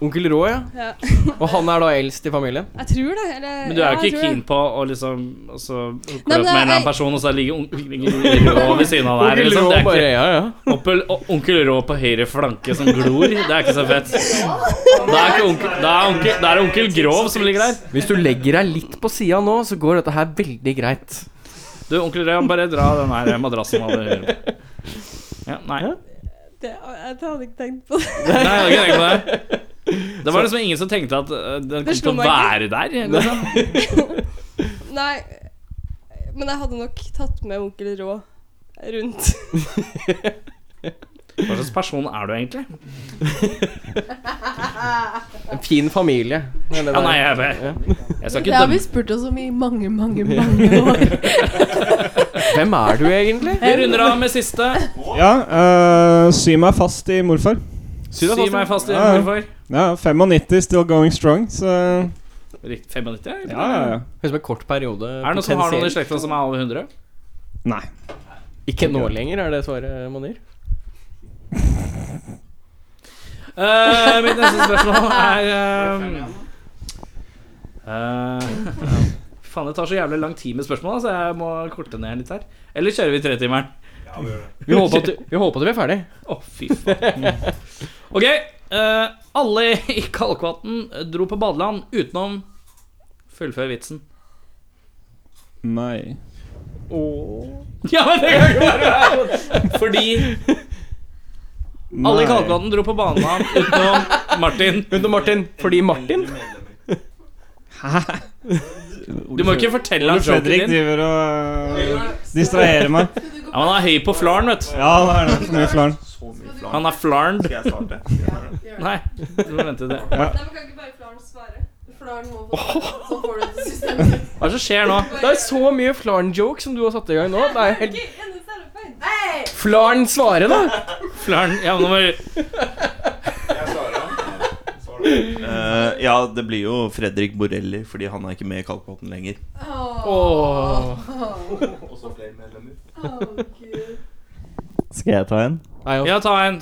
Speaker 3: Onkel Rå, ja.
Speaker 7: Ja.
Speaker 3: Og han er da eldst i familien?
Speaker 7: Jeg tror det. Eller,
Speaker 2: Men du er
Speaker 7: ja,
Speaker 2: jo
Speaker 7: jeg
Speaker 2: ikke
Speaker 7: tror det.
Speaker 2: keen på å liksom og så hooker
Speaker 7: Nei, men
Speaker 2: du opp med en eller
Speaker 7: jeg-
Speaker 2: annen person, og så ligger onkel onkel Rå ved siden av deg. Liksom. Det er
Speaker 3: bare,
Speaker 2: ikke,
Speaker 3: ja, ja.
Speaker 2: Oppel, og onkel Rå på høyre flanke som glor. Det er ikke så fett. Da er, ikke onkel, da er, onkel, da er det onkel Grov som ligger der.
Speaker 3: Hvis du legger deg litt på sida nå, så går dette her veldig greit.
Speaker 2: Du, onkel Rød, bare dra den her madrassen over høyre. Ja, nei.
Speaker 7: Det, jeg hadde ikke tenkt på det.
Speaker 2: nei jeg hadde ikke tenkt på det. Det var liksom ingen som tenkte at øh, den kom
Speaker 7: slo
Speaker 2: til å
Speaker 7: meg ikke.
Speaker 2: være der. Liksom.
Speaker 7: Nei, men jeg hadde nok tatt med onkel Rå rundt.
Speaker 2: Hva slags person er du egentlig?
Speaker 3: En fin familie. Det er det
Speaker 2: Ja,
Speaker 3: der.
Speaker 2: nei, jeg, jeg, jeg skal
Speaker 10: Det
Speaker 2: ikke
Speaker 10: har vi
Speaker 2: dømme.
Speaker 10: spurt oss om i mange, mange mange år.
Speaker 3: Hvem er du egentlig?
Speaker 2: Vi runder av med siste.
Speaker 9: Ja, eh, sy meg fast i morfar.
Speaker 2: Sy meg fast i
Speaker 9: Ja, ja.
Speaker 2: hvorfor.
Speaker 9: Ja, 95 still going strong, så
Speaker 2: Rikt- 95? eller?
Speaker 9: Ja, ja, ja.
Speaker 3: Høres ut som en kort periode.
Speaker 2: Er det noen som har noen i
Speaker 3: potensielt.
Speaker 2: slekta som er over 100?
Speaker 9: Nei.
Speaker 3: Ikke nå lenger, er det svaret, Monir?
Speaker 2: Eh, mitt neste spørsmål er eh, eh, Faen, det tar så jævlig lang tid med spørsmål, så jeg må korte ned litt her. Eller kjører vi tretimeren?
Speaker 3: Vi håper at, vi håper at vi er ferdig.
Speaker 2: Å, fy faen. Ok. eh, alle i Kalkvatn dro på badeland utenom Fullfør vitsen.
Speaker 9: Nei.
Speaker 2: Ja, men det kan ikke være Fordi alle
Speaker 9: Nei.
Speaker 2: i Kalkvatn dro på badeland utenom Martin.
Speaker 3: Utenom Martin. Fordi Martin
Speaker 2: Du må ikke fortelle ham
Speaker 9: Fredrik
Speaker 2: joken din.
Speaker 9: driver og eh, distraherer meg.
Speaker 2: Ja, han er høy på flarn, vet du.
Speaker 9: Ja, det er nok mye flarn.
Speaker 2: Han er flarned.
Speaker 5: Skal jeg starte?
Speaker 2: Nei, du må vente til det.
Speaker 7: Nei, men kan ikke bare Flaren svare? Flaren må få Så får du det
Speaker 2: Hva er det som skjer nå?
Speaker 3: Det er så mye Flarn-joke som du har satt i gang nå. Det er helt
Speaker 7: systemet.
Speaker 3: Flarn svare, da!
Speaker 2: Flarn Ja, men nå må vi
Speaker 5: Eh, ja, det blir jo Fredrik Borelli, fordi han er ikke med i Kalkbotn lenger.
Speaker 3: Åh.
Speaker 8: Skal jeg ta en?
Speaker 3: Nei,
Speaker 2: Ja, ta en.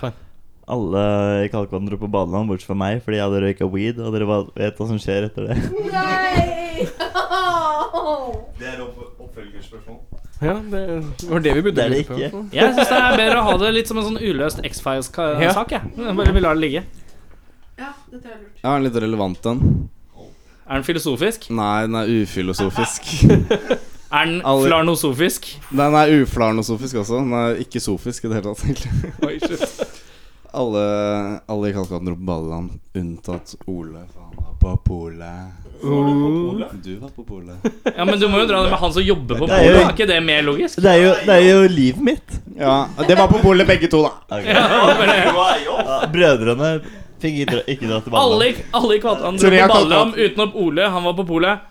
Speaker 8: Alle i Kalkvatn dro på badeland, bortsett fra meg, fordi jeg hadde røyka weed, og dere var- vet hva som skjer etter det.
Speaker 5: Det er oppfølgerspørsmål.
Speaker 3: ja, det var det vi burde
Speaker 8: Det er det
Speaker 3: lure på.
Speaker 8: ikke.
Speaker 2: Jeg syns det er bedre å ha det litt som en sånn uløst
Speaker 3: Ja.
Speaker 2: X-Files-sak. jeg. Bare vi lar det ligge.
Speaker 6: Jeg har en litt relevant en.
Speaker 2: Er den filosofisk?
Speaker 6: Nei, den er ufilosofisk.
Speaker 2: Er den
Speaker 6: Alle-
Speaker 2: flarnosofisk?
Speaker 6: Den er uflarnosofisk også. Den er ikke sofisk i det hele tatt, egentlig. Alle, alle i Kalkaten dro på badeland, unntatt Ole. For han var på polet.
Speaker 8: Uh.
Speaker 6: Du var på polet.
Speaker 2: Ja, men du må jo dra det med han som jobber på
Speaker 8: Det er jo-
Speaker 2: bordet. Er ikke det mer logisk?
Speaker 8: Det er jo, det er jo livet mitt.
Speaker 6: Ja, det var på polet begge to, da.
Speaker 8: Ja, Brødrene fikk ikke dra, ikke dra til
Speaker 2: Alle,
Speaker 8: badeland.
Speaker 2: alle i Kvatland dro
Speaker 6: Sorry,
Speaker 2: på
Speaker 6: jeg kalte
Speaker 2: Ballam
Speaker 6: han-
Speaker 2: utenom Ole. Han var på polet.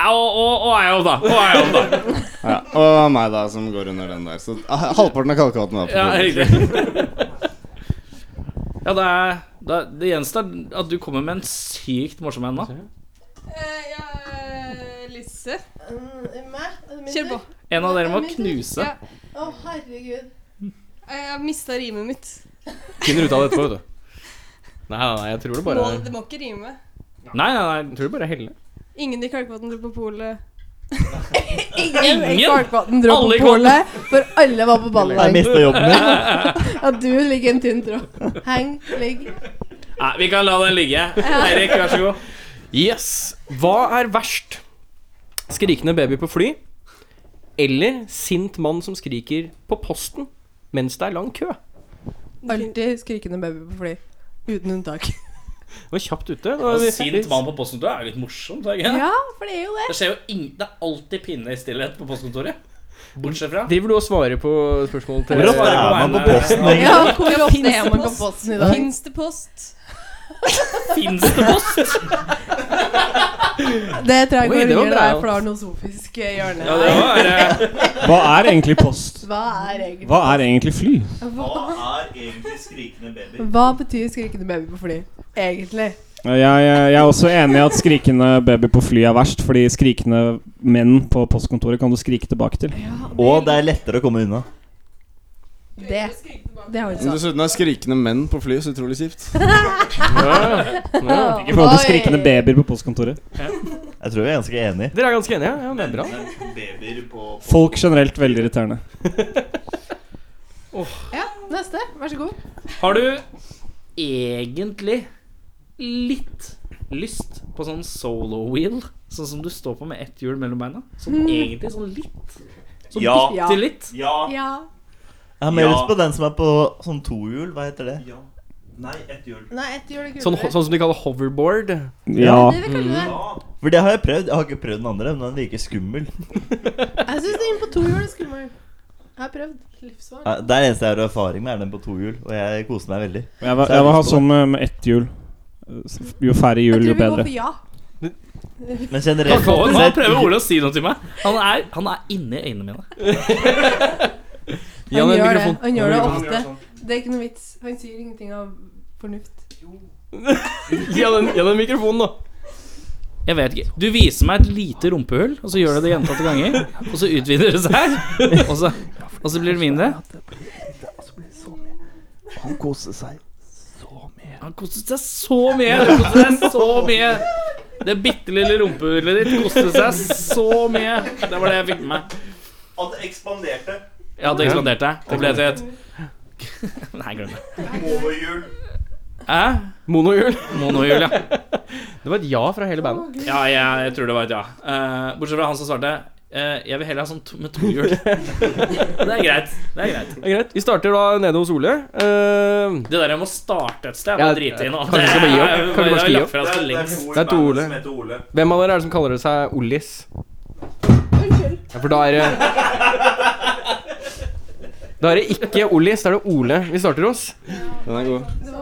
Speaker 2: Au, å, å, au da! Å, au da!
Speaker 6: Ja, og meg, da, som går under den der. Så ah, halvparten av kalkaten er på
Speaker 2: Ja,
Speaker 6: bordet.
Speaker 2: riktig. Ja, det er det, er- det gjenstår at du kommer med en sykt morsom en, da.
Speaker 7: ja, eh, Lise.
Speaker 10: Mm,
Speaker 7: Kjør
Speaker 10: Kjør
Speaker 7: på.
Speaker 2: En av dere må
Speaker 10: Min tur?
Speaker 2: knuse.
Speaker 7: Ja,
Speaker 10: Å, herregud.
Speaker 7: jeg mista rimet mitt.
Speaker 3: Finner ut av det etterpå, vet du. Nei, nei, nei, jeg tror det bare
Speaker 7: Må, det må ikke rime.
Speaker 2: Nei, nei, nei.
Speaker 3: Jeg tror det bare er Helle.
Speaker 7: Ingen i Kalkvatn dro på polet.
Speaker 10: Ingen i
Speaker 2: Ingen?
Speaker 10: Kvalkvatn dro
Speaker 2: Alle i
Speaker 10: på polet, for alle var på ballen.
Speaker 8: Jeg mista jobben min.
Speaker 10: Ja, du ligger i en tynn tråd. Heng, ligg.
Speaker 2: nei vi kan la den ligge. Eirik, vær så god.
Speaker 3: Yes! Hva er verst? Skrikende baby på fly eller sint mann som skriker på posten mens det er lang kø?
Speaker 10: Alltid skrikende baby på fly. Uten unntak.
Speaker 3: Det var kjapt ute. Det var
Speaker 2: Sint mann på postkontoret er litt morsomt, er det ikke? det?
Speaker 10: Ja, for det er jo det.
Speaker 2: Det skjer jo ing Det er alltid pinlig stillhet på postkontoret. Bortsett fra
Speaker 3: Driver du og svarer på spørsmål til
Speaker 2: Jeg
Speaker 8: Hvor ofte
Speaker 2: svarer
Speaker 8: er
Speaker 2: på
Speaker 8: man på
Speaker 2: vegne-
Speaker 8: posten?
Speaker 10: Ja, hvor ofte er man på
Speaker 7: post?
Speaker 10: posten i dag?
Speaker 7: Fins det post?
Speaker 2: Fins det post?
Speaker 10: Det tror jeg
Speaker 3: Oi,
Speaker 10: går
Speaker 3: det var
Speaker 10: under
Speaker 3: bra,
Speaker 10: der
Speaker 3: ja.
Speaker 10: flanosofisk hjørne.
Speaker 2: Ja, det var eh,
Speaker 9: Hva er egentlig post?
Speaker 10: Hva er egentlig
Speaker 9: Hva er egentlig fly?
Speaker 5: Hva er egentlig skrikende baby?
Speaker 10: Hva betyr skrikende baby på fly? Egentlig.
Speaker 9: Jeg, jeg er også enig i at skrikende baby på fly er verst, fordi skrikende menn på postkontoret kan du skrike tilbake til.
Speaker 8: Og det er lettere å komme unna.
Speaker 10: Det. Det har
Speaker 6: Men
Speaker 10: hun sagt.
Speaker 6: Dessuten er skrikende menn på fly så utrolig kjipt.
Speaker 9: I forhold til skrikende
Speaker 10: Oi.
Speaker 9: babyer på postkontoret.
Speaker 8: Jeg tror vi er ganske enige.
Speaker 3: Dere er ganske enige? Ja, det er bra.
Speaker 5: Babyer på
Speaker 9: Folk generelt veldig irriterende.
Speaker 10: Ja, neste. Vær så god.
Speaker 2: Har du egentlig litt lyst på sånn solo wheel? Sånn som du står på med ett hjul mellom beina?
Speaker 10: Mm.
Speaker 2: Sånn egentlig sånn litt? Sånn
Speaker 5: Ja.
Speaker 10: Ja.
Speaker 2: bitte litt?
Speaker 5: Ja.
Speaker 10: Ja.
Speaker 8: Jeg har mer
Speaker 5: Ja.
Speaker 8: lyst på den som er på sånn tohjul. Hva heter det?
Speaker 5: ja. Nei, ett hjul.
Speaker 10: Nei, ett gjør det
Speaker 3: Sånn,
Speaker 10: kulere.
Speaker 3: ho- sånn som de kaller hoverboard.
Speaker 9: Ja.
Speaker 10: Det vil kalle det.
Speaker 5: Ja.
Speaker 8: For det har jeg prøvd. Jeg har ikke prøvd den andre, men den virker skummel.
Speaker 10: Jeg syns det er inn på to hjul er skummelt. Jeg har prøvd. Livsfarlig.
Speaker 8: Ja, Det er det eneste jeg har erfaring med, er den på tohjul. Og jeg koser meg veldig.
Speaker 9: Jeg var, jeg var ha sånn med, med ett hjul. Jo færre
Speaker 10: Jeg tror
Speaker 9: hjul, jo
Speaker 10: vi går
Speaker 9: bedre.
Speaker 10: for ja.
Speaker 8: Men
Speaker 2: Nå
Speaker 8: generelt
Speaker 2: prøver Ole å si noe til meg. Han er, han er inni øynene mine.
Speaker 3: Gi han
Speaker 10: Han gjør
Speaker 3: en
Speaker 10: det.
Speaker 3: mikrofon.
Speaker 10: Han gjør det ofte. Det er ikke noe vits. Han sier ingenting av fornuft.
Speaker 3: Gi han en- gi han en mikrofon, da.
Speaker 2: Jeg vet ikke. Du viser meg et lite rumpehull, og så gjør du det gjentatte ganger. Og så utvider det seg, og så, og så blir det mindre. Han koste seg så mye. Han koste seg så mye. Han koste seg så mye. Det bitte lille rumpehullet ditt koste seg så mye. Det var det jeg fikk med meg.
Speaker 5: At det ekspanderte.
Speaker 2: Ja, det eksploderte. Det ble til et Nei, glem det.
Speaker 5: Overhjul.
Speaker 2: Hæ?
Speaker 3: Monohjul.
Speaker 2: Monohjul, ja.
Speaker 3: Det var et ja fra hele bandet.
Speaker 2: Ja, jeg, jeg tror det var et ja. Eh, bortsett fra han som svarte eh, Jeg vil heller ha sånn to, med to hjul. det er greit. Det er greit.
Speaker 3: Det er greit. Vi starter da nede hos Ole. Eh,
Speaker 2: Det der med å starte et sted,
Speaker 3: Ja,
Speaker 2: jeg må drite i nå.
Speaker 3: kanskje vi skal bare gi opp? Kanskje vi bare skal gi opp?
Speaker 2: Det er lagt fra oss for lengst.
Speaker 3: Det er to Ole.
Speaker 5: som heter Ole.
Speaker 3: hvem av dere er det som kaller seg Ollis? Ja, for da er det Da er det ikke Ollis, da er det Ole vi starter hos.
Speaker 6: Den er god.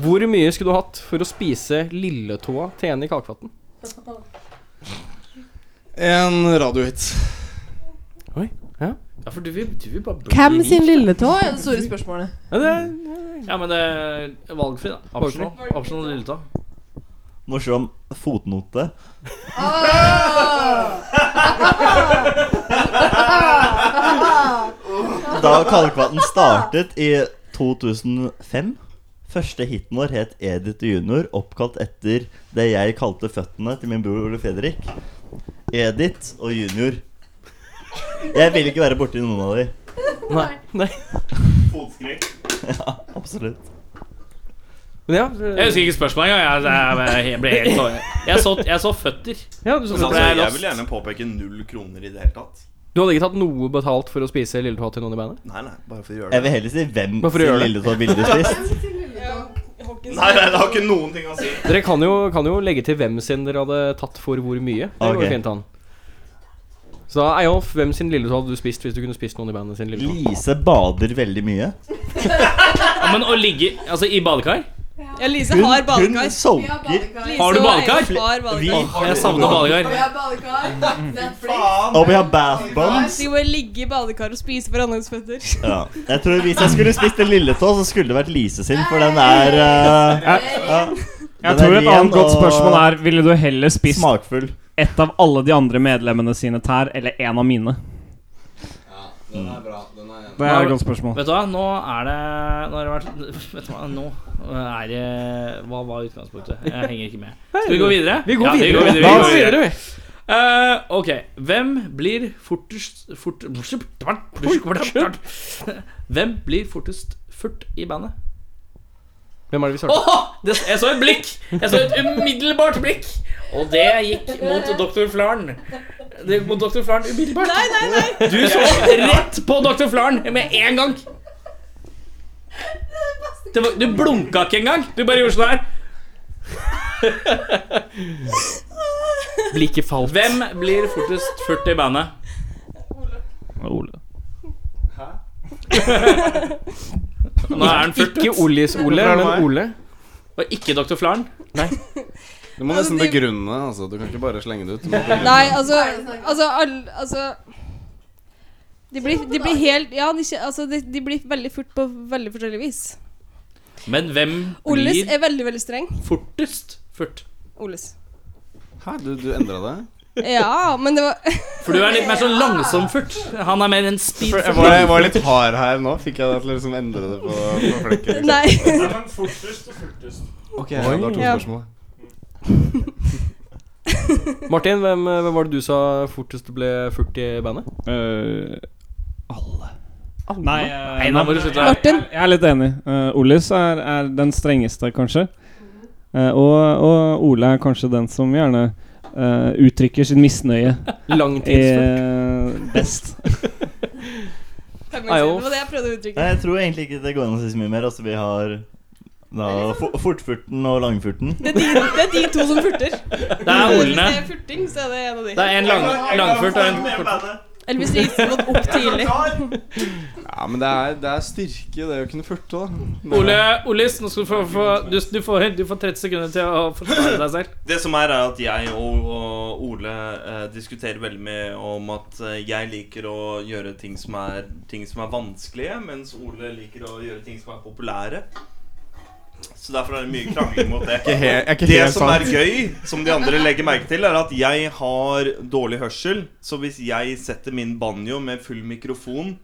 Speaker 3: Hvor mye skulle du hatt for å spise lilletåa til en i Kalkvatn?
Speaker 6: En radiohit.
Speaker 2: Ja, for du vil, du vil bare bli
Speaker 10: Hvem
Speaker 2: rik.
Speaker 10: sin lille tå er det store spørsmålet.
Speaker 3: Ja, det er
Speaker 2: Ja, men det er valgfri, da. Optional. Optional lilletå.
Speaker 8: morsom fotnote. Da Kalkvatn startet i 2005 Første hiten vår het Edith Junior, oppkalt etter det jeg kalte føttene til min bror Ole Fredrik. Edith og Junior. Jeg vil ikke være borti noen av de.
Speaker 3: Nei. nei.
Speaker 5: Fotskrekk.
Speaker 8: Absolutt.
Speaker 3: Men ja,
Speaker 2: Jeg
Speaker 3: det-
Speaker 2: husker ikke spørsmålet engang. Jeg, jeg, jeg ble helt sånn. Jeg så, jeg så føtter.
Speaker 3: ja du,
Speaker 5: Men
Speaker 2: Så
Speaker 3: du
Speaker 5: altså,
Speaker 2: ble jeg
Speaker 5: jeg
Speaker 2: lost.
Speaker 5: vil gjerne påpeke null kroner i det hele tatt.
Speaker 3: hadde ikke tatt noe betalt for å spise lilletåa til noen i bandet?
Speaker 5: Nei, nei, bare for å gjøre
Speaker 8: Jeg
Speaker 5: det.
Speaker 8: vil heller si hvem
Speaker 3: Bare for å
Speaker 8: sin
Speaker 3: gjøre det.
Speaker 8: lille tå ville du spist.
Speaker 5: Nei, nei, det har ikke noen ting å si.
Speaker 3: Dere kan jo, kan jo legge til hvem sin dere hadde tatt for hvor mye. Det går
Speaker 8: Ok.
Speaker 3: fint an. Så da, Eyolf, hvem sin lilletå hadde du spist hvis du kunne spist noen i bandet sin lilletå?
Speaker 8: Lise bader veldig mye.
Speaker 2: Ja, men å ligge Altså, i badekar?
Speaker 7: Ja, Lise
Speaker 5: Hun-
Speaker 7: har badekar.
Speaker 5: Hun solker.
Speaker 7: Lise
Speaker 2: Har du
Speaker 7: og
Speaker 2: badekar?
Speaker 7: Eirik har badekar.
Speaker 2: Jeg savner
Speaker 10: Og
Speaker 2: badekar.
Speaker 10: jeg har badekar,
Speaker 8: Mm.
Speaker 10: Netflix
Speaker 8: Og vi har bath bombs.
Speaker 7: De må ligge i badekar og spise hverandres føtter.
Speaker 8: Ja. Jeg tror Hvis jeg skulle spist en lilletå, så skulle det vært Lise sin, for den er eh, ja,
Speaker 9: Jeg
Speaker 8: Den er
Speaker 9: tror et
Speaker 8: ren
Speaker 9: annet godt
Speaker 8: og
Speaker 9: spørsmål er Ville du heller spist
Speaker 8: smakfull.
Speaker 9: ett av alle de andre medlemmene sine tær, eller én av mine?
Speaker 6: Den er bra. Den er
Speaker 9: Det er et godt spørsmål.
Speaker 2: Vet du hva, nå er det Nå har det vært Vet du hva, nå er det Hva var utgangspunktet? Jeg henger ikke med. Skal vi gå videre?
Speaker 9: Vi går
Speaker 2: Ja,
Speaker 9: videre.
Speaker 2: Vi går
Speaker 9: Da
Speaker 2: videre, vi
Speaker 9: går
Speaker 2: går
Speaker 9: vi
Speaker 2: videre. Eh, ok. Hvem blir fortest fort, Hvem blir fortest furt i bandet?
Speaker 3: Hvem er det vi starter?
Speaker 2: Åh, det, jeg så et blikk! Jeg så et umiddelbart blikk! Og det gikk mot Dr. Flarn. Det gikk mot Dr. Flarn umiddelbart. Nei, nei, nei. Du så rett på Dr. Flarn med en gang. Det var, du blunka ikke engang. Du bare gjorde sånn her.
Speaker 3: Blikket falt.
Speaker 2: Hvem blir fortest 40 i bandet?
Speaker 9: Ole.
Speaker 2: Nå er han furt.
Speaker 3: Ikke Ollis Ole,
Speaker 6: Hvorfor er det
Speaker 3: men
Speaker 6: meg?
Speaker 3: Ole.
Speaker 2: Og ikke Dr. Flarn.
Speaker 6: Du må nesten begrunne. altså Du kan ikke bare slenge det ut. Du må begrunne.
Speaker 7: Nei, altså Altså, alle altså de blir, de blir helt Ja, de, kje- altså, de, de blir veldig fort på veldig forskjellig vis.
Speaker 2: Men hvem
Speaker 7: Olles
Speaker 2: blir
Speaker 7: er veldig, veldig streng.
Speaker 2: fortest furt?
Speaker 7: Olles.
Speaker 6: Hæ, du, du endra det?
Speaker 7: Ja, men det var
Speaker 2: For du er litt mer sånn langsom furt. Han er mer en speed
Speaker 6: Jeg
Speaker 2: furt.
Speaker 6: var, jeg var litt hard her nå. Fikk jeg deg til å liksom endre det på, liksom? på flekken?
Speaker 7: Nei.
Speaker 6: Ok, ja, det var to
Speaker 7: Ja.
Speaker 6: spørsmål.
Speaker 3: Martin, hvem, hvem var det du sa fortest ble furt i bandet?
Speaker 9: Eh, alle. Nei, eh,
Speaker 2: Nei, nå må du slutte.
Speaker 9: jeg- Jeg, jeg er litt enig. Uh, Ollis er, er den strengeste, kanskje. Eh, og, og Ole er kanskje den som gjerne eh, uttrykker sin misnøye
Speaker 3: Langtidsfurt.
Speaker 9: eh, best.
Speaker 7: Det
Speaker 3: Ajo.
Speaker 7: var det jeg prøvde å uttrykke.
Speaker 8: Nei, jeg tror egentlig ikke det går an å si så mye mer. Altså, vi har da fo- fortfurten og langfurten.
Speaker 7: Det er de, det er de to som furter.
Speaker 2: Det er
Speaker 7: Hvis
Speaker 2: Olene.
Speaker 7: det er furting, så er det en av de.
Speaker 2: Det er en lang, langfurt og en kort.
Speaker 7: Eller hvis de ikke har gått opp tidlig.
Speaker 6: Ja, men det er, det er styrke, det å kunne furte, da.
Speaker 2: Ole, Olis, nå skal du få, få du, du, får, du får 30 sekunder til å forsvare deg selv.
Speaker 5: Det som er, er at jeg og, og Ole eh, diskuterer veldig mye om at eh, jeg liker å gjøre ting som, er, ting som er vanskelige, mens Ole liker å gjøre ting som er populære. Så derfor er det mye krangling mot det.
Speaker 6: Ikke he, er ikke
Speaker 5: Det
Speaker 6: helt
Speaker 5: som er
Speaker 6: sant.
Speaker 5: gøy, som de andre legger merke til, er at jeg har dårlig hørsel. Så hvis jeg setter min banjo med full mikrofon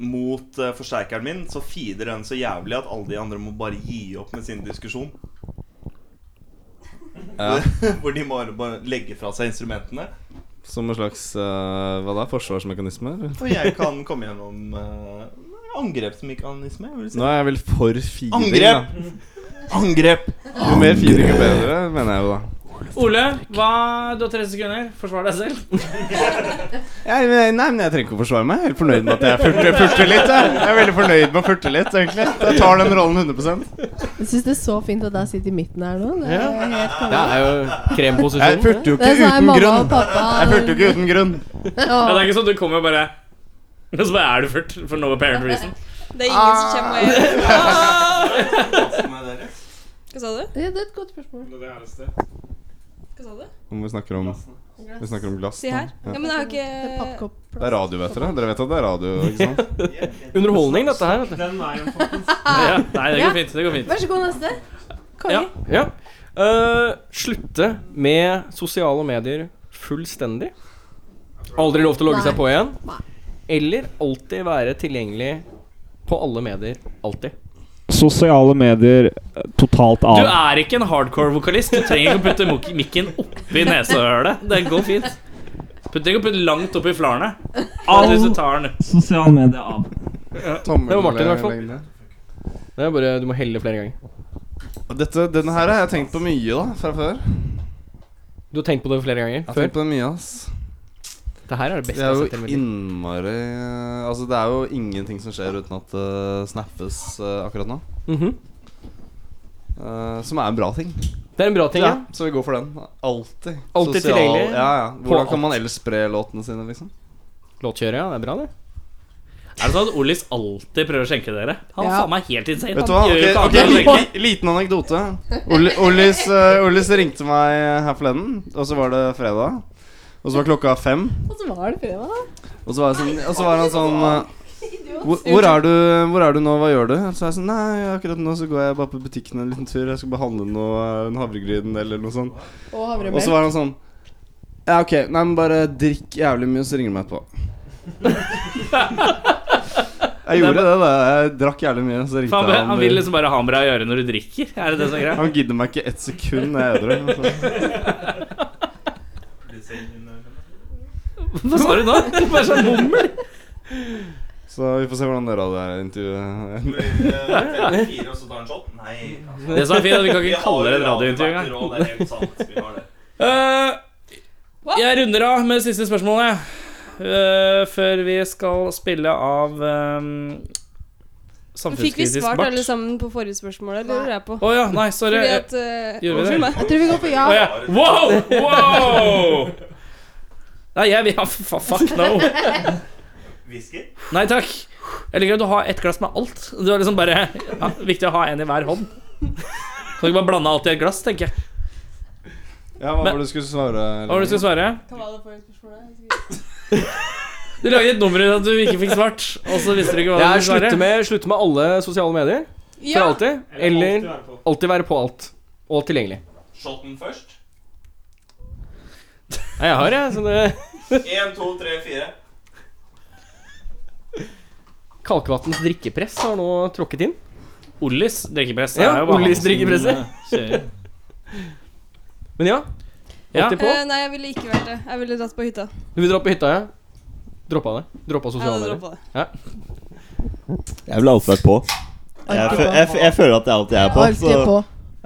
Speaker 5: mot eh, forsterkeren min, så feeder den så jævlig at alle de andre må bare gi opp med sin diskusjon.
Speaker 6: Ja.
Speaker 5: Hvor de bare, bare legger fra seg instrumentene.
Speaker 6: Som en slags eh, hva da, forsvarsmekanisme? eller?
Speaker 5: Og jeg kan komme gjennom eh, angrepsmekanisme. Jeg vil si.
Speaker 6: Nå er jeg vel for feeding.
Speaker 5: Angrep!
Speaker 6: da.
Speaker 5: Angrep!
Speaker 6: Jo mer feeding, jo bedre, mener jeg jo da.
Speaker 2: Ole, hva, du har 30 sekunder. Forsvar deg selv.
Speaker 6: Jeg, nei, men jeg trenger ikke å forsvare meg. Jeg er helt fornøyd med at jeg furter, furter litt. Jeg. jeg er veldig fornøyd med å furte litt, egentlig. Jeg tar den rollen 100
Speaker 10: Jeg syns det er så fint at jeg sitter i midten her nå. Det er helt
Speaker 3: Det
Speaker 10: konge.
Speaker 3: er jo
Speaker 6: Jeg
Speaker 3: kremposisjonen.
Speaker 6: furter jo
Speaker 10: Det er
Speaker 6: ikke
Speaker 10: sånn her
Speaker 6: uten
Speaker 10: mamma og
Speaker 6: grunn.
Speaker 10: pappa
Speaker 6: Jeg furter jo ikke uten grunn.
Speaker 2: Ja, det
Speaker 10: Åh.
Speaker 2: er ikke sånn du kommer og bare Og så bare er du furt for no apparent reason.
Speaker 7: Det er ingen som kommer og gjør Ah! Hva sa du?
Speaker 10: Ja, Det er et godt spørsmål.
Speaker 7: Hva sa du?
Speaker 6: Om vi snakker om Vi snakker om glass.
Speaker 7: Si her.
Speaker 6: da.
Speaker 7: Ja, men det er jo
Speaker 10: Det er
Speaker 7: ikke
Speaker 10: pappkopp.
Speaker 6: Det er radio, vet dere. Dere vet at det er radio, ikke sant?
Speaker 3: Underholdning, dette her. Vet du.
Speaker 2: Ja, nei, det går fint. det går fint
Speaker 10: Vær så god, neste. Konge.
Speaker 2: Ja.
Speaker 3: Ja. Eh, slutte med sosiale medier fullstendig. Aldri lov til å logge seg på igjen.
Speaker 10: Nei.
Speaker 3: Eller alltid være tilgjengelig på alle medier. Alltid.
Speaker 9: Sosiale medier eh, totalt
Speaker 2: Du
Speaker 9: av.
Speaker 2: er ikke en hardcore vokalist. Du trenger ikke å putte mok- mikken oppi nesehølet. Det går fint. Du trenger ikke å putte langt oppi flarene. Hvis du tar den
Speaker 9: Sosiale medier av.
Speaker 6: Tommel,
Speaker 3: Det var Martin, i hvert fall.
Speaker 6: legger ned.
Speaker 3: Det er bare, Du må helle flere ganger.
Speaker 6: Og Dette, denne her har jeg tenkt på mye da, fra før. Jeg
Speaker 3: Du har tenkt på det flere ganger
Speaker 6: har
Speaker 3: før.
Speaker 6: tenkt på det mye, ass.
Speaker 3: Det her er det beste
Speaker 6: Det er
Speaker 3: jeg har
Speaker 6: jo
Speaker 3: sett. i hele mitt liv.
Speaker 6: innmari Altså, det er jo ingenting som skjer uten at det snappes eh, akkurat nå.
Speaker 3: Mhm.
Speaker 6: Eh, som er en bra ting.
Speaker 3: Det er en bra ting. Ja.
Speaker 6: Ja, så vi går for den. Alltid.
Speaker 3: Alltid
Speaker 6: Sosial-
Speaker 3: tilgjengelig.
Speaker 6: Ja, ja.
Speaker 3: På
Speaker 6: Hvordan kan
Speaker 3: alt.
Speaker 6: man ellers spre låtene sine, liksom?
Speaker 3: Låtkjøret, ja. Det er bra, det.
Speaker 2: Er det sånn at Ollis alltid prøver å skjenke dere? Han
Speaker 10: Ja.
Speaker 2: faen meg helt insane.
Speaker 6: Vet du hva?
Speaker 2: Han gjør jo
Speaker 6: Ok,
Speaker 2: ikke
Speaker 6: ok,
Speaker 2: annet enn å
Speaker 6: li-
Speaker 2: skjenke.
Speaker 6: li- Liten anekdote. Olli- Ollis, eh, Ollis ringte meg her forleden, og så var det fredag. Og så var klokka fem,
Speaker 10: Og så var det fredag,
Speaker 6: og
Speaker 10: da.
Speaker 6: så var, jeg sånn, og så var han sånn eh, hvor, hvor, er du, hvor er du nå, hva gjør du? Så er jeg sånn Nei, akkurat nå så går jeg bare på butikken en liten tur. Jeg skal bare handle noe, eh, en havregryn eller noe sånt. Og
Speaker 10: Og
Speaker 6: så
Speaker 10: havremelk.
Speaker 6: var han sånn Ja, ok, nei, men bare drikk jævlig mye, og så ringer du meg etterpå. jeg gjorde det, da. Jeg drakk jævlig mye, så ringte jeg
Speaker 2: Faen, men
Speaker 6: han.
Speaker 2: Han vil liksom bare ha med deg å gjøre når du drikker. Er det det som er greia?
Speaker 6: Han gidder meg ikke ett sekund når jeg er edru. så-
Speaker 2: Hva sa du nå? Du bare sånn mummel.
Speaker 6: Så vi får se hvordan det radiointervjuet
Speaker 5: Fire, og så tar en shot? Nei.
Speaker 2: Det som er fint, er at vi kan ikke kalle det et radiointervju engang.
Speaker 5: Det er helt sant. Vi har det.
Speaker 2: Eh, jeg runder av med det siste spørsmålet. eh, før vi skal spille av um,
Speaker 7: Fikk vi
Speaker 2: samfunnskritisk
Speaker 7: svart
Speaker 2: bart.
Speaker 7: alle sammen på forrige spørsmål, eller lurer jeg på?
Speaker 2: Å ja, nei, sorry.
Speaker 7: Fordi
Speaker 2: Å
Speaker 7: at eh,
Speaker 2: Gjorde vi det?
Speaker 7: unnskyld meg.
Speaker 10: Jeg tror vi går for ja.
Speaker 2: ja. Wow! Wow! Nei, jeg vil ha fa- Fuck no.
Speaker 5: Whisky?
Speaker 2: Nei takk. Jeg liker at du har ett glass med alt. Du er liksom bare ja, Viktig å ha en i hver hånd. Kan du ikke bare blande alt i et glass, tenker jeg.
Speaker 6: Ja, hva
Speaker 2: Men-
Speaker 6: var det du skulle svare?
Speaker 2: Hva var det du skulle svare?
Speaker 7: Hva var det forrige spørsmålet?
Speaker 2: Du lagde et nummer ut av at du ikke fikk svart, og så visste du ikke hva du
Speaker 3: Jeg
Speaker 2: skulle svare.
Speaker 3: slutter med, slutter med alle sosiale medier. For
Speaker 7: Ja!
Speaker 3: alltid. Eller alltid være på alt. Og tilgjengelig.
Speaker 5: Shoten først.
Speaker 3: Nei, jeg har, jeg. Så det
Speaker 5: Én, to, tre, fire.
Speaker 3: Kalkvatns drikkepress har nå tråkket inn.
Speaker 2: Ollis drikkepress. det
Speaker 3: Ja,
Speaker 2: er jo bare
Speaker 3: Ollis
Speaker 2: han som,
Speaker 3: drikkepresse.
Speaker 2: eh, kjører.
Speaker 3: Men ja.
Speaker 2: Ja.
Speaker 3: Alltid på.
Speaker 7: Eh, nei, jeg ville ikke vært det. Jeg ville dratt på hytta.
Speaker 3: Du vil dra på hytta, ja? Droppa det. Droppa
Speaker 7: Jeg
Speaker 3: sosiale
Speaker 7: hadde dratt
Speaker 3: medier.
Speaker 7: på det.
Speaker 8: Jeg ville alltid vært på. Jeg, fø jeg, f jeg føler at jeg alltid er på.
Speaker 10: Alltid
Speaker 8: Så
Speaker 10: på.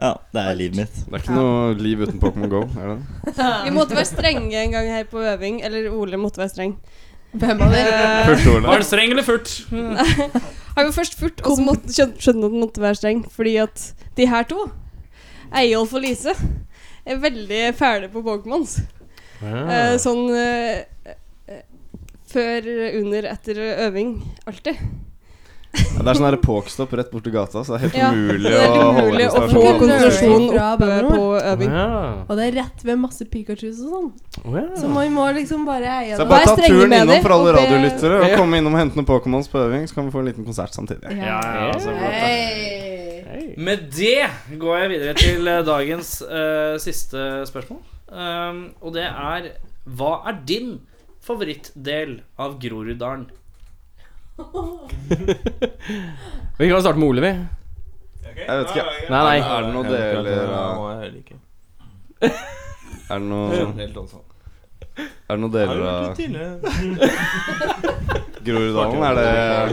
Speaker 8: ja, det er livet mitt.
Speaker 6: Det er ikke noe liv uten Pokémon Go, er det?
Speaker 7: Vi måtte være strenge en gang her på øving. Eller Ole måtte være streng.
Speaker 10: Hvem av dere?
Speaker 7: Eh,
Speaker 6: Første
Speaker 2: Var
Speaker 6: ordet.
Speaker 2: det streng eller furt?
Speaker 7: han var først furt, og så måtte- skjøn- skjønte han at han måtte være streng. Fordi at de her to, Eyolf og Lise, er veldig fæle på Pokémons. Eh, sånn eh, eh, før, under, etter øving. Alltid.
Speaker 6: Ja, det er sånn her Pokestop rett borti gata, så det er helt
Speaker 7: Ja,
Speaker 6: umulig
Speaker 7: Det er
Speaker 6: å holde
Speaker 7: helt umulig å
Speaker 6: seg
Speaker 7: få
Speaker 10: Pokémon.
Speaker 7: konsentrasjon
Speaker 10: Fra
Speaker 7: oppe
Speaker 10: bandet.
Speaker 7: på øving.
Speaker 3: Ja.
Speaker 10: Og det er rett ved masse Pikachus og sånn.
Speaker 3: Å, ja.
Speaker 10: Så må vi må liksom bare
Speaker 6: Så jeg
Speaker 10: eie det.
Speaker 7: Vær
Speaker 6: bare ta
Speaker 7: strenge
Speaker 6: turen
Speaker 7: med
Speaker 6: innom
Speaker 7: dem,
Speaker 6: for alle
Speaker 7: og be-
Speaker 6: radiolyttere og
Speaker 3: Ja.
Speaker 6: komme innom og hente noen Pokémons på øving, så kan vi få en liten konsert samtidig.
Speaker 2: Ja, ja, altså,
Speaker 10: Hei.
Speaker 2: Med det går jeg videre til eh, dagens eh, siste spørsmål. Um, og det er Hva er din favorittdel av Groruddalen?
Speaker 3: Vi kan starte med Ole, vi.
Speaker 6: Jeg vet ikke,
Speaker 3: Nei, nei.
Speaker 6: Er det noen deler av Er det noen Er det noen deler av Groruddalen? Er det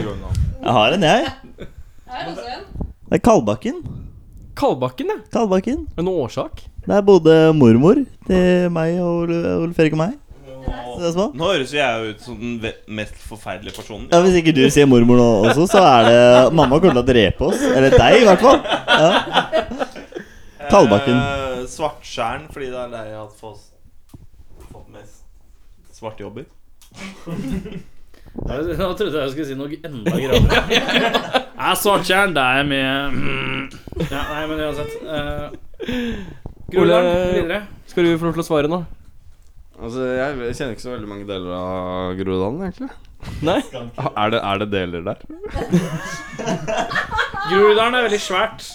Speaker 8: Jeg har en, jeg. Det er Kalbakken.
Speaker 3: Kalbakken, ja.
Speaker 8: Kalbakken.
Speaker 3: Er det noen årsak?
Speaker 8: Der bodde mormor til meg og Ole, Ole Fredrik og meg. Så det er små.
Speaker 5: Nå høres jo jeg ut som den ve- mest forferdelige personen.
Speaker 8: Ja, Hvis ikke du sier mormor nå også, så er det Mamma kommer til å drepe oss. Eller deg, i hvert fall. Ja. Kalbakken.
Speaker 5: Eh, Svartskjern, fordi det er der jeg har fått, fått mest svarte jobber.
Speaker 2: Nå trodde jeg jeg skulle si noe enda gravere. Er Svartjern Det er mye ja, Nei, men uansett. Uh, Groruddalen
Speaker 3: Ole-
Speaker 2: videre.
Speaker 3: Skal du få lov til å svare nå?
Speaker 6: Altså, Jeg kjenner ikke så veldig mange deler av Groruddalen, egentlig.
Speaker 3: Nei?
Speaker 6: Er det, er det deler der?
Speaker 2: Groruddalen er veldig svært.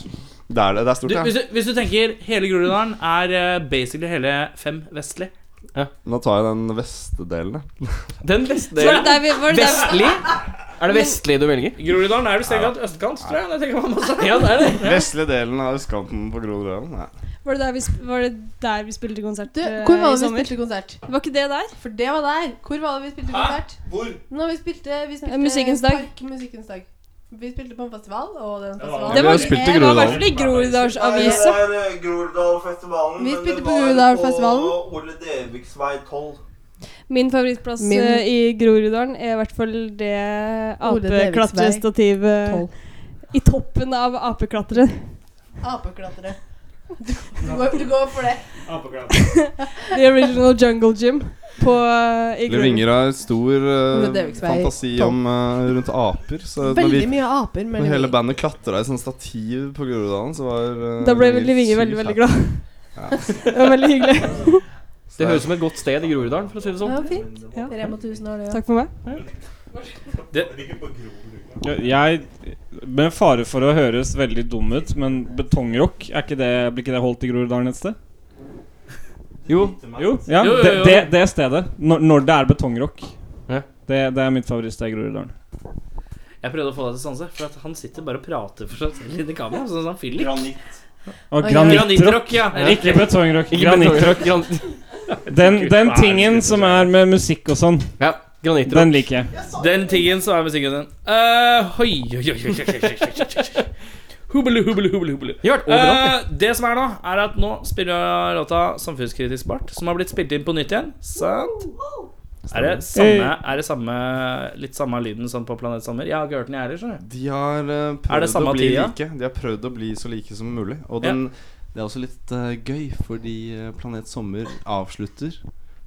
Speaker 6: Det er det. Det er
Speaker 2: Du,
Speaker 6: stort,
Speaker 2: hvis,
Speaker 6: ja.
Speaker 2: du, hvis du tenker hele Groruddalen er eh, basically hele fem vestlig.
Speaker 6: Nå tar jeg den veste delen, jeg.
Speaker 3: Den beste
Speaker 7: Var det der vi var det der vi-
Speaker 3: Vestlig? Er det vestlig du velger?
Speaker 2: Groruddalen er vel strengt tatt østkant, tror jeg. Når jeg tenker meg om også.
Speaker 3: Ja, det er det.
Speaker 6: Vestlige delen av østkanten på Groruddalen. Ja.
Speaker 7: Var det der vi, sp- var det der vi spilte konsert
Speaker 10: Du,
Speaker 7: eh,
Speaker 10: hvor var
Speaker 7: i
Speaker 10: det vi
Speaker 7: sommer?
Speaker 10: spilte konsert?
Speaker 7: Var ikke det der?
Speaker 10: For det var der. Hvor var det vi spilte konsert?
Speaker 5: Hvor?
Speaker 10: Nå, vi spilte, vi spilte
Speaker 7: Eh, Musikkens dag.
Speaker 10: Park Musikkens dag. Vi spilte på en festival, og den festivalen
Speaker 6: vi har spilt i Groruddalen.
Speaker 7: Det var i hvert fall i Groruddalsavisa.
Speaker 5: Groruddalfestivalen.
Speaker 10: Vi men spilte det på var Groruddalfestivalen.
Speaker 5: Ole Deviks vei 12.
Speaker 7: Min favorittplass
Speaker 10: Min-
Speaker 7: eh, i Groruddalen er i hvert fall det
Speaker 10: Ole Deviks
Speaker 7: apeklatrestativet
Speaker 10: Tolv.
Speaker 7: i toppen av apeklatteret.
Speaker 10: Apeklatrere. Du går, du går for det.
Speaker 9: Apekatt.
Speaker 7: The Original Jungle Gym på eh, i
Speaker 6: Lille Vinger har stor eh,
Speaker 10: Men det er jo ikke så vei.
Speaker 6: fantasi om, eh, rundt aper. Så når,
Speaker 10: Veldig
Speaker 6: vi,
Speaker 10: mye aper.
Speaker 6: når
Speaker 10: mellom-
Speaker 6: hele bandet klatra i sånn stativ på Groruddalen, så var eh,
Speaker 7: Da ble
Speaker 6: Lill
Speaker 7: Lille Vinger veldig,
Speaker 6: sykt
Speaker 7: veldig
Speaker 6: happy.
Speaker 7: glad. Det var veldig hyggelig.
Speaker 3: Det høres ut som et godt sted i Groruddalen, for å si det sånn.
Speaker 10: Ja, fint.
Speaker 7: Ja.
Speaker 10: Rema 1000 har det.
Speaker 7: Takk for meg.
Speaker 9: Jeg, med fare for å høres veldig dum ut, men betongrock, er ikke det, blir ikke det holdt i Groruddalen et sted? Jo,
Speaker 3: Jo.
Speaker 9: ja,
Speaker 2: Jo, jo,
Speaker 9: Det,
Speaker 2: jo.
Speaker 9: det, det stedet. Når, når det er betongrock.
Speaker 3: Ja.
Speaker 9: Det, det er mitt favorittsted i Groruddalen.
Speaker 2: Jeg prøvde å få deg til å sanse, for at han sitter bare og prater for seg selv inni kamera. Sånn som han Philip.
Speaker 9: Og
Speaker 10: Oi,
Speaker 9: granittrock.
Speaker 2: Granittrock, ja.
Speaker 9: Ikke betongrock. Granittrock.
Speaker 3: Granittrock.
Speaker 9: Den, den tingen som er med musikk og sånn,
Speaker 3: Ja, granittrock.
Speaker 9: den liker jeg.
Speaker 2: Den tingen som er musikken din. Eh, hoi, oi, oi, oi, oi, oi, oi, oi, oi. Hubelu, hubelu, hubelu, hubelu.
Speaker 3: Vi har vært overalt.
Speaker 2: Eh, det som er nå, er at nå spiller jeg låta 'Samfunnskritisk bart', som har blitt spilt inn på nytt igjen. Sant? Er det samme, er det samme litt samme lyden som på Planet Sommer? Jeg har ikke hørt den, jeg heller. skjønner du.
Speaker 6: De har eh,
Speaker 2: Er det
Speaker 6: prøvd
Speaker 2: samme
Speaker 6: å bli
Speaker 2: tid, ja?
Speaker 6: like. De har prøvd å bli så like som mulig. Og
Speaker 2: Ja.
Speaker 6: den, det er også litt eh, gøy, fordi eh, Planet Sommer avslutter.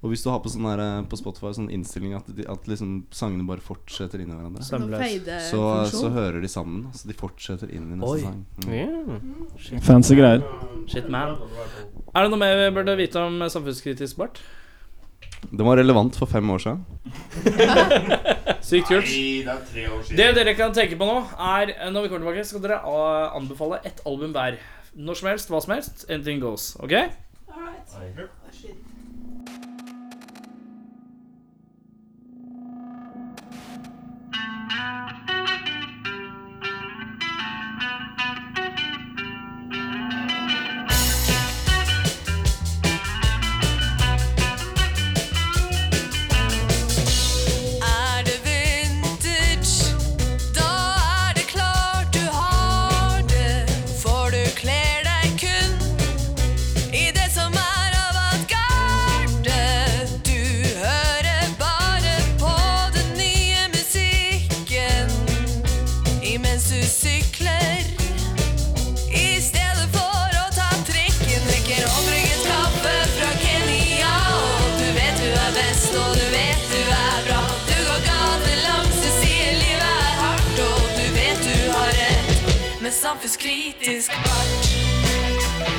Speaker 6: Og hvis du har på, sånn her, eh, på Spotify sånn innstilling at, de, at liksom sangene bare fortsetter inn i hverandre, så,
Speaker 10: Sånn
Speaker 2: Sømløs.
Speaker 6: så
Speaker 10: feidefunksjon.
Speaker 6: hører de sammen. Så de fortsetter inn i neste
Speaker 2: Oi.
Speaker 6: sang. Mm.
Speaker 3: Ja.
Speaker 9: Fancy greier.
Speaker 2: Shit, man. Er det noe mer vi burde vite om samfunnskritisk bart?
Speaker 6: Den var relevant for fem år siden.
Speaker 2: Sykt kult. Det dere kan tenke på nå, er eh, når vi kommer tilbake, skal dere eh, anbefale ett album hver. Når som helst, hva som helst. Anything goes. Ok?
Speaker 11: Er det vintage, da er det klart du har det. For du kler deg kun i det som er avantgarde. Du hører bare på den nye musikken imens du sykler. I stedet for å ta trikken drikker overbrygget kaffe fra Kenya. Og du vet du er best, og du vet du er bra. Du går gatelangs, du sier livet er hardt, og du vet du har rett. Med samfunnskritisk fart.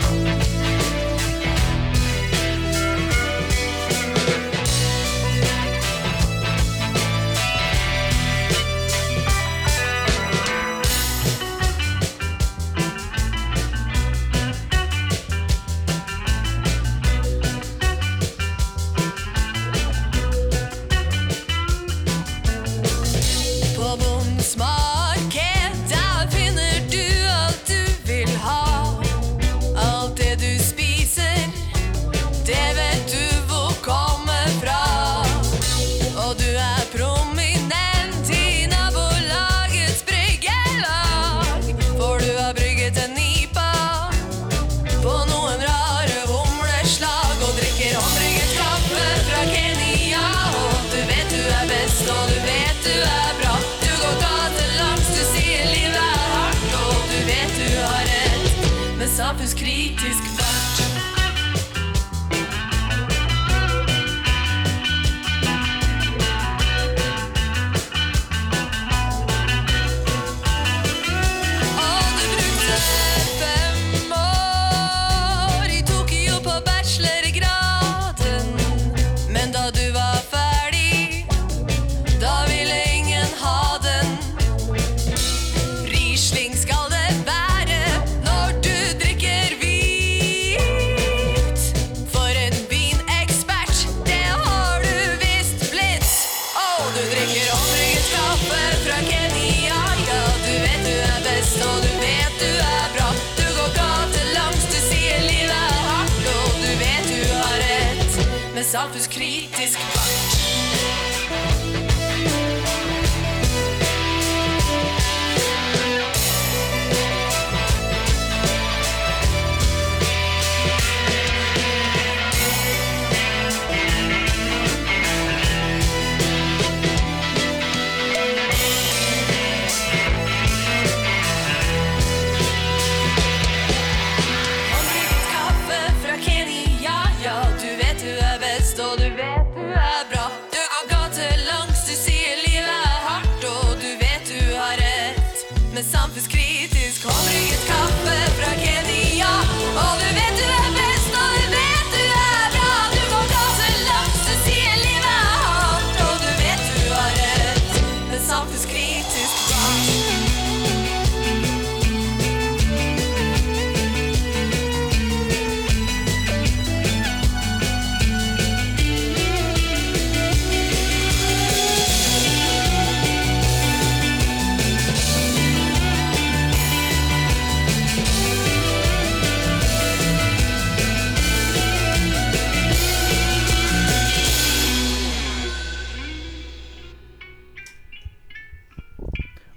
Speaker 11: På Bondsmarked, der finner du alt du vil ha. Alt det du spiser, det vet du hvor kommer fra. Og du er prominent i nabolagets bryggelag. For du har brygget en nipa på noen rare humleslag og drikker omrygget kaffe fra Kenya. Og du vet du er best, og du vet du er bra. Du går gatelangs, du sier livet er hardt, og du vet du har rett med samfunnskritisk fart. Og du brukte fem år i Tokyo på bachelorgraden. Men da du var ferdig, da ville ingen ha den. Riesling skal det være når du drikker hvit. For en vinekspert, det har du visst blitt. Og du drikker omrygget kaffe fra Kenya. Ja, du vet du er best, og du vet du er bra. Du går gatelangs, du sier livet er hardt, og du vet du har rett. Med samfunnskritisk fart. Omrygget kritisk vars.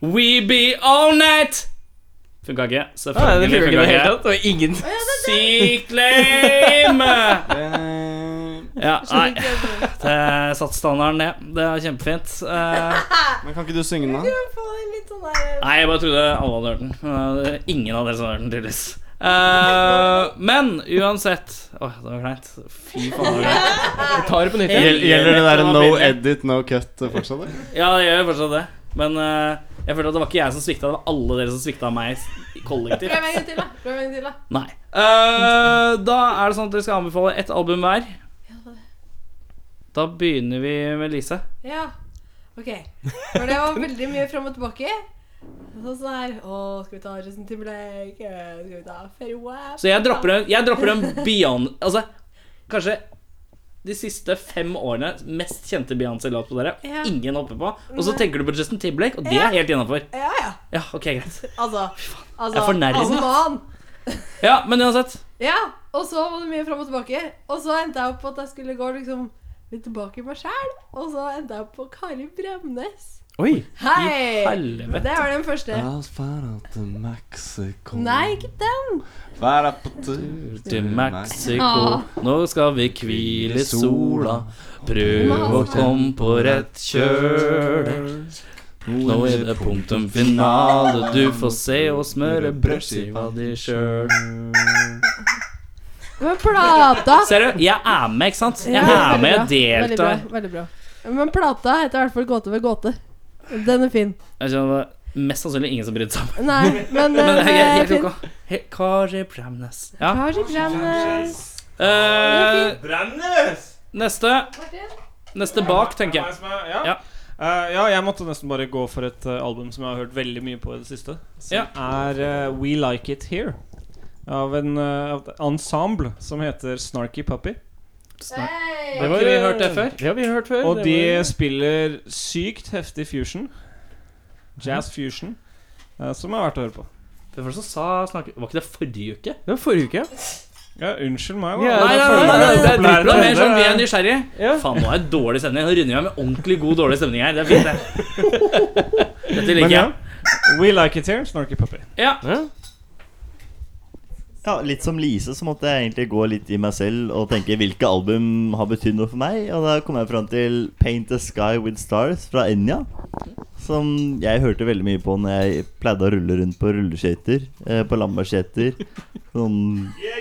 Speaker 2: We be all night! Funka ikke.
Speaker 3: Nei,
Speaker 2: Selvfølgelig
Speaker 3: det funka ikke i det hele tatt,
Speaker 2: Og ingen Syk lame! Ja, nei. Det satte standarden, det. Det er kjempefint. Eh,
Speaker 6: Men kan ikke du synge den, da?
Speaker 2: nei, jeg bare trodde alle hadde hørt den. Men det er ingen av dere som har hørt den, tydeligvis. Eh, men uansett Åh, det var kleint. Fy faen. det var kleint. Vi tar det på nytt.
Speaker 6: Gjel- Gjelder det der
Speaker 2: var
Speaker 6: no
Speaker 2: pinlig.
Speaker 6: edit, no cut eh, fortsatt? eller?
Speaker 2: Ja, det gjør fortsatt det. Men eh, jeg følte at det var ikke jeg som svikta, det var alle dere som svikta meg i- kollektivt.
Speaker 10: Prøv en gang til, da. Prøv en gang til, da.
Speaker 2: Nei. Eh, da er det sånn at dere skal anbefale ett album hver. Da begynner vi med Lise.
Speaker 10: Ja. Ok. For det var veldig mye fram og tilbake. Sånn sånn her Å, skal vi ta Justin Timberlake? Eh, Skal vi ta Ferry Wap?
Speaker 2: Så jeg dropper en, jeg dropper en Beyon... Altså, kanskje de siste fem årene mest kjente Beyoncé-låt på dere.
Speaker 10: Ja.
Speaker 2: Ingen hopper på. Og så
Speaker 10: Nei.
Speaker 2: tenker du på Justin Timberlake, og det
Speaker 10: Ja.
Speaker 2: er helt innafor.
Speaker 10: Ja, ja.
Speaker 2: Ja, ok, greit.
Speaker 10: Altså, altså
Speaker 2: Jeg er fornærmet.
Speaker 10: altså, man.
Speaker 2: Ja, men uansett.
Speaker 10: Ja, og så var det mye fram og tilbake. Og så endte jeg opp på at jeg skulle gå liksom litt tilbake i meg sjæl. Og så endte jeg opp på Kari Bremnes.
Speaker 3: Oi!
Speaker 10: Hei!
Speaker 2: Helvete.
Speaker 10: Det var den første. Nei, ikke den.
Speaker 6: Vær på tur
Speaker 2: til Mexico.
Speaker 10: Ah.
Speaker 2: Nå skal vi hvile sola. Prøv å komme på rett kjøl. Nå er det punktum finale. Du får se og smøre brødskiva di sjøl.
Speaker 10: Men plata
Speaker 2: Ser du? Jeg er med, ikke sant? Jeg er med, jeg
Speaker 10: Veldig bra.
Speaker 2: deltar.
Speaker 10: Veldig bra. Men plata heter i hvert fall Gåte ved gåte. Den er fin.
Speaker 2: Jeg skjønner det var mest sannsynlig ingen som brydde seg om det.
Speaker 10: Nei, men
Speaker 2: Men
Speaker 10: den
Speaker 2: jeg er
Speaker 10: er
Speaker 2: helt
Speaker 10: fin.
Speaker 2: ok. He- Kari Bramnes. Ja.
Speaker 10: Kari Bremnes.
Speaker 2: Eh,
Speaker 9: Brennes!
Speaker 2: neste. Neste bak, tenker jeg.
Speaker 9: Ja.
Speaker 2: Ja.
Speaker 9: Eh, ja, jeg måtte nesten bare gå for et eh, album som jeg har hørt veldig mye på i det siste. Som
Speaker 2: Ja.
Speaker 9: er eh, We Like It Here. Av en eh, av et ensemble som heter Snarky Puppy.
Speaker 2: Har ikke vi hørt det før?
Speaker 3: Det har vi hørt før.
Speaker 9: Og
Speaker 3: det
Speaker 9: de
Speaker 3: var-
Speaker 9: spiller sykt heftig fusion. Jazz fusion. eh, som er verdt å høre på.
Speaker 2: Hvem var det som sa snakke... Var ikke det forrige uke?
Speaker 3: Det var forrige uke.
Speaker 9: Ja, unnskyld meg,
Speaker 3: Ja,
Speaker 9: da.
Speaker 2: Nei, nei, nei, nei, det er dritbra. Det er Mer sånn vi er nysgjerrige.
Speaker 3: Ja.
Speaker 2: Faen, nå er det dårlig stemning. Nå runder vi av med ordentlig god dårlig stemning her. Det er fint, det. Dette
Speaker 9: Men
Speaker 2: liker
Speaker 9: ja.
Speaker 2: jeg.
Speaker 9: We Like It Here, Snarky Puppy.
Speaker 3: Ja.
Speaker 8: Ja, litt som Lise så måtte jeg egentlig gå litt i meg selv og tenke hvilke album har betydd noe for meg. Og da kom jeg fram til 'Paint the Sky With Stars' fra Enja. Som jeg hørte veldig mye på når jeg pleide å rulle rundt på rulleskøyter. Eh, på Lambertseter. Sånn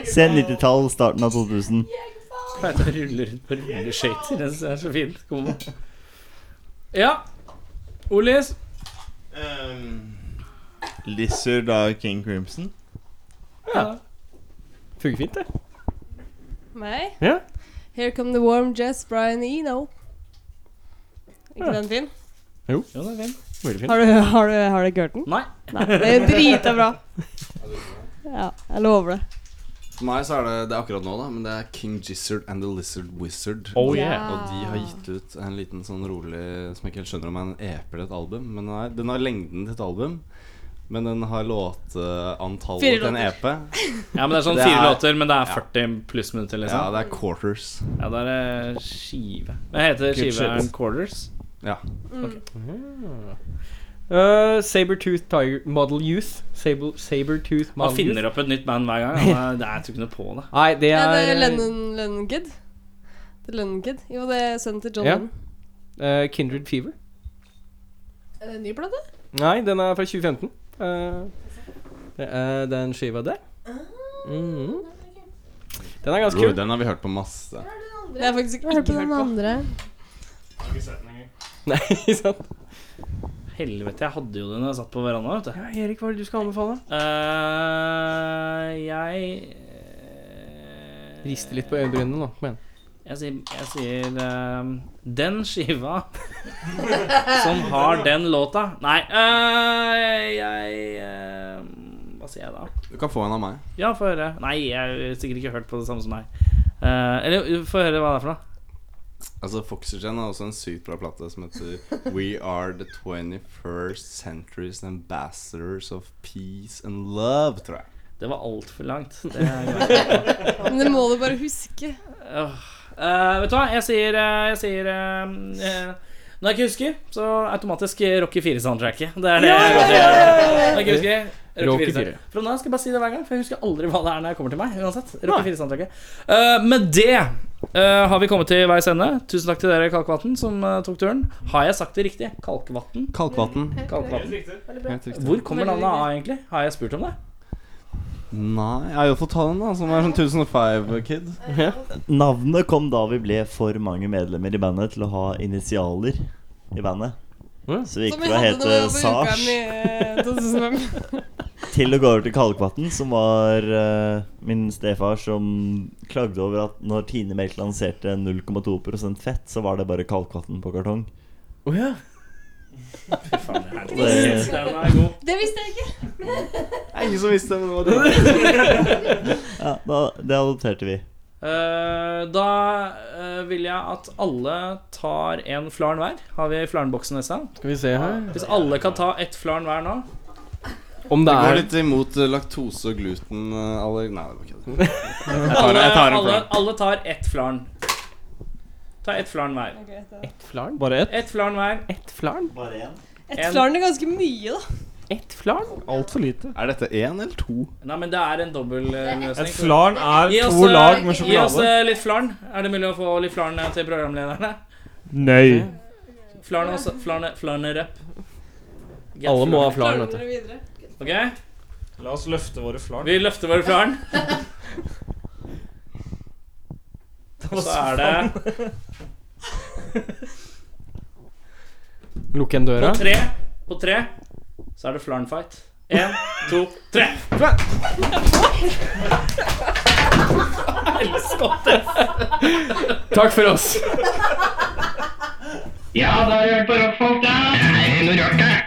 Speaker 8: sen 90-tall, starten av 2000.
Speaker 2: Pleide å rulle rundt på rulleskøyter. Det er så fint. Kom. Ja. Olis.
Speaker 12: Lizard av King Crimson.
Speaker 3: Funker fint, det.
Speaker 10: Meg?
Speaker 3: Ja.
Speaker 10: Here Come The Warm Jazz, Brian E, Eno. Ikke
Speaker 3: Ja.
Speaker 10: den fin?
Speaker 2: Jo, det er fint.
Speaker 3: Veldig fint.
Speaker 10: Har du, har du, har du ikke hørt den?
Speaker 2: Nei.
Speaker 10: Nei, det er drita bra. Ja, jeg lover det.
Speaker 6: For meg så er det, det er akkurat nå, da, men det er King Gizzard and The Lizard Wizard.
Speaker 3: Oh,
Speaker 10: yeah.
Speaker 6: Og de har gitt ut en liten sånn rolig Som jeg ikke helt skjønner om er en EP eller et album. Men den, er, den har lengden til et album. Men den har låteantallet
Speaker 10: Fire
Speaker 6: til en
Speaker 10: låter.
Speaker 6: EP.
Speaker 2: Ja, men det er sånn
Speaker 6: Det
Speaker 2: fire
Speaker 6: er-
Speaker 2: låter, men det er 40 pluss minutter,
Speaker 6: Ja,
Speaker 2: liksom.
Speaker 6: det er quarters.
Speaker 2: Ja, det er eh, skive. Hva heter
Speaker 3: Good
Speaker 2: skive?
Speaker 3: shit.
Speaker 2: Quarters?
Speaker 10: Mm.
Speaker 3: Mm-hmm. Uh, Sabertooth Tiger Model Youth. Sable, Sabertooth
Speaker 2: Man
Speaker 3: Model
Speaker 2: finner
Speaker 3: Youth.
Speaker 2: opp et nytt band hver gang. Ja, det er- Jeg tror ikke noe på det.
Speaker 3: Nei, det
Speaker 10: Ja, det
Speaker 3: er eh,
Speaker 10: er Lennon, Lennon Kid. Det er Lennon Kid. Jo, det er sønnen til John
Speaker 3: Ja.
Speaker 10: Lennon.
Speaker 3: eh, Kindred Fever.
Speaker 10: Er det en ny plate?
Speaker 3: Nei, den er fra 2015. Eh, det er den skiva der.
Speaker 10: Ah,
Speaker 3: Mhm. Den er ganske
Speaker 6: Jo,
Speaker 3: kul.
Speaker 6: den har vi hørt på masse.
Speaker 10: Det har jeg faktisk ikke hørt
Speaker 13: den
Speaker 10: på.
Speaker 13: andre.
Speaker 3: Nei, ikke sant?
Speaker 2: Helvete, jeg hadde jo det når jeg satt på verandaen, vet du.
Speaker 3: Ja, Erik, hva er det du skal anbefale?
Speaker 2: Eh, jeg eh,
Speaker 3: Riste litt på øyebrynene nå. Kom igjen.
Speaker 2: Jeg sier, jeg sier ehm, Den skiva som har den låta Nei, eh, jeg ehm, Hva sier jeg da?
Speaker 6: Du kan få en av meg.
Speaker 2: Ja, få høre. Nei, jeg har sikkert ikke hørt på det samme som meg. Eh, eller få høre hva det er for noe.
Speaker 6: Altså Foxygen har også en sykt bra plate som heter We Are The 21st Century's Ambassadors of Peace and Love, tror jeg.
Speaker 2: Det var altfor langt. Det
Speaker 7: Men det må du bare huske.
Speaker 2: Eh, vet du hva, jeg sier, eh, jeg sier eh, eh, Når jeg ikke husker, så automatisk eh, Rocky 4-soundtracket. Det er det jeg går til. Når jeg ikke husker.
Speaker 3: Rocky
Speaker 2: Rocky 4.
Speaker 3: 4.
Speaker 2: Fra nå av skal jeg bare si det hver gang, for jeg husker aldri hva det er når jeg kommer til meg. Uansett, Rocky 4-soundtracket Eh, Med det eh, har vi kommet til veis ende. Tusen takk til dere, Kalkvatn, som eh, tok turen. Har jeg sagt det riktig? Kalkvatn?
Speaker 6: Kalkvatn.
Speaker 2: Kalkvatn.
Speaker 6: Helt riktig.
Speaker 2: Hvor kommer navnet av, egentlig? Har jeg spurt om det?
Speaker 6: Nei, jeg har jo fått ta den, da, som er sånn 1005-kid.
Speaker 8: Navnet kom da vi ble for mange medlemmer i bandet til å ha initialer i bandet. Så vi gikk fra å hete Sars til å gå over til Kalkvatn, som var eh, min stefar som klagde over at når Tine Melk lanserte 0,2 fett, så var det bare Kalkvatn på kartong.
Speaker 3: Oh, ja.
Speaker 8: Det-
Speaker 7: Det visste jeg ikke.
Speaker 6: Det er ingen som visste det, men det var det.
Speaker 8: Ja, da, det adopterte vi.
Speaker 2: Eh, da eh, vil jeg at alle tar en flarn hver. Har vi flarnboksen neste?
Speaker 3: Skal vi se her
Speaker 2: Hvis alle kan ta ett flarn hver nå
Speaker 3: Om
Speaker 6: Det
Speaker 3: det
Speaker 6: går
Speaker 3: er
Speaker 6: litt imot eh, laktose og gluten eh, aller... Nei, det var ikke det. Jeg tar,
Speaker 2: Alle,
Speaker 6: jeg tar en
Speaker 2: alle,
Speaker 6: plan.
Speaker 2: alle tar ett flarn. Ta ett flarn hver.
Speaker 3: Ett flarn?
Speaker 14: Bare ett?
Speaker 2: Ett flarn hver.
Speaker 3: Ett flarn?
Speaker 8: Bare én?
Speaker 2: En-
Speaker 7: Et flarn er ganske mye, da.
Speaker 3: Ett flarn?
Speaker 14: Altfor lite.
Speaker 6: Er dette én eller to?
Speaker 2: Nei, men det er en dobbel eh, løsning.
Speaker 14: Et flarn er
Speaker 2: Gi oss,
Speaker 14: to
Speaker 2: eh,
Speaker 14: lag med
Speaker 2: Gi oss
Speaker 14: sjokolade.
Speaker 2: eh, litt flarn. Er det mulig å få litt flarn eh, til programlederne?
Speaker 14: Nei.
Speaker 2: Flarn også. Flarn, flarnerep. Get
Speaker 3: Alle må ha flarn,
Speaker 7: Flarner
Speaker 3: vet du.
Speaker 7: dere videre.
Speaker 2: Ok,
Speaker 14: La oss løfte våre flarn.
Speaker 2: Vi løfter våre flarn. Og så er det
Speaker 3: Lukk igjen døra.
Speaker 2: På tre, på tre så er det flarnfight. Én, to, tre.
Speaker 3: Takk for oss.
Speaker 11: Ja, da har du hørt på rockfolk, da. Det er noe rart, det. Ah.